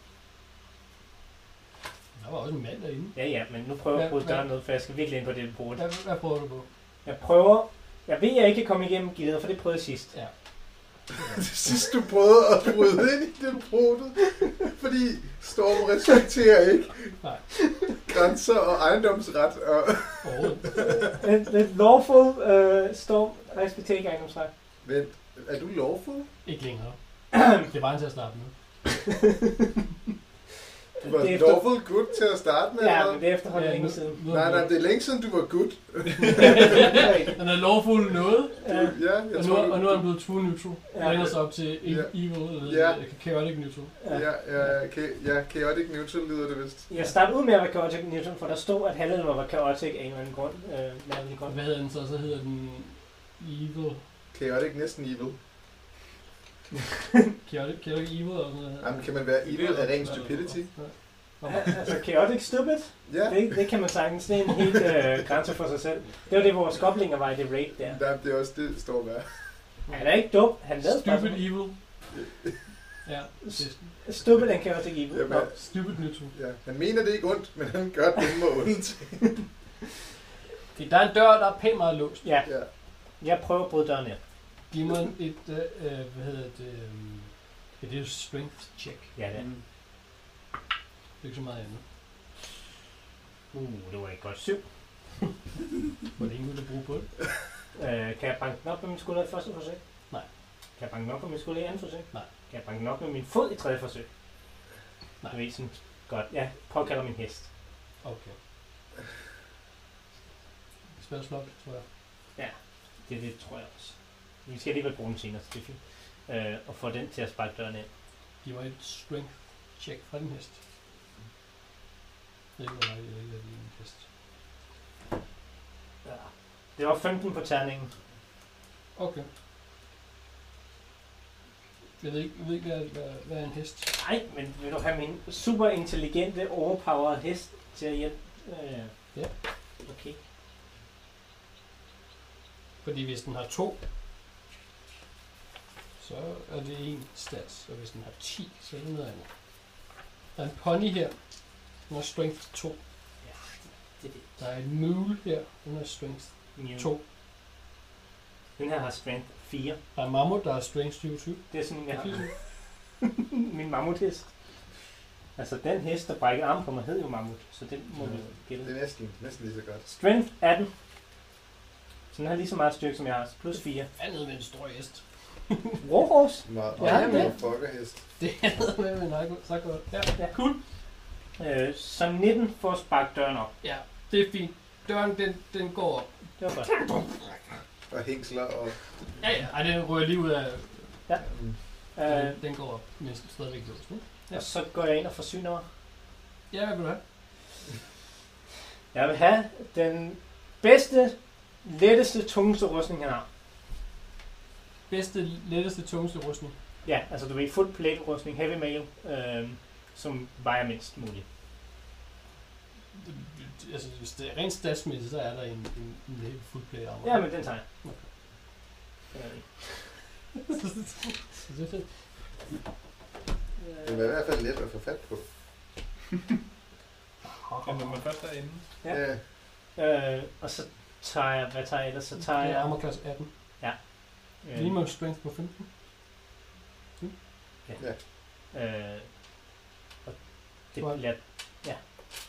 [SPEAKER 1] Der var også en mand derinde.
[SPEAKER 2] Ja, ja, men nu prøver jeg at
[SPEAKER 1] Ja,
[SPEAKER 2] bryde
[SPEAKER 1] ja.
[SPEAKER 2] døren ned, for jeg skal virkelig ind på det depotet.
[SPEAKER 1] Hvad, hvad prøver du på?
[SPEAKER 2] Jeg prøver... Jeg ved, jeg ikke kan komme igennem gider, for det prøvede jeg sidst.
[SPEAKER 1] Ja.
[SPEAKER 3] Det sidste, du prøvede at bryde ind i den brotet, fordi Storm respekterer ikke
[SPEAKER 1] Nej.
[SPEAKER 3] grænser og ejendomsret. Og
[SPEAKER 1] Overhovedet.
[SPEAKER 2] Lidt, lidt lawful uh, storm respekterer ikke ejendomsret.
[SPEAKER 3] Vent, er du lovfuld?
[SPEAKER 1] Ikke længere. Det var han til at starte med.
[SPEAKER 3] Du var
[SPEAKER 2] Det er
[SPEAKER 3] en
[SPEAKER 2] efter-
[SPEAKER 3] lovful gut til at starte med.
[SPEAKER 2] Ja,
[SPEAKER 3] eller
[SPEAKER 2] men
[SPEAKER 3] hvad?
[SPEAKER 2] det er efterhånden
[SPEAKER 1] Ja,
[SPEAKER 2] længe
[SPEAKER 1] nu-
[SPEAKER 2] siden.
[SPEAKER 1] nu-
[SPEAKER 3] Nej, nej, det er længe siden, du var gut.
[SPEAKER 1] Han er lovfuld noget,
[SPEAKER 2] Ja.
[SPEAKER 3] Ja,
[SPEAKER 1] og
[SPEAKER 3] jeg
[SPEAKER 1] nu,
[SPEAKER 3] tror, du-
[SPEAKER 1] og nu er han blevet true neutral.
[SPEAKER 2] Ja.
[SPEAKER 1] Ja. Længere sig op til
[SPEAKER 3] Ja.
[SPEAKER 1] e- evil, eller
[SPEAKER 3] Ja.
[SPEAKER 1] ja. chaotic neutral.
[SPEAKER 2] Ja.
[SPEAKER 3] Ja, ja, ka- ja, chaotic neutral lyder det vist.
[SPEAKER 2] Jeg startede ud med at være chaotic neutral, for der stod, at halvælver var chaotic af en eller anden grund. Øh, mærkelig grund.
[SPEAKER 1] Hvad hedder den så? Så hedder den evil.
[SPEAKER 3] Chaotic næsten evil.
[SPEAKER 1] Chaotic, chaotic evil og sådan noget.
[SPEAKER 3] Jamen, kan man være evil af ren stupidity?
[SPEAKER 2] Ja, altså chaotic stupid,
[SPEAKER 3] Ja,
[SPEAKER 2] det, det kan man sagtens. Det er en helt øh, grænse for sig selv. Det var det, vores goblinger var i det raid der.
[SPEAKER 3] ja. det er også det, Storm er.
[SPEAKER 2] Han er ikke dum, han lavede
[SPEAKER 1] Stupid
[SPEAKER 2] bare
[SPEAKER 1] evil. Ja, det-
[SPEAKER 2] sådan- stupid and chaotic evil.
[SPEAKER 3] Jamen,
[SPEAKER 2] Nå.
[SPEAKER 1] stupid neutral.
[SPEAKER 3] ja. Han mener det ikke ondt, men han gør det med ondt.
[SPEAKER 1] Okay, der er en dør, der er pænt meget låst.
[SPEAKER 2] Ja,
[SPEAKER 3] Ja.
[SPEAKER 2] jeg prøver at bryde døren ind.
[SPEAKER 1] Giv mig et, øh, øh, hvad hedder det, øh, ja, det er jo strength check.
[SPEAKER 2] Ja, det,
[SPEAKER 4] Mm.
[SPEAKER 1] Det er ikke så meget andet.
[SPEAKER 2] uh, det var ikke godt syv.
[SPEAKER 1] Hvor længe vil du bruge på det?
[SPEAKER 2] Øh, kan jeg banke den op med min skulder i første forsøg?
[SPEAKER 1] Nej.
[SPEAKER 2] Kan jeg banke den op med min skulder i andet forsøg?
[SPEAKER 1] Nej.
[SPEAKER 2] Kan jeg banke den op med min fod i tredje forsøg?
[SPEAKER 1] Nej.
[SPEAKER 2] Du ved sådan, godt, ja, påkalder min hest.
[SPEAKER 1] Okay. Spærs flot, tror jeg.
[SPEAKER 2] Det, det tror jeg også. Vi skal alligevel bruge den senere, så det er fint. Øh, og få den til at sparke døren ind.
[SPEAKER 1] Giv mig et strength check fra din hest. Det er ikke mig, jeg ikke er din hest.
[SPEAKER 2] Ja. Det var 15 på terningen.
[SPEAKER 1] Okay. Jeg ved ikke, jeg ved ikke hvad, hvad, hvad er en hest?
[SPEAKER 2] Nej, men vil du have min super intelligente, overpowered hest til at hjælpe? Øh,
[SPEAKER 1] Ja.
[SPEAKER 2] Okay.
[SPEAKER 1] Fordi hvis den har to, så er det en stats, og hvis den har 10, så er det noget andet. Der er en pony her, den har strength 2.
[SPEAKER 2] Ja, det er det.
[SPEAKER 1] Der er en mule her, den har strength
[SPEAKER 2] Mew.
[SPEAKER 1] 2.
[SPEAKER 2] Den her har strength 4.
[SPEAKER 1] Der er en mammut, der har strength 27.
[SPEAKER 2] Det er sådan, jeg har.
[SPEAKER 1] Ja.
[SPEAKER 2] min mammuthest. Altså den hest, der brækkede armen på mig, hed jo mammut, så den må vi
[SPEAKER 3] Ja. Det
[SPEAKER 2] gælde.
[SPEAKER 3] er næsten, næsten lige så godt.
[SPEAKER 2] Strength 18. Så den har lige så meget styrke, som jeg har. Plus 4.
[SPEAKER 1] Andet med en stor hest.
[SPEAKER 2] Warhorse.
[SPEAKER 3] Meget
[SPEAKER 1] Ja,
[SPEAKER 3] meget
[SPEAKER 1] men-
[SPEAKER 3] fuckerhest.
[SPEAKER 1] Det er andet med en hej- så godt. Ja,
[SPEAKER 2] Ja. Cool. Øh, så 19 får sparket døren op.
[SPEAKER 1] ja, det er fint. Døren, den, den går op.
[SPEAKER 2] Det var godt.
[SPEAKER 3] og hængsler og...
[SPEAKER 1] Ja, ja, Ej, den rører lige ud af...
[SPEAKER 2] Ja. Øh,
[SPEAKER 1] Den, den går op, men stadigvæk låst, ikke?
[SPEAKER 2] og så går jeg ind og forsyner mig.
[SPEAKER 1] Ja, hvad vil du have?
[SPEAKER 2] Jeg vil have den bedste, letteste, tungeste rustning, han har.
[SPEAKER 1] Bedste, letteste, tungeste rustning.
[SPEAKER 2] Ja, altså du ved, fuld plate rustning, heavy mail, øh, som vejer mindst muligt.
[SPEAKER 1] Altså, hvis det er rent statsmæssigt, så er der en, en, en helt fuld play armor.
[SPEAKER 2] Ja, men den tager jeg. Øh,
[SPEAKER 1] Så det er fedt.
[SPEAKER 3] Det var i hvert fald let at få fat på.
[SPEAKER 4] Og når man først er inde,
[SPEAKER 2] Ja.
[SPEAKER 3] Øh,
[SPEAKER 2] Øh, og så tager jeg, hvad tager jeg ellers? Så tager
[SPEAKER 1] Det er armor
[SPEAKER 2] jeg...
[SPEAKER 1] class 18.
[SPEAKER 2] Øh,
[SPEAKER 1] Lige med strength på 15.
[SPEAKER 2] øh, og det
[SPEAKER 1] Hvor-
[SPEAKER 2] bliver... Ja.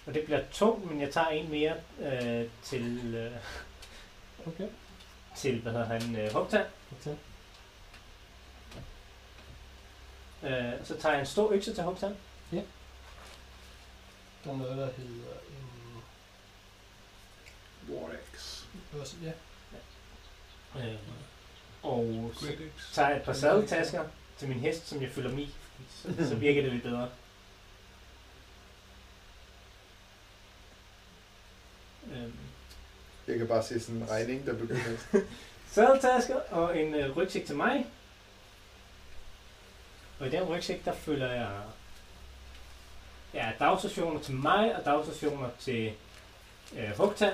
[SPEAKER 2] Og det bliver tungt, men jeg tager en mere øh, til... Øh,
[SPEAKER 1] Okay.
[SPEAKER 2] til, hvad hedder han, øh, Hopta.
[SPEAKER 1] Okay.
[SPEAKER 2] Øh, og så tager jeg en stor økse til Hopta.
[SPEAKER 1] Der er noget, der hedder en...
[SPEAKER 4] Warx,
[SPEAKER 1] hvad var det? Ja,
[SPEAKER 2] Øh, og så
[SPEAKER 4] Great Axe.
[SPEAKER 2] tager jeg et par sadeltasker til min hest, som jeg fylder mig i. Så, så virker det lidt bedre. Øhm,
[SPEAKER 3] jeg kan bare se sådan en regning, der begynder.
[SPEAKER 2] Sadeltasker og en øh, rygsæk til mig. Og i den rygsæk, der følger jeg ja, dagstationer til mig og dagstationer til øh, Hugtan.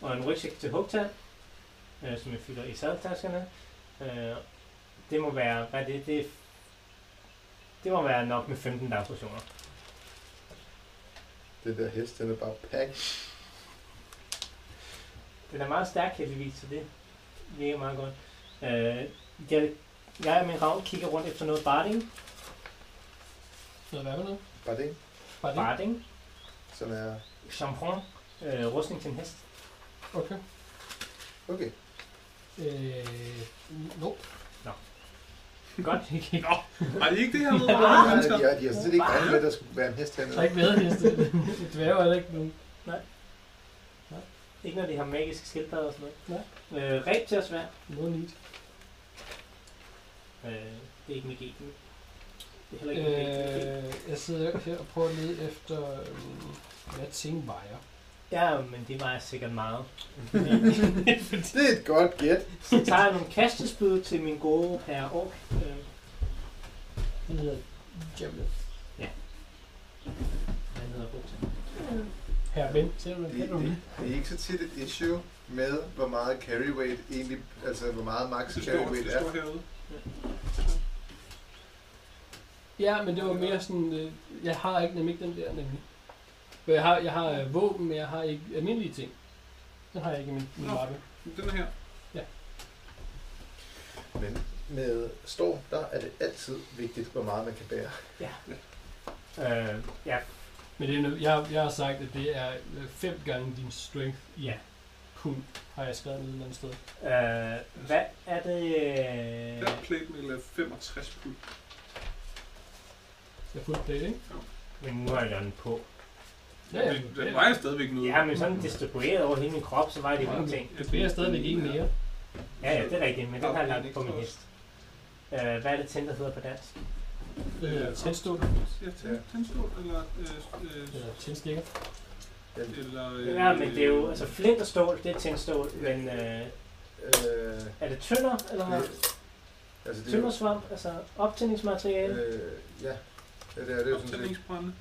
[SPEAKER 2] Og en rygsæk til Hugtan, øh, som jeg fylder i sadeltaskerne. Øh, det må være, hvad er det, det, det må være nok med 15 dagstationer.
[SPEAKER 3] Det der hest, den er bare pack.
[SPEAKER 2] Den er meget stærk heldigvis, så det virker meget godt. Øh, jeg, jeg og min ravn kigger rundt efter noget barding.
[SPEAKER 1] noget hvad med noget?
[SPEAKER 3] Bare det,
[SPEAKER 1] Bare det.
[SPEAKER 2] Barding.
[SPEAKER 3] som er...
[SPEAKER 2] Champron, øh, rustning til en hest.
[SPEAKER 1] Okay.
[SPEAKER 3] Okay.
[SPEAKER 1] Øh, no.
[SPEAKER 2] Godt.
[SPEAKER 4] Nå, var det ikke det, jeg ved, hvor mange
[SPEAKER 3] Ah,
[SPEAKER 4] mennesker?
[SPEAKER 3] de, har- de har slet ikke regnet med, at der skulle være en hest
[SPEAKER 1] Der er
[SPEAKER 3] hernede.
[SPEAKER 1] ikke været heste. Dværge er der ikke nogen.
[SPEAKER 2] Ikke når de har magiske skildpadder og sådan
[SPEAKER 1] Nej.
[SPEAKER 2] noget. Øh, Ræb til at svære.
[SPEAKER 1] No need.
[SPEAKER 2] Øh, det er ikke med geten. Det er heller ikke med øh...
[SPEAKER 1] Øh, jeg sidder her og prøver at lede efter, øhm, hvad ting vejer.
[SPEAKER 2] Ja, men det var sikkert meget.
[SPEAKER 3] Det er et godt gæt.
[SPEAKER 2] Så tager jeg nogle kastespyd til min gode herre Ork. Øh,
[SPEAKER 1] Den hedder Jamlet.
[SPEAKER 2] han hedder Bukta.
[SPEAKER 1] Her, ven. Ser du,
[SPEAKER 3] Det,
[SPEAKER 1] den?
[SPEAKER 3] det,
[SPEAKER 1] Kan du den?
[SPEAKER 3] det er ikke så tit et issue med, hvor meget carry weight egentlig, altså hvor meget max
[SPEAKER 4] Det
[SPEAKER 3] carry
[SPEAKER 4] står,
[SPEAKER 3] weight
[SPEAKER 4] det
[SPEAKER 3] er.
[SPEAKER 4] står herude.
[SPEAKER 1] Ja, men det var mere sådan, øh, jeg har ikke nemlig ikke den der nemlig. For jeg har, jeg har øh, våben, men jeg har ikke almindelige ting. Den har jeg ikke i min, min
[SPEAKER 4] Nå.
[SPEAKER 1] mappe.
[SPEAKER 4] Den er her.
[SPEAKER 3] Men med storm, der er det altid vigtigt, hvor meget man kan bære.
[SPEAKER 2] Øh, ja,
[SPEAKER 1] Men det er, nød- jeg, jeg har sagt, at det er øh, fem gange din strength i
[SPEAKER 2] Ja.
[SPEAKER 1] pund, har jeg skrevet ned et eller andet sted.
[SPEAKER 2] øh, hvad er det? Øh,
[SPEAKER 4] Der er plate med 65 pund.
[SPEAKER 1] Jeg har fuldt plate, ikke?
[SPEAKER 2] Men nu har jeg den på.
[SPEAKER 1] Ja, ja.
[SPEAKER 4] Den- Den vejer stadigvæk noget.
[SPEAKER 2] Ja, men sådan distribueret over hele min krop, så var det mange ting.
[SPEAKER 1] Det bliver stadigvæk ikke mere.
[SPEAKER 2] Ja, ja, det er rigtigt, men den har jeg lagt på min hest. Øh, hvad er det tænd, der hedder på dansk?
[SPEAKER 1] Det hedder tændstål,
[SPEAKER 4] Ja, tænd- tændstål eller... øh, øh,
[SPEAKER 1] eller tændstikker.
[SPEAKER 4] Eller... øh,
[SPEAKER 2] Ja, men det er jo, altså flint og stål, det er tændstål, men øh,
[SPEAKER 3] Øh,
[SPEAKER 2] er det tønder, eller hvad?
[SPEAKER 3] det, altså det er jo,
[SPEAKER 2] Tøndersvamp, altså optændingsmateriale?
[SPEAKER 3] øh, ja, ja, det er det er jo sådan set.
[SPEAKER 4] Optændingsbrænde.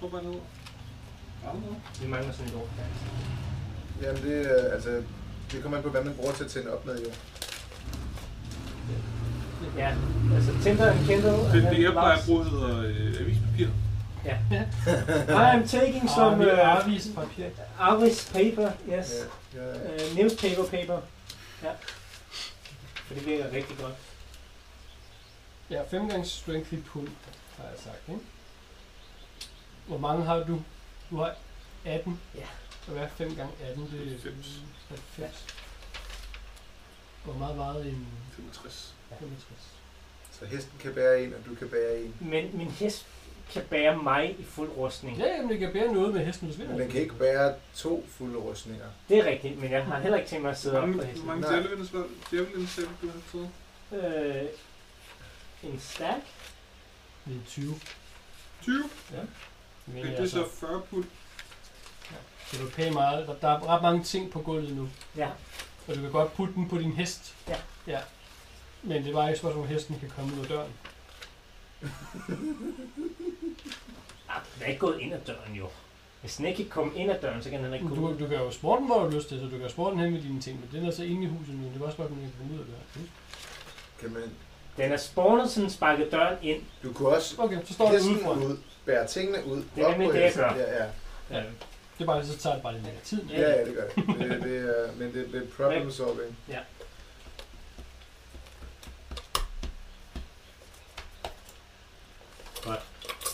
[SPEAKER 4] Prøv bare ned. Brænde.
[SPEAKER 2] Vi mangler sådan et ord.
[SPEAKER 3] Jamen det, er, altså, det kommer an på, hvad man bruger til at tænde op med, jo.
[SPEAKER 2] Ja, altså tinder and kindle.
[SPEAKER 4] Det, det jeg plejer at bruge hedder øh, avispapir.
[SPEAKER 2] I am taking
[SPEAKER 1] Som øh,
[SPEAKER 2] some uh,
[SPEAKER 1] arvis papir.
[SPEAKER 2] Aris paper, yes.
[SPEAKER 3] Ja, ja.
[SPEAKER 2] Uh, newspaper paper. Ja. For det virker rigtig godt.
[SPEAKER 1] Ja, fem gange strength i pund, har jeg sagt, ikke? Hvor mange har du? Du har 18.
[SPEAKER 2] Ja.
[SPEAKER 1] Og hvad er 5 gange 18? Det er
[SPEAKER 4] 90.
[SPEAKER 1] 90. Hvor meget vejede en
[SPEAKER 4] 65.
[SPEAKER 1] 65?
[SPEAKER 3] Så hesten kan bære en, og du kan bære en.
[SPEAKER 2] Men min hest kan bære mig i fuld rustning.
[SPEAKER 1] Ja, jamen, jeg kan bære noget med hesten, hvis vi
[SPEAKER 3] Men den kan ikke bære to fulde rustninger.
[SPEAKER 2] Det er rigtigt, men jeg har heller ikke tænkt mig at sidde op på
[SPEAKER 4] Hvor
[SPEAKER 2] hesten.
[SPEAKER 4] mange
[SPEAKER 3] Nej.
[SPEAKER 4] djævlevindes djævlevindes du har fået?
[SPEAKER 2] Øh, en stack.
[SPEAKER 1] Det er 20.
[SPEAKER 4] 20.
[SPEAKER 1] Men
[SPEAKER 4] Men det
[SPEAKER 1] jeg,
[SPEAKER 4] er så
[SPEAKER 1] altså,
[SPEAKER 4] 40 pund.
[SPEAKER 1] det er jo pænt meget. Der, der er ret mange ting på gulvet nu.
[SPEAKER 2] Ja,
[SPEAKER 1] Og du kan godt putte den på din hest.
[SPEAKER 2] Ja.
[SPEAKER 1] ja. Men det er bare ikke et spørgsmål, om hesten kan komme ud af døren.
[SPEAKER 2] ah, den er ikke gået ind ad døren jo. Hvis den ikke kan komme ind ad døren, så kan den ikke
[SPEAKER 1] Men
[SPEAKER 2] gå
[SPEAKER 1] Du,
[SPEAKER 2] ud.
[SPEAKER 1] du kan jo spore den, hvor du har lyst til, så du kan spore den hen med dine ting. Men den er så inde i huset nu. Det er også godt, at den kan komme ud af døren.
[SPEAKER 3] Kan man,
[SPEAKER 2] Den er spawnet, så den sparker døren ind.
[SPEAKER 3] du kunne også
[SPEAKER 1] Okay, så står den
[SPEAKER 3] hesten
[SPEAKER 1] udefra.
[SPEAKER 3] ud, bære tingene ud.
[SPEAKER 2] Det er
[SPEAKER 3] op
[SPEAKER 2] nemlig
[SPEAKER 3] på
[SPEAKER 2] det, jeg
[SPEAKER 3] hesten.
[SPEAKER 2] gør.
[SPEAKER 3] Ja, ja.
[SPEAKER 1] Ja.
[SPEAKER 2] Øh,
[SPEAKER 1] Det er bare, så tager det bare lidt længere tid.
[SPEAKER 2] Ja.
[SPEAKER 3] Ja, ja, det gør det. det, det er, men det, det er problem solving.
[SPEAKER 2] Ja.
[SPEAKER 5] Godt.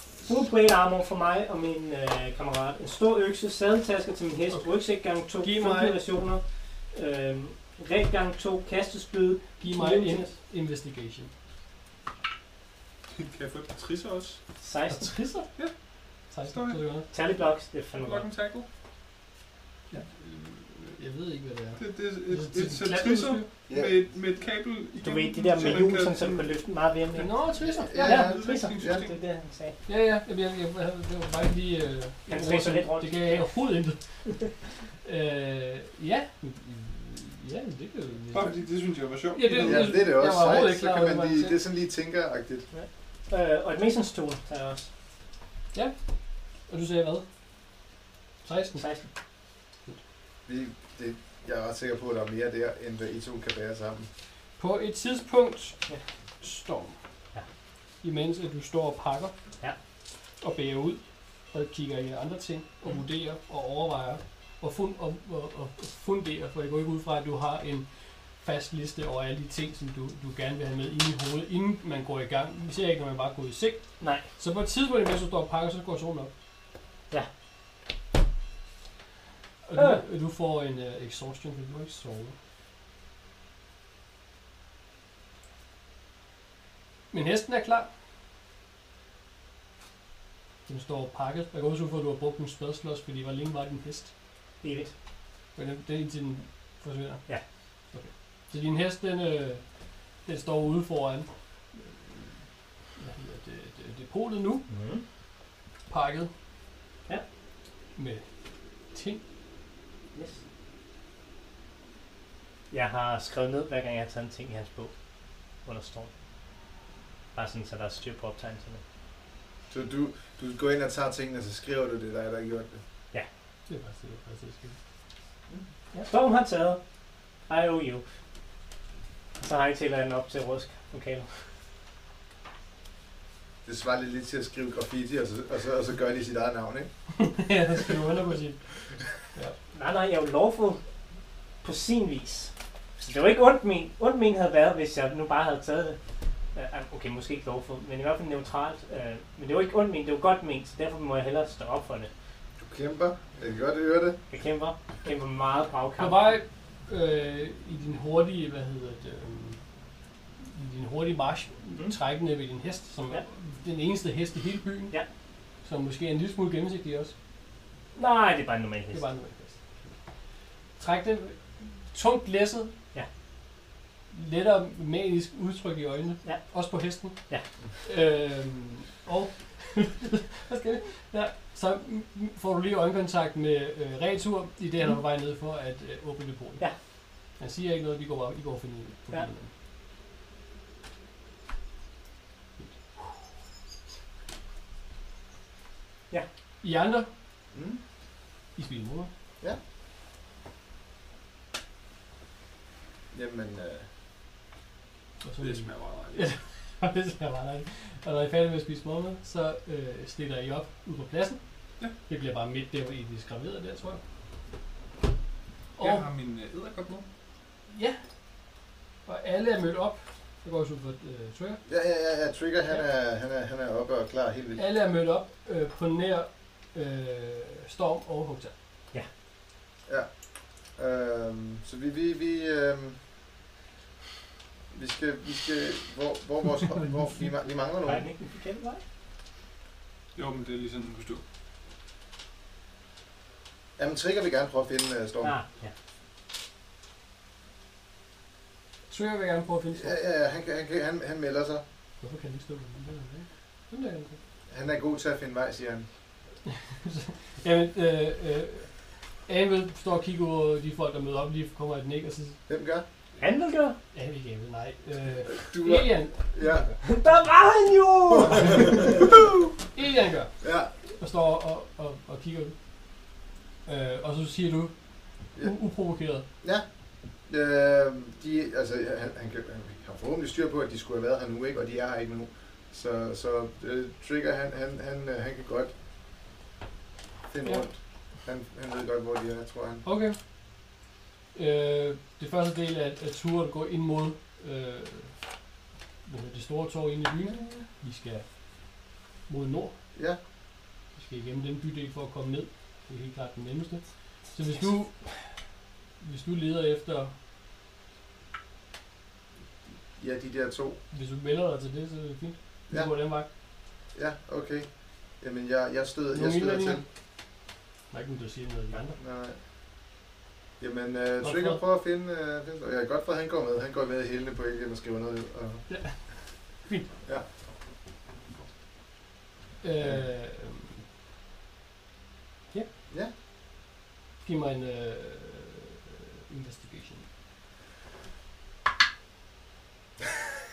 [SPEAKER 2] Full plate armor for mig og min øh, kammerat. En stor økse, sadeltasker til min hest, okay. rygsæk gang 2,
[SPEAKER 1] Giv mig-
[SPEAKER 2] versioner, øh, ræb gang 2, kastespyd,
[SPEAKER 1] Giv mig en investigation.
[SPEAKER 4] Kan jeg få et par trisser også?
[SPEAKER 2] 16.
[SPEAKER 1] trisser?
[SPEAKER 4] Ja.
[SPEAKER 1] Tak,
[SPEAKER 4] Står
[SPEAKER 1] så det godt.
[SPEAKER 2] Tally blocks, det er fandme godt.
[SPEAKER 4] Rock and tackle.
[SPEAKER 1] Ja. Jeg ved ikke, hvad det er.
[SPEAKER 4] Det, det, det,
[SPEAKER 1] Det er
[SPEAKER 4] det, det,
[SPEAKER 1] sådan
[SPEAKER 4] det
[SPEAKER 1] et
[SPEAKER 4] trisser
[SPEAKER 3] Ja.
[SPEAKER 4] med, et- med et kabel igennem.
[SPEAKER 2] Du ved, de der
[SPEAKER 4] så
[SPEAKER 2] med
[SPEAKER 4] man
[SPEAKER 2] hjul,
[SPEAKER 4] kan-
[SPEAKER 2] sådan, som kan løfte meget ved
[SPEAKER 1] Nå, trisser. Ja,
[SPEAKER 2] Ja,
[SPEAKER 1] ja.
[SPEAKER 4] det er
[SPEAKER 2] trisser.
[SPEAKER 4] rigtigt,
[SPEAKER 2] Ja,
[SPEAKER 4] det er
[SPEAKER 2] det er det, han sagde.
[SPEAKER 1] Ja, ja. Jeg, jeg, jeg, jeg, det var bare ikke lige... Øh,
[SPEAKER 2] Han
[SPEAKER 1] ord,
[SPEAKER 2] trisser
[SPEAKER 1] som-
[SPEAKER 2] lidt rundt.
[SPEAKER 1] Det gav jeg overhovedet intet. øh, ja. Ja, det kan jo...
[SPEAKER 4] Bare fordi det synes jeg var sjovt.
[SPEAKER 1] Ja, det-
[SPEAKER 3] Ja, det er det
[SPEAKER 1] Jeg var
[SPEAKER 3] også
[SPEAKER 1] overhovedet
[SPEAKER 3] sejt,
[SPEAKER 1] ikke
[SPEAKER 3] så
[SPEAKER 1] klar
[SPEAKER 3] kan
[SPEAKER 1] over, hvad
[SPEAKER 3] man
[SPEAKER 1] man
[SPEAKER 3] lige,
[SPEAKER 1] selv-
[SPEAKER 3] det er sådan lige tænkeragtigt.
[SPEAKER 2] Øh, og et masons tool tager jeg også.
[SPEAKER 1] Og du sagde hvad? 16?
[SPEAKER 2] 16.
[SPEAKER 3] Vi, det, jeg er ret sikker på, at der er mere der, end hvad I to kan bære sammen.
[SPEAKER 1] På et tidspunkt
[SPEAKER 2] Ja.
[SPEAKER 1] storm.
[SPEAKER 2] Ja.
[SPEAKER 1] Imens at du står og pakker
[SPEAKER 2] Ja.
[SPEAKER 1] og bærer ud og kigger i andre ting og
[SPEAKER 2] Mhm.
[SPEAKER 1] vurderer og overvejer og, fund, og, og, og og funderer, for jeg går ikke ud fra, at du har en fast liste over alle de ting, som du, du gerne vil have med ind i hovedet, inden man går i gang. Især ikke, når man bare går i seng.
[SPEAKER 2] Nej.
[SPEAKER 1] Så på et tidspunkt, mens du står og pakker, så går solen op.
[SPEAKER 2] Ja.
[SPEAKER 1] Og du, øh. du får en uh, exhaustion, fordi du har ikke sovet. Men hesten er klar. Den står pakket. Jeg går også ud for, at du har brugt en spædslås, fordi hvor længe var din hest?
[SPEAKER 2] Evigt.
[SPEAKER 1] Men den, den indtil den forsvinder?
[SPEAKER 2] Ja.
[SPEAKER 1] Okay. Så din hest, den, øh, den står ude foran øh, hvad hedder det, det, depotet nu,
[SPEAKER 2] Mm.
[SPEAKER 1] pakket
[SPEAKER 2] Ja.
[SPEAKER 1] med ting.
[SPEAKER 2] Yes. Jeg har skrevet ned, hver gang jeg har taget en ting i hans bog under storm. Bare sådan, så der er styr på optegnelserne.
[SPEAKER 3] Så du, du går ind og tager tingene, så skriver du det, der er der har gjort det.
[SPEAKER 1] Det er faktisk det, er faktisk det.
[SPEAKER 2] Ja. Storm har taget. I owe you. Så har jeg tæller den op til rusk lokaler.
[SPEAKER 3] Det svarer lidt lidt til at skrive graffiti, og så, og så, og så gør de sit eget navn, ikke?
[SPEAKER 1] ja, der skal du under på sit.
[SPEAKER 2] Nej, nej, jeg er jo lovfuld på sin vis. Så det var ikke ondt men. Ondt men havde været, hvis jeg nu bare havde taget det. Øh, ah, Okay, måske ikke lovfuld, men i hvert fald neutralt. Øh, Men det var ikke ondt men, det var godt men, så derfor må jeg hellere stå op for det.
[SPEAKER 3] Du kæmper. Jeg kan godt høre det.
[SPEAKER 2] Jeg kæmper, kæmper meget
[SPEAKER 1] På
[SPEAKER 2] bragkamp.
[SPEAKER 1] vej øh, i din hurtige, hvad hedder det, øh, i din hurtige march,
[SPEAKER 2] Mhm.
[SPEAKER 1] mm. trækkende ved din hest, som
[SPEAKER 2] Ja.
[SPEAKER 1] ja. er den eneste hest i hele byen.
[SPEAKER 2] Ja.
[SPEAKER 1] Som måske er en lille smule gennemsigtig også.
[SPEAKER 2] Nej, det er bare en normal
[SPEAKER 1] Det
[SPEAKER 2] hest.
[SPEAKER 1] var en fest. Træk den tungt læsset.
[SPEAKER 2] Ja.
[SPEAKER 1] Lettere manisk udtryk i øjnene.
[SPEAKER 2] Ja.
[SPEAKER 1] Også på hesten.
[SPEAKER 2] Ja.
[SPEAKER 1] Øhm, og hvad skal vi? Ja, så mm, mm, får du lige øjenkontakt med øh, Retur, i det han er på vej ned for at øh, åbne det
[SPEAKER 2] Ja.
[SPEAKER 1] Han siger ikke noget, vi går bare, I går og finder ud af det.
[SPEAKER 2] Ja. Ja.
[SPEAKER 1] I andre,
[SPEAKER 3] Mm.
[SPEAKER 1] I spiller moder.
[SPEAKER 3] Jamen, øh,
[SPEAKER 1] Og så
[SPEAKER 4] Det smager meget
[SPEAKER 1] Ja.
[SPEAKER 4] rart.
[SPEAKER 1] Og det smager meget dejligt. Og når I er færdige med at spise morgenmad, så øh, stiller I op ud på pladsen.
[SPEAKER 4] Ja.
[SPEAKER 1] Det bliver bare midt der, hvor I er skrammeret der, tror jeg. Og,
[SPEAKER 4] Jeg har min øh, edderkop med.
[SPEAKER 1] ja. og alle er mødt op. Jeg går også ud på øh, trigger.
[SPEAKER 3] ja, ja, ja, ja, Trigger, han er, han er, han er oppe og klar helt vildt.
[SPEAKER 1] Alle er mødt op øh, på nær øh, Storm og Hugta.
[SPEAKER 3] Øhm, så vi, vi, vi, øhm, vi skal, vi skal, hvor, hvor vores, hvor, vi, ma- vi mangler
[SPEAKER 2] Nej, den
[SPEAKER 3] nogen.
[SPEAKER 2] ikke den forkerte vej.
[SPEAKER 4] Jo, men det er lige sådan, den kunne stå.
[SPEAKER 3] Jamen, Trigger vil gerne prøve at finde uh, Storm.
[SPEAKER 2] Ah, ja.
[SPEAKER 1] Trigger vil gerne prøve at finde Storm.
[SPEAKER 3] Ja, ja, ja, han, kan- han, kan- han, han melder sig.
[SPEAKER 1] Hvorfor kan den ikke stå på den der? Den der kan den stå.
[SPEAKER 3] Han er god til at finde vej, siger han.
[SPEAKER 1] Jamen, øh, øh, Anvil står og kigger ud de folk, der møder op, lige kommer et nik, og så
[SPEAKER 3] Hvem gør?
[SPEAKER 2] Han vil gøre.
[SPEAKER 1] Anvil ikke Anvil, nej. Øh,
[SPEAKER 3] Du er...
[SPEAKER 1] Elian,
[SPEAKER 3] Ja,
[SPEAKER 2] Der var han jo!
[SPEAKER 1] Elian gør,
[SPEAKER 3] ja.
[SPEAKER 1] og står og, og, og kigger ud. Øh, og så siger du,
[SPEAKER 3] Ja.
[SPEAKER 1] u- uprovokeret,
[SPEAKER 3] Øh, de, altså, han, han, kan, han har forhåbentlig styr på, at de skulle have været her nu, ikke? og de er her ikke nu. Så, så øh, Trigger, han, han, han, øh, han kan godt finde
[SPEAKER 1] Ja.
[SPEAKER 3] rundt. Han, han ved godt, hvor de er, tror han.
[SPEAKER 1] Okay. Øh, det første del af, af turen går ind mod øh, hvad hedder det store torv inde i byen. Vi skal mod nord.
[SPEAKER 3] Ja,
[SPEAKER 1] Vi skal igennem den bydel for at komme ned. Det er helt klart den nemmeste. Så hvis du, hvis du leder efter,
[SPEAKER 3] ja, de der to.
[SPEAKER 1] hvis du melder dig til det, så er det fint. Vi
[SPEAKER 3] Ja.
[SPEAKER 1] går den vej.
[SPEAKER 3] Ja, okay. Jamen, jeg, jeg støder, jeg
[SPEAKER 1] Nogle
[SPEAKER 3] støder
[SPEAKER 1] indvendinger?
[SPEAKER 3] til.
[SPEAKER 1] Der er ikke nogen, der siger noget af de andre.
[SPEAKER 3] Nej. Jamen, øh,
[SPEAKER 1] Godt
[SPEAKER 3] Trigger
[SPEAKER 1] fået.
[SPEAKER 3] prøver at finde... Øh, finde jeg er godt for, at han går med. Han går med i hælene på Elian og skriver noget. Og,
[SPEAKER 1] Øh, ja.
[SPEAKER 3] Ja.
[SPEAKER 1] Giv mig en øh, investigation.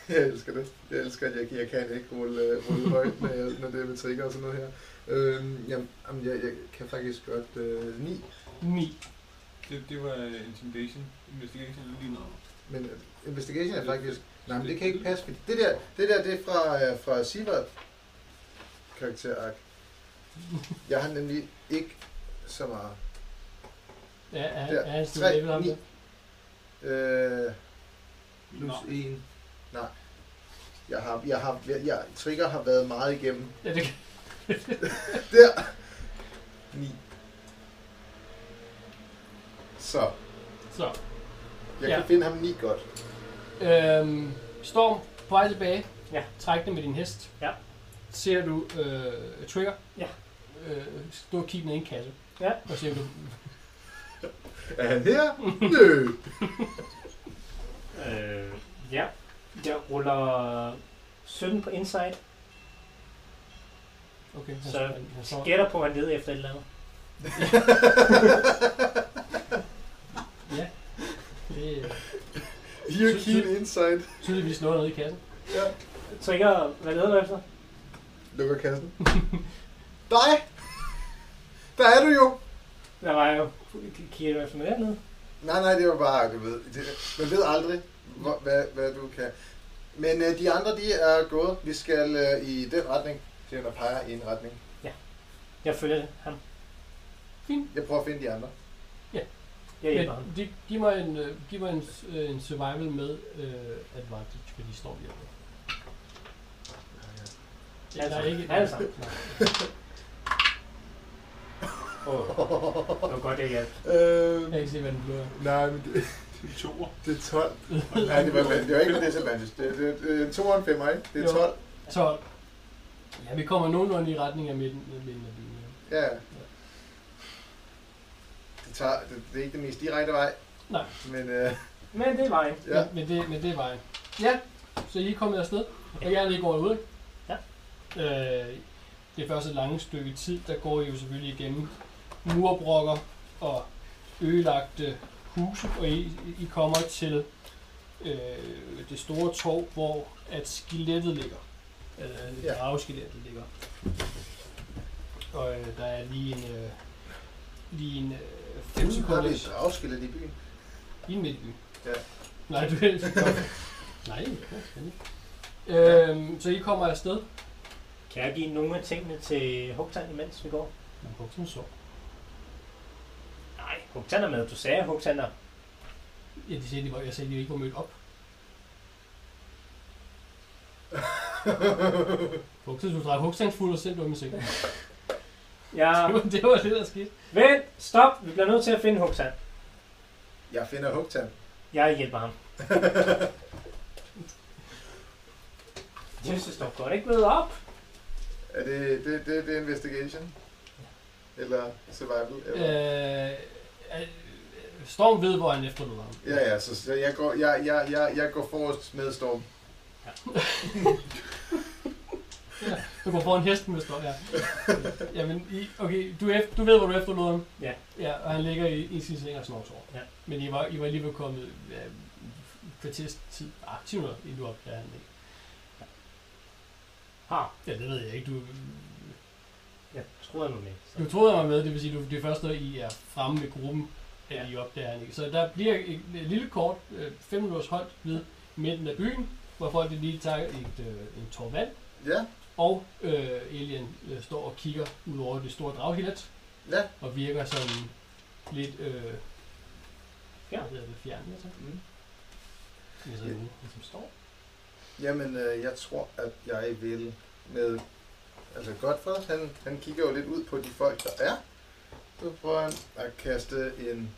[SPEAKER 3] Jeg elsker det. Jeg elsker, at jeg, jeg kan ikke rulle, øh, rulle højt, når, jeg, når det er med trigger og sådan noget her. Øhm, jamen, jamen, jeg, jeg kan faktisk godt øh, 9,
[SPEAKER 1] 9.
[SPEAKER 4] Det, det var øh, intimidation. Investigation er lige noget.
[SPEAKER 3] men øh, investigation er faktisk... Nej, men det kan ikke passe, fordi det der, det der, det er fra, øh, fra Sivert karakterark. Jeg har nemlig ikke så meget.
[SPEAKER 1] Ja, er,
[SPEAKER 3] Der.
[SPEAKER 1] er han stadig level
[SPEAKER 3] 3,
[SPEAKER 1] ham
[SPEAKER 3] 9,
[SPEAKER 1] der?
[SPEAKER 3] øh, plus
[SPEAKER 4] Nå.
[SPEAKER 3] 1. Nej. Jeg har, jeg har, jeg, jeg, trigger har været meget igennem.
[SPEAKER 1] Ja, det kan.
[SPEAKER 3] Der. 9. Så.
[SPEAKER 1] Så.
[SPEAKER 3] Jeg
[SPEAKER 1] Ja.
[SPEAKER 3] kan finde ham 9 godt.
[SPEAKER 1] Øhm, Storm, på vej tilbage.
[SPEAKER 2] Ja.
[SPEAKER 1] Trækkende med din hest.
[SPEAKER 2] Ja.
[SPEAKER 1] Ser du øh, Trigger.
[SPEAKER 2] Ja.
[SPEAKER 1] Øh, stå og kigge ned i en kasse.
[SPEAKER 2] Ja.
[SPEAKER 1] Og ser du.
[SPEAKER 3] Er han her? Nø.
[SPEAKER 2] Øh, ja. Jeg ruller 17 på inside.
[SPEAKER 1] Okay,
[SPEAKER 2] Så
[SPEAKER 1] han, han står.
[SPEAKER 2] Gætter på, at han leder efter et eller andet.
[SPEAKER 1] Ja. Det er
[SPEAKER 3] You're keen inside.
[SPEAKER 1] tydeligvis noget nede i kassen.
[SPEAKER 3] Ja.
[SPEAKER 2] Trigger, hvad leder du efter?
[SPEAKER 3] Lukker kassen. Dig! Der er du jo!
[SPEAKER 2] Der var jo... Kigger du efter noget andet?
[SPEAKER 3] Nej, nej, det var bare, du ved. Det, man ved aldrig, hvor, hvad, hvad du kan. Men øh, de andre, de er gået. Vi skal øh, i den retning. Det er, der peger i en retning.
[SPEAKER 2] Jeg følger det. Ham.
[SPEAKER 3] Jeg prøver at finde de andre.
[SPEAKER 2] Jeg hjælper ham.
[SPEAKER 1] Men, de, giv mig en, øh, giv mig en, s- øh, en survival med øh, advantage, fordi Storm hjælper.
[SPEAKER 2] Altså,
[SPEAKER 1] Ja, der er ikke...
[SPEAKER 2] Alle sammen. Åh, det var godt, jeg hjalp.
[SPEAKER 1] Jeg
[SPEAKER 3] Øh,
[SPEAKER 1] kan ikke se, hvad den blå er.
[SPEAKER 3] nej, men det,
[SPEAKER 4] Det er toer.
[SPEAKER 3] det er 12. Nej, det var, det var ikke en disadvantage. Det, det, det er 2 og en 5, ikke? Det er
[SPEAKER 1] Jo.
[SPEAKER 3] 12.
[SPEAKER 1] 12. Ja, vi kommer nogenlunde i retning af midten, af midten af byen. ja.
[SPEAKER 3] Ja. Det, tager, det, det er ikke den mest direkte vej.
[SPEAKER 1] Nej.
[SPEAKER 3] Men øh,
[SPEAKER 2] Men det er vejen.
[SPEAKER 3] ja,
[SPEAKER 1] Men, men, det, men det er vejen. Ja, så I er kommet afsted, og jeg er lige gået ud, ikke?
[SPEAKER 2] Ja.
[SPEAKER 1] Øh, det første lange stykke tid, der går I jo selvfølgelig igennem murbrokker og ødelagte huse, og I, I kommer til øh, det store torv, hvor at skelettet ligger. Øh, ja.
[SPEAKER 3] Ja.
[SPEAKER 1] Gravskelettet ligger. Og øh, der er lige en, øh, lige en øh, 5
[SPEAKER 3] dem har vi
[SPEAKER 1] sekunders...
[SPEAKER 3] afskillet i byen.
[SPEAKER 1] I en midtby?
[SPEAKER 3] Ja.
[SPEAKER 1] Nej, du er Nej, det er spændende. Øhm, så I kommer afsted?
[SPEAKER 2] Kan jeg give nogle af tingene til Hugtan imens vi går?
[SPEAKER 1] Man kunne sådan så.
[SPEAKER 2] Nej, Hugtan er med. Du sagde, Hugtan er...
[SPEAKER 1] Ja, de sagde, de var, jeg sagde, de ikke var mødt op. Hugsen, du drejer Hugsen fuld og selv du med sengen.
[SPEAKER 2] Ja,
[SPEAKER 1] Det var- det var det, der skete.
[SPEAKER 2] vent, stop. Vi bliver nødt til at finde Hugtan.
[SPEAKER 3] Jeg finder Hugtan.
[SPEAKER 2] Jeg hjælper ham. Jeg synes, det står godt ikke ved op.
[SPEAKER 3] Er det, det, det, det er investigation? Eller survival? Eller?
[SPEAKER 1] Øh, øh, Storm ved, hvor han efterlod ham.
[SPEAKER 3] Ja, ja, så, så jeg, går, jeg, jeg, jeg, jeg går forrest med Storm.
[SPEAKER 1] Du går foran hesten, hvis du ja. Jamen, I, okay, du, er ef- du ved, hvor du efterlod ham.
[SPEAKER 2] Ja.
[SPEAKER 1] Ja, og han ligger i, i sin seng og snorter.
[SPEAKER 2] Ja.
[SPEAKER 1] Men I var, I var alligevel kommet ja, kvarters tid, ah, 10 minutter, inden du opdager han ikke.
[SPEAKER 2] Ha,
[SPEAKER 1] Ja, det ved jeg ikke. Du,
[SPEAKER 2] jeg troede nu med.
[SPEAKER 1] du troede jeg var med, det vil sige, du, det er først, når I er fremme ved gruppen, at
[SPEAKER 2] Ja.
[SPEAKER 1] I opdager han ikke. Så der bliver et, et lille kort, 5 minutters hold ved midten af byen, hvor folk lige tager et, øh, en tår vand,
[SPEAKER 3] Ja,
[SPEAKER 1] og øh, Alien øh, står og kigger ud over det store draghilat,
[SPEAKER 3] ja.
[SPEAKER 1] og virker som lidt øh,
[SPEAKER 2] Ja.
[SPEAKER 1] hvad hedder det, fjern, altså.
[SPEAKER 3] Mm.
[SPEAKER 1] Det er sådan nogen, som står.
[SPEAKER 3] Jamen, øh, jeg tror, at jeg vil med... Altså, Godfred, han, han kigger jo lidt ud på de folk, der er. Så prøver han at kaste en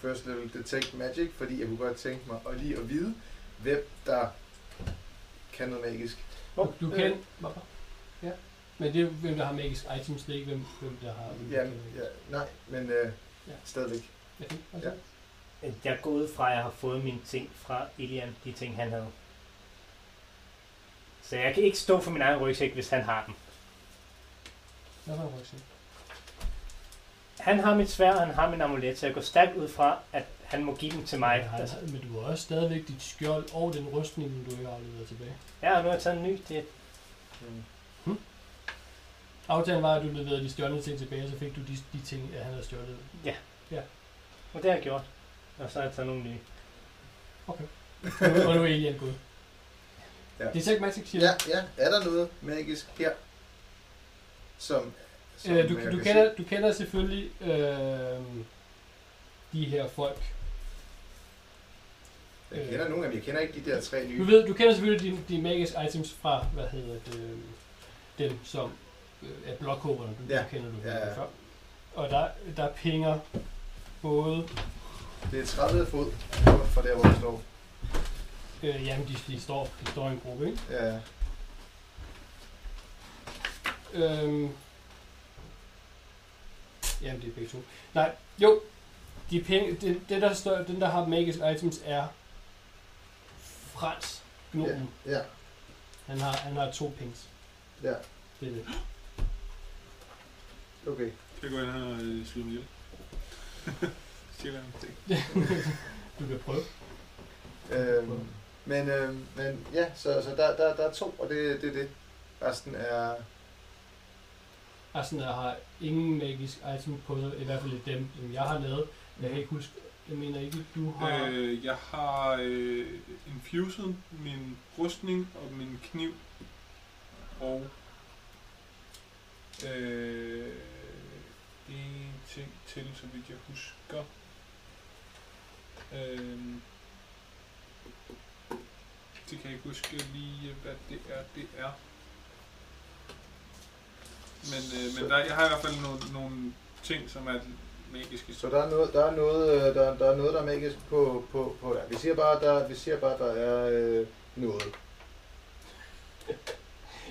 [SPEAKER 3] first level detect magic, fordi jeg kunne godt tænke mig at lige at vide, hvem der kan noget magisk.
[SPEAKER 1] Du, du
[SPEAKER 3] Øh.
[SPEAKER 1] kan... Ja. Men det er jo, hvem der har magisk items, det er ikke hvem, hvem der har... hvem der
[SPEAKER 3] Jamen,
[SPEAKER 1] kan-
[SPEAKER 3] ja, nej, men øh,
[SPEAKER 1] Ja.
[SPEAKER 3] stadigvæk.
[SPEAKER 1] Ja, altså, det er også
[SPEAKER 3] Ja.
[SPEAKER 1] det.
[SPEAKER 2] Jeg går ud fra, Øh, at jeg har fået mine ting fra Elian, de ting han havde. Så jeg kan ikke stå for min egen rygsæk, hvis han har den.
[SPEAKER 1] Hvad var det, Roxy?
[SPEAKER 2] Han har mit svær, og han har min amulet, så jeg går stærkt ud fra, at han må give dem til mig.
[SPEAKER 1] Men har-
[SPEAKER 2] Altså,
[SPEAKER 1] Men du har også stadigvæk dit skjold og den rustning, du ikke har afleveret tilbage.
[SPEAKER 2] ja, og nu har jeg taget en ny. Det,
[SPEAKER 3] Mm.
[SPEAKER 1] Aftalen var, at du leverede de stjålne ting tilbage, og så fik du de, de ting, at han havde stjålet.
[SPEAKER 2] og det har jeg gjort. Og så har jeg taget nogle nye.
[SPEAKER 1] Nu- og nu er Elian gået.
[SPEAKER 3] Ja.
[SPEAKER 1] Det er ikke magisk, siger
[SPEAKER 3] Ja, ja, er der noget magisk her, som... som
[SPEAKER 1] Øh,
[SPEAKER 3] jeg
[SPEAKER 1] du, du,
[SPEAKER 3] kan
[SPEAKER 1] kender, du kender selvfølgelig øh, de her folk. Øh,
[SPEAKER 3] se? Jeg kender nogle af dem, jeg kender ikke de der tre nye.
[SPEAKER 1] Du, ved, du kender selvfølgelig de, de magiske items fra, hvad hedder det, øh, dem som øh, er blokhopperne, du
[SPEAKER 3] Ja.
[SPEAKER 1] du kender du
[SPEAKER 3] Ja, ja.
[SPEAKER 1] før. Og der, der pinger både,
[SPEAKER 3] Det er 30 fod rundt fra der, hvor jeg står.
[SPEAKER 1] øh, jamen de, de, står, de står i en gruppe, ikke?
[SPEAKER 3] Ja.
[SPEAKER 1] Øhm, jamen, det er begge to. Nej, jo. De penge, det, det der står, den, der har magisk items, er Frans Gnomen. Yeah.
[SPEAKER 3] Ja,
[SPEAKER 1] Han, har, han har to pings.
[SPEAKER 3] ja,
[SPEAKER 1] Det er det.
[SPEAKER 3] okay.
[SPEAKER 4] Jeg går ind her og øh, slår mig ihjel. Stjæler ham ting.
[SPEAKER 1] Du kan prøve.
[SPEAKER 3] Øhm, men, øhm, men ja, så, så der, der, der er to, og det er det, er det. Resten er...
[SPEAKER 1] Resten af har ingen magisk item på sig, i hvert fald ikke dem, som jeg har lavet. Jeg kan ikke huske, jeg mener ikke, du har... Øh.
[SPEAKER 4] Øh, jeg har øh, infused min rustning og min kniv. Og... Øh, en ting til, så vidt jeg husker. Øh, det kan jeg ikke huske lige, hvad det er, det er. Men, øh, men der, jeg har i hvert fald nogle, nogle ting, som er magiske.
[SPEAKER 3] Så der er noget, der er noget, øh, der, der er noget, der er magisk på, på, på der. Vi siger bare, der, vi siger bare, der er øh, noget.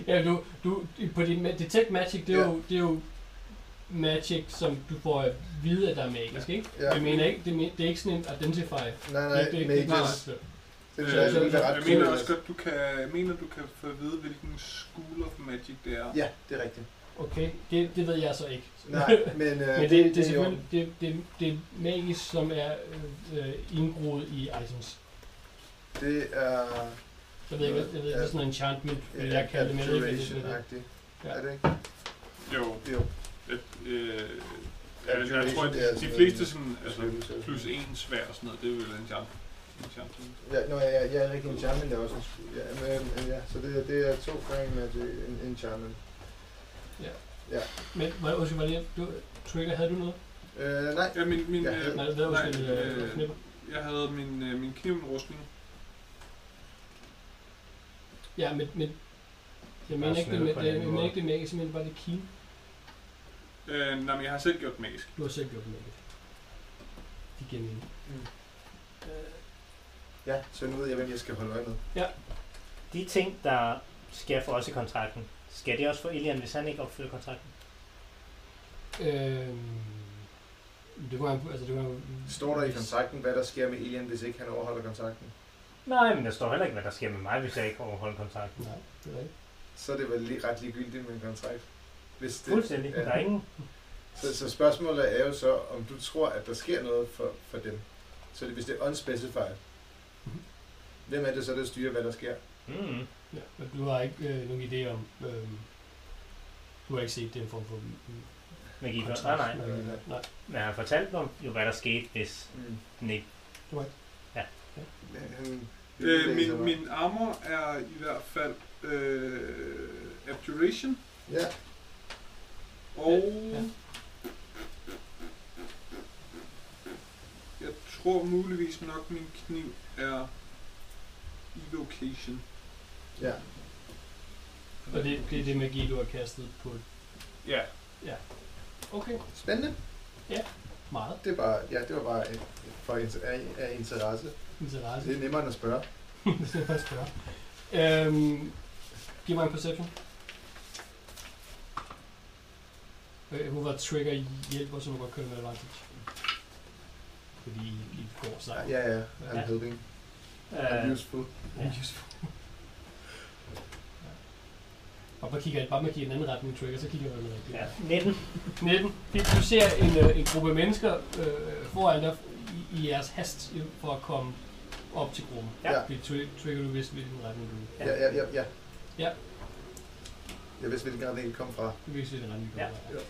[SPEAKER 1] Ja, du, du, på din ma- Detect Magic, det er,
[SPEAKER 3] Ja.
[SPEAKER 1] jo, det er jo magic, som du får at vide, at der er magisk, ikke?
[SPEAKER 3] Ja.
[SPEAKER 1] Jeg mener ikke, det, men, det er ikke sådan en identify.
[SPEAKER 3] Nej,
[SPEAKER 1] Det er
[SPEAKER 3] nej,
[SPEAKER 1] ikke- det er ikke
[SPEAKER 3] magisk.
[SPEAKER 1] klart.
[SPEAKER 3] Det
[SPEAKER 4] Øh,
[SPEAKER 3] synes jeg,
[SPEAKER 1] så-
[SPEAKER 3] synes jeg er ret
[SPEAKER 4] Jeg mener
[SPEAKER 3] kedeligt.
[SPEAKER 4] også godt, du kan, jeg mener, du kan få at vide, hvilken school of magic det er.
[SPEAKER 3] Ja, det er rigtigt.
[SPEAKER 1] Okay, det, det ved jeg så ikke.
[SPEAKER 3] Nej, men,
[SPEAKER 1] Men
[SPEAKER 3] øh,
[SPEAKER 1] det, det, det, er
[SPEAKER 3] i orden.
[SPEAKER 1] selvfølgelig det, det, det er magisk, som er øh, øh, indgroet i items.
[SPEAKER 3] Det er...
[SPEAKER 1] Jeg ved ikke, hvad- jeg ved, ikke, hvad sådan en enchantment, vil jeg kalde det, men jeg ved ikke, hvad det er.
[SPEAKER 3] Capturation-agtigt.
[SPEAKER 1] Ja.
[SPEAKER 3] Er det ikke?
[SPEAKER 4] Jo.
[SPEAKER 3] Jo.
[SPEAKER 4] Øh, øh,
[SPEAKER 3] Ja,
[SPEAKER 4] jeg, jeg tror, at
[SPEAKER 3] det er
[SPEAKER 4] de
[SPEAKER 3] sådan
[SPEAKER 4] fleste
[SPEAKER 3] noget-
[SPEAKER 4] sådan, altså, plus en svær og sådan noget, det er vel en chance. En chance.
[SPEAKER 3] Ja, nå, jeg, jeg er rigtig en charmin, der er også en skud. Ja, men, øh, ja, så det, det er to gange med det- en, en charmin.
[SPEAKER 1] Men, var, undskyld, var det, du, Trigger, havde du noget?
[SPEAKER 3] Øh, nej,
[SPEAKER 4] Ja, min, min,
[SPEAKER 3] Jeg
[SPEAKER 4] øh,
[SPEAKER 3] havde-
[SPEAKER 1] Nej, hvad
[SPEAKER 4] nej,
[SPEAKER 1] undskyld, øh,
[SPEAKER 4] øh,
[SPEAKER 1] Knipper?
[SPEAKER 4] jeg havde min, øh, min kniv med rustning.
[SPEAKER 1] Ja, men, men jeg mener
[SPEAKER 2] Bare
[SPEAKER 1] ikke det,
[SPEAKER 2] snede
[SPEAKER 1] med,
[SPEAKER 2] på
[SPEAKER 1] det,
[SPEAKER 2] en
[SPEAKER 1] jeg
[SPEAKER 2] anden
[SPEAKER 1] mener
[SPEAKER 2] måde.
[SPEAKER 1] ikke det magisk, jeg mener bare det keen.
[SPEAKER 4] Øh, nej, men jeg har selv gjort magisk.
[SPEAKER 1] Du har selv gjort det magisk. De giver mening.
[SPEAKER 3] Mm.
[SPEAKER 1] Øh,
[SPEAKER 3] ja, så nu ved jeg, hvem jeg skal holde øje med.
[SPEAKER 2] De ting, der sker for os i kontrakten, skal det også for Elian, hvis han ikke opfylder kontrakten?
[SPEAKER 1] Øhm, det går an på, altså det går an på-
[SPEAKER 3] Står der i kontrakten, hvad der sker med Elian, hvis ikke han overholder kontrakten?
[SPEAKER 2] Nej, men der står heller ikke, hvad der sker med mig, hvis jeg ikke overholder kontrakten.
[SPEAKER 1] Nej, det er rigtigt.
[SPEAKER 3] så er det vel lige, ret ligegyldigt med en kontrakt. Hvis det,
[SPEAKER 2] Fuldstændig.
[SPEAKER 3] ja.
[SPEAKER 2] Der er ingen...
[SPEAKER 3] Så, så spørgsmålet er jo så, om du tror, at der sker noget for, for dem. Så det, hvis det er unspecified,
[SPEAKER 1] Mhm.
[SPEAKER 3] hvem er det så, der styrer, hvad der sker?
[SPEAKER 2] Mm-hmm.
[SPEAKER 6] Mm.
[SPEAKER 1] Ja, men du har ikke øh, nogen idé om... Øh, du har ikke set den form for...
[SPEAKER 6] Men gik
[SPEAKER 1] kontrakt.
[SPEAKER 6] nej, nej.
[SPEAKER 1] Øh, nej.
[SPEAKER 6] Men han fortalte om, jo, hvad der skete, hvis
[SPEAKER 3] Mm.
[SPEAKER 6] den ikke...
[SPEAKER 3] Han,
[SPEAKER 4] Øh, min, min armor er i hvert fald øh, Abjuration
[SPEAKER 3] Ja,
[SPEAKER 4] og...
[SPEAKER 1] Ja.
[SPEAKER 4] Jeg tror muligvis nok, min kniv er Evocation.
[SPEAKER 3] ja.
[SPEAKER 1] Og det, det er det magi, du har kastet på
[SPEAKER 4] Ja,
[SPEAKER 1] Okay,
[SPEAKER 3] Spændende.
[SPEAKER 1] meget
[SPEAKER 3] Det var, ja, det var bare et, et- for inter- af, af interesse.
[SPEAKER 2] Altså-
[SPEAKER 1] interesse.
[SPEAKER 3] Det er nemmere end at spørge.
[SPEAKER 1] Det er faktisk spørge. Øhm, giv mig en perception. Øh, Hvorfor trigger hjælper, så du godt kører med advantage? Fordi I går
[SPEAKER 3] Ja,
[SPEAKER 1] sejt.
[SPEAKER 3] ja, ja. I'm
[SPEAKER 2] Ja.
[SPEAKER 3] helping. I'm
[SPEAKER 2] Øh,
[SPEAKER 3] useful.
[SPEAKER 1] Ja. Og bare kigger, bare man kigger i den anden retning, trigger, så kigger man den rigtige.
[SPEAKER 2] ja, 19.
[SPEAKER 1] 19. Det- Du ser en, øh, en gruppe mennesker øh, foran dig i, i jeres hast i- for at komme op til gruppen.
[SPEAKER 2] Ja.
[SPEAKER 1] Det tri- trigger du vist, hvilken retning du
[SPEAKER 3] Ja, ja, ja. ja.
[SPEAKER 1] Ja.
[SPEAKER 3] Jeg vidste, hvilken gang det kom fra.
[SPEAKER 1] Du vil ikke se den retning, du
[SPEAKER 2] Ja.
[SPEAKER 1] kommer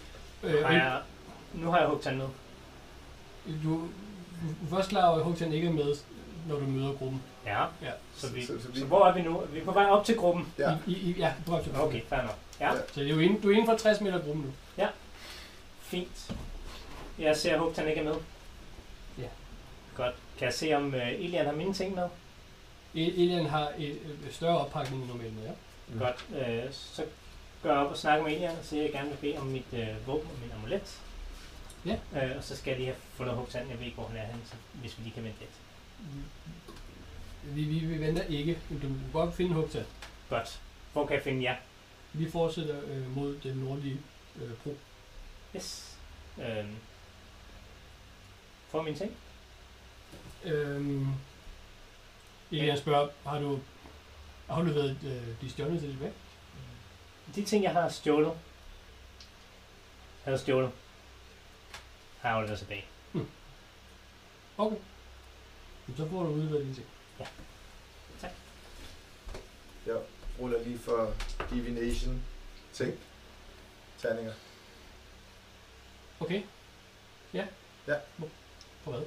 [SPEAKER 1] fra. Øh,
[SPEAKER 2] Har jeg, nu har jeg hugt han ned.
[SPEAKER 1] men du, du, du er først klar over, at Hugtan ikke er med, når du møder gruppen.
[SPEAKER 2] Ja.
[SPEAKER 1] Ja.
[SPEAKER 2] Så, vi,
[SPEAKER 3] Så- så vi-
[SPEAKER 2] så hvor er vi nu? Vi er på vej op til gruppen.
[SPEAKER 3] Ja.
[SPEAKER 1] I, I, I- ja, du er op til gruppen.
[SPEAKER 2] Okay, fair nok. Ja,
[SPEAKER 3] Ja.
[SPEAKER 1] Så det er jo inden, du er inden for 60 meter gruppen nu.
[SPEAKER 2] fint. Jeg ser, at Hugt han ikke er med.
[SPEAKER 1] Ja.
[SPEAKER 2] Godt. Kan jeg se, om uh, Elian har mine ting med?
[SPEAKER 1] E- Elian har et, øh, større oppakning end normalt, ja.
[SPEAKER 3] Mm.
[SPEAKER 2] Godt. Øh, så går jeg op og snakker med Elian og siger, at jeg gerne vil bede om mit øh, våben og min amulet.
[SPEAKER 1] Ja.
[SPEAKER 2] Øh, og så skal jeg lige have fundet Hugt han. Jeg ved ikke, hvor han er henne, så hvis vi lige kan vente lidt.
[SPEAKER 1] Vi, vi, vi venter ikke, men du kan godt finde Hugtan.
[SPEAKER 2] Godt. Hvor kan jeg finde jer?
[SPEAKER 1] Vi fortsætter øh, mod den nordlige øh, bro.
[SPEAKER 2] Yes. Øh, får mine ting?
[SPEAKER 1] Øhm, Elian spørger, har du afleveret øh, de stjålne til tilbage?
[SPEAKER 2] De ting, jeg har stjålet, havde stjålet, har jeg afleveret tilbage.
[SPEAKER 1] Okay. Jamen, Så får du udleveret dine ting.
[SPEAKER 3] Jeg ruller lige for divination ting. Terninger.
[SPEAKER 1] Okay. Ja.
[SPEAKER 3] Ja.
[SPEAKER 1] Hvor- For hvad?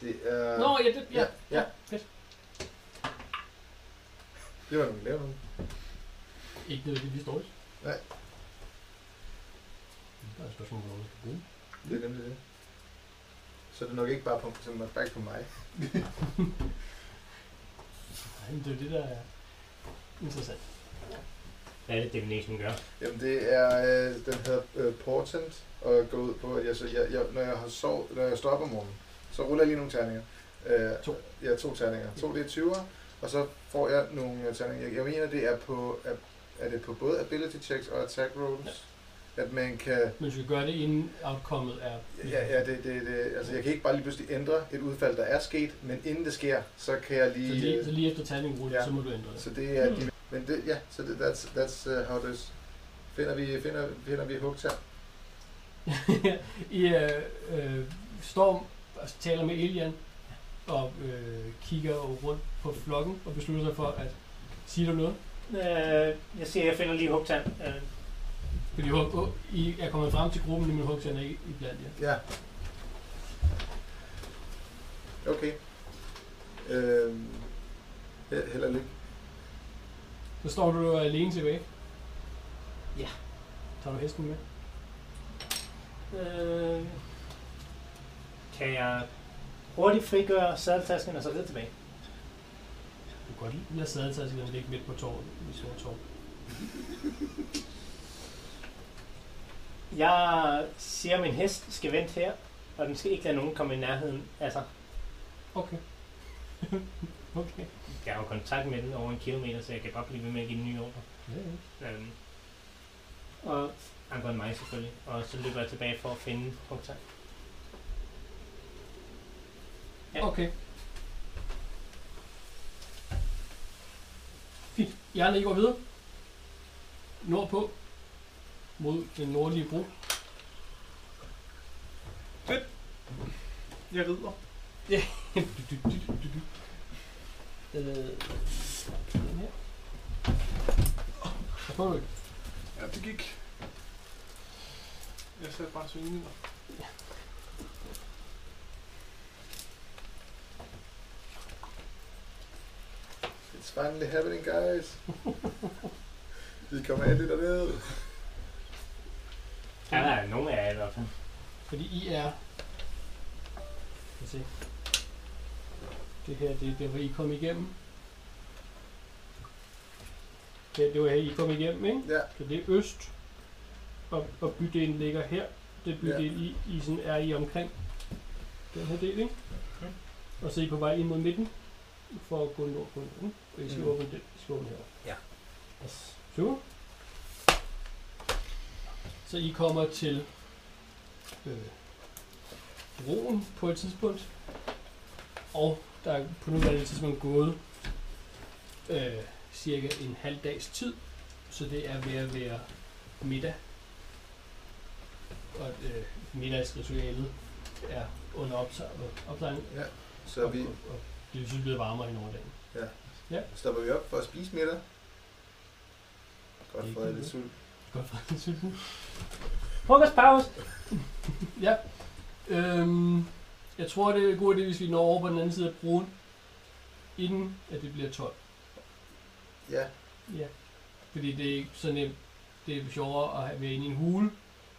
[SPEAKER 3] Det er...
[SPEAKER 1] Nå, ja, det, ja.
[SPEAKER 3] ja, ja.
[SPEAKER 1] Fedt.
[SPEAKER 3] Det var nogle lave nogle.
[SPEAKER 1] Ikke nødvendigvis dårligt.
[SPEAKER 3] Nej.
[SPEAKER 1] Der er et spørgsmål, hvornår man skal bruge.
[SPEAKER 3] Det er nemlig det. Så det er nok ikke bare på, så nok bare ikke på mig.
[SPEAKER 1] Nej, men det er jo det, der er interessant.
[SPEAKER 2] Hvad er det, divination gør?
[SPEAKER 3] Jamen det er, øh, den hedder øh, Portent, og går ud på, at jeg, så jeg, jeg, når, jeg har sov, når jeg står op om morgenen, så ruller jeg lige nogle terninger. Øh,
[SPEAKER 1] To.
[SPEAKER 3] Ja, to terninger. To det er 20'er, og så får jeg nogle øh, terninger. Jeg, jeg mener, det er på, er, er det på både ability checks og attack rolls, ja. at man kan...
[SPEAKER 1] Men du skal gøre det, inden outcomeet er...
[SPEAKER 3] Ja, ja det, det, det, altså jeg kan ikke bare lige pludselig ændre et udfald, der er sket, men inden det sker, så kan jeg
[SPEAKER 1] Så
[SPEAKER 3] lige... øh,
[SPEAKER 1] lige, så lige efter terningen ruller,
[SPEAKER 3] Ja.
[SPEAKER 1] så må du ændre det.
[SPEAKER 3] Så det
[SPEAKER 2] Hmm.
[SPEAKER 3] er de, men det, ja, så det, that's, that's uh, how it is. Finder vi, finder, finder vi hugt her?
[SPEAKER 1] I øh, øh, står og taler med Elian og øh, kigger rundt på flokken og beslutter sig for at sige dig noget.
[SPEAKER 2] Øh, jeg siger, jeg finder lige Hugtan. Øh,
[SPEAKER 1] Fordi Hug- Hug- I er kommet frem til gruppen, men Hugsan er ikke i blandt jer.
[SPEAKER 3] Ja. Okay. Øhm, he- held og lykke.
[SPEAKER 1] Så står du jo alene tilbage.
[SPEAKER 2] Ja.
[SPEAKER 1] Tager du hesten med?
[SPEAKER 2] øh, kan jeg hurtigt frigøre sadeltasken og så videre tilbage?
[SPEAKER 1] Du kan godt lade sadeltaskerne ligge midt på torvet, i sort tår.
[SPEAKER 2] Jeg siger, at min hest skal vente her, og den skal ikke lade nogen komme i nærheden. Altså,
[SPEAKER 1] Okay. okay.
[SPEAKER 2] jeg har jo kontakt med den over en kilometer, så jeg kan godt blive ved med at give den nye ordre.
[SPEAKER 1] Ja, ja.
[SPEAKER 2] Øhm, og andre end mig selvfølgelig. Og så løber jeg tilbage for at finde Hugtan. Ja.
[SPEAKER 1] Okay. Fint. Jerne, I går videre. nordpå mod den nordlige bro.
[SPEAKER 4] Jeg rider.
[SPEAKER 1] Øh, den her. Jeg prøver ikke.
[SPEAKER 4] Ja, det gik. Jeg satte bare svingninger.
[SPEAKER 3] It's finally happening, guys. Vi kommer af det derned.
[SPEAKER 2] Ja, der er nogen af jer i hvert fald.
[SPEAKER 1] Fordi I er... Lad os se. Det her, det er der, hvor I kom igennem. Ja, det var her, I kom igennem, ikke?
[SPEAKER 3] Ja,
[SPEAKER 1] Så det er øst, og, og bydelen ligger her. Det er bydelen, ja. I, I sådan er i omkring den her del, ikke?
[SPEAKER 2] Okay.
[SPEAKER 1] Og så er I på vej ind mod midten, for at gå nord på den. Og I skal
[SPEAKER 2] Mm.
[SPEAKER 1] åbne den, I skal åbne her.
[SPEAKER 2] Ja.
[SPEAKER 1] Yes. Super. Så I kommer til øh, broen på et tidspunkt, og der er på nuværende tidspunkt gået øh, cirka en halv dags tid, så det er ved at være middag. Og øh, middagsritualet er under opsej- opsejling.
[SPEAKER 3] ja. Så
[SPEAKER 1] Og-
[SPEAKER 3] vi
[SPEAKER 1] og- og Det vil sige, at det bliver varmere hen over dagen.
[SPEAKER 3] stopper vi op for at spise middag. Godt
[SPEAKER 1] Det
[SPEAKER 3] for at
[SPEAKER 1] kan
[SPEAKER 3] lidt
[SPEAKER 1] vi.
[SPEAKER 3] sult.
[SPEAKER 1] Godt for den sulten.
[SPEAKER 7] Frokostpause.
[SPEAKER 1] Ja. Øhm, jeg tror, det er en god idé, hvis vi når over på den anden side af broen, inden at det bliver 12.
[SPEAKER 3] Ja,
[SPEAKER 1] Ja. Fordi det er ikke så nemt. Det er sjovere at have- være inde i en hule,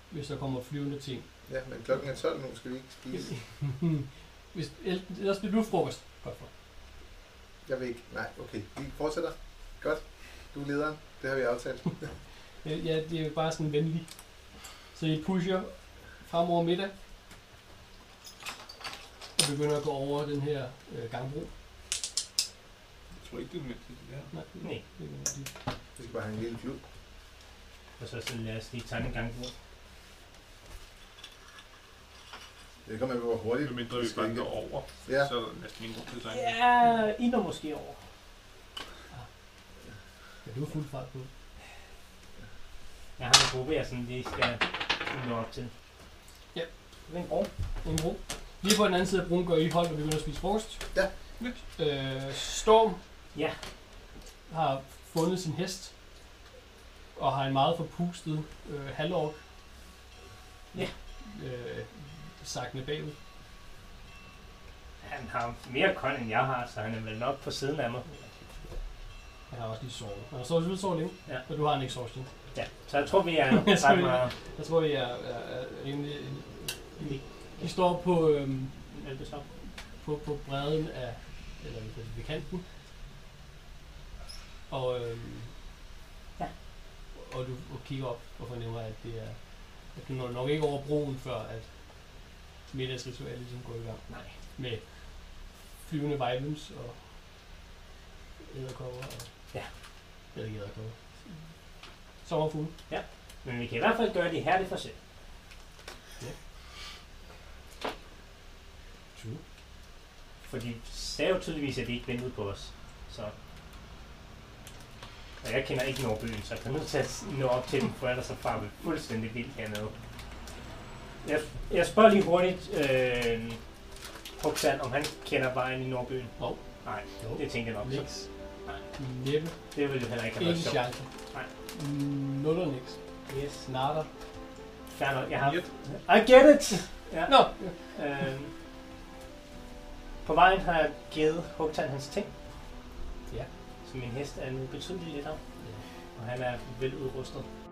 [SPEAKER 1] hvis der kommer flyvende ting.
[SPEAKER 3] ja, men klokken er 12 nu, skal vi ikke spise.
[SPEAKER 1] hvis, ellers bliver du frokost. Godt for.
[SPEAKER 3] Jeg vil ikke. Nej, okay. Vi fortsætter. Godt. Du er lederen. Det har vi aftalt.
[SPEAKER 1] Øh, Ja, det er bare sådan venlig. Så I pusher frem over middag. Og begynder at gå over den her øh, gangbro.
[SPEAKER 4] Jeg tror ikke, det er nødvendigt, det her.
[SPEAKER 1] Nej,
[SPEAKER 2] Nej.
[SPEAKER 1] det er de-
[SPEAKER 3] Vi skal bare have en lille klud.
[SPEAKER 2] Og så, så lad os lige tage en gang på.
[SPEAKER 3] Det kommer an på, hvor hurtigt
[SPEAKER 4] Det mindre vi
[SPEAKER 3] skal
[SPEAKER 4] bare
[SPEAKER 3] ikke-
[SPEAKER 4] går over,
[SPEAKER 3] Ja,
[SPEAKER 4] så er der næsten ingen grund til at tegne.
[SPEAKER 7] Ja, I når måske over.
[SPEAKER 1] Ja, du er fuld fart på.
[SPEAKER 2] Jeg har en gruppe, jeg sådan lige skal nå op til.
[SPEAKER 7] Det er en bro.
[SPEAKER 1] En bro. Lige på den anden side af broen går I hold, og begynder at spise frokost.
[SPEAKER 3] Ja.
[SPEAKER 1] Øh, Storm
[SPEAKER 7] Ja.
[SPEAKER 1] har fundet sin hest. Og har en meget forpustet øh, halvår.
[SPEAKER 7] Ja.
[SPEAKER 1] Øh, sakne bagud.
[SPEAKER 2] Han har mere kon, end jeg har, så han er vel nok på siden af mig.
[SPEAKER 1] Han har også lige sovet. Han har sovet selvfølgelig sovet længe.
[SPEAKER 2] Ja.
[SPEAKER 1] Og du har en exhaustion.
[SPEAKER 2] Ja, så jeg tror, vi er
[SPEAKER 1] Så vi-
[SPEAKER 2] ret meget...
[SPEAKER 1] Jeg tror, I er, er, er rimelig... I står på, øhm,
[SPEAKER 2] Er det så?
[SPEAKER 1] på, på bredden af... Eller hvad hedder det, ved kanten. Og, øhm,
[SPEAKER 7] Ja.
[SPEAKER 1] og du og kigger op og fornemmer, at det er... At du når nok ikke over broen, før at middagsritualet ligesom går i gang.
[SPEAKER 7] Nej.
[SPEAKER 1] Med flyvende vibens og æderkopper og...
[SPEAKER 7] Ja.
[SPEAKER 1] Eller ikke æderkopper. Sommerfugle.
[SPEAKER 2] Men vi kan i hvert fald gøre det her, det for selv.
[SPEAKER 1] True.
[SPEAKER 2] Fordi sagde jo tydeligvis, at de ikke ventede på os. Så... Og jeg kender ikke Nordbyen, så jeg kan nødt til at nå op til dem, for ellers så far vi fuldstændig vildt hernede. Jeg, jeg spørger lige hurtigt øh, Huxan, om han kender vejen i Nordbyen.
[SPEAKER 1] Hov.
[SPEAKER 2] Nej,
[SPEAKER 1] Jo.
[SPEAKER 2] det tænkte jeg nok. Så
[SPEAKER 1] Niks.
[SPEAKER 2] Nej.
[SPEAKER 1] Næppe.
[SPEAKER 2] det ville jo heller ikke have
[SPEAKER 1] Ikke
[SPEAKER 2] været sjovt.
[SPEAKER 1] chance.
[SPEAKER 2] Nej.
[SPEAKER 1] Mm, Nul og niks.
[SPEAKER 2] Yes.
[SPEAKER 1] Snatter.
[SPEAKER 2] Fair nok, jeg har...
[SPEAKER 4] Yep.
[SPEAKER 2] I get it!
[SPEAKER 1] Nå!
[SPEAKER 2] Øh, på vejen har jeg givet Hugtan hans ting.
[SPEAKER 1] Ja.
[SPEAKER 2] Så min hest er nu betydeligt lidt af. Og han er veludrustet.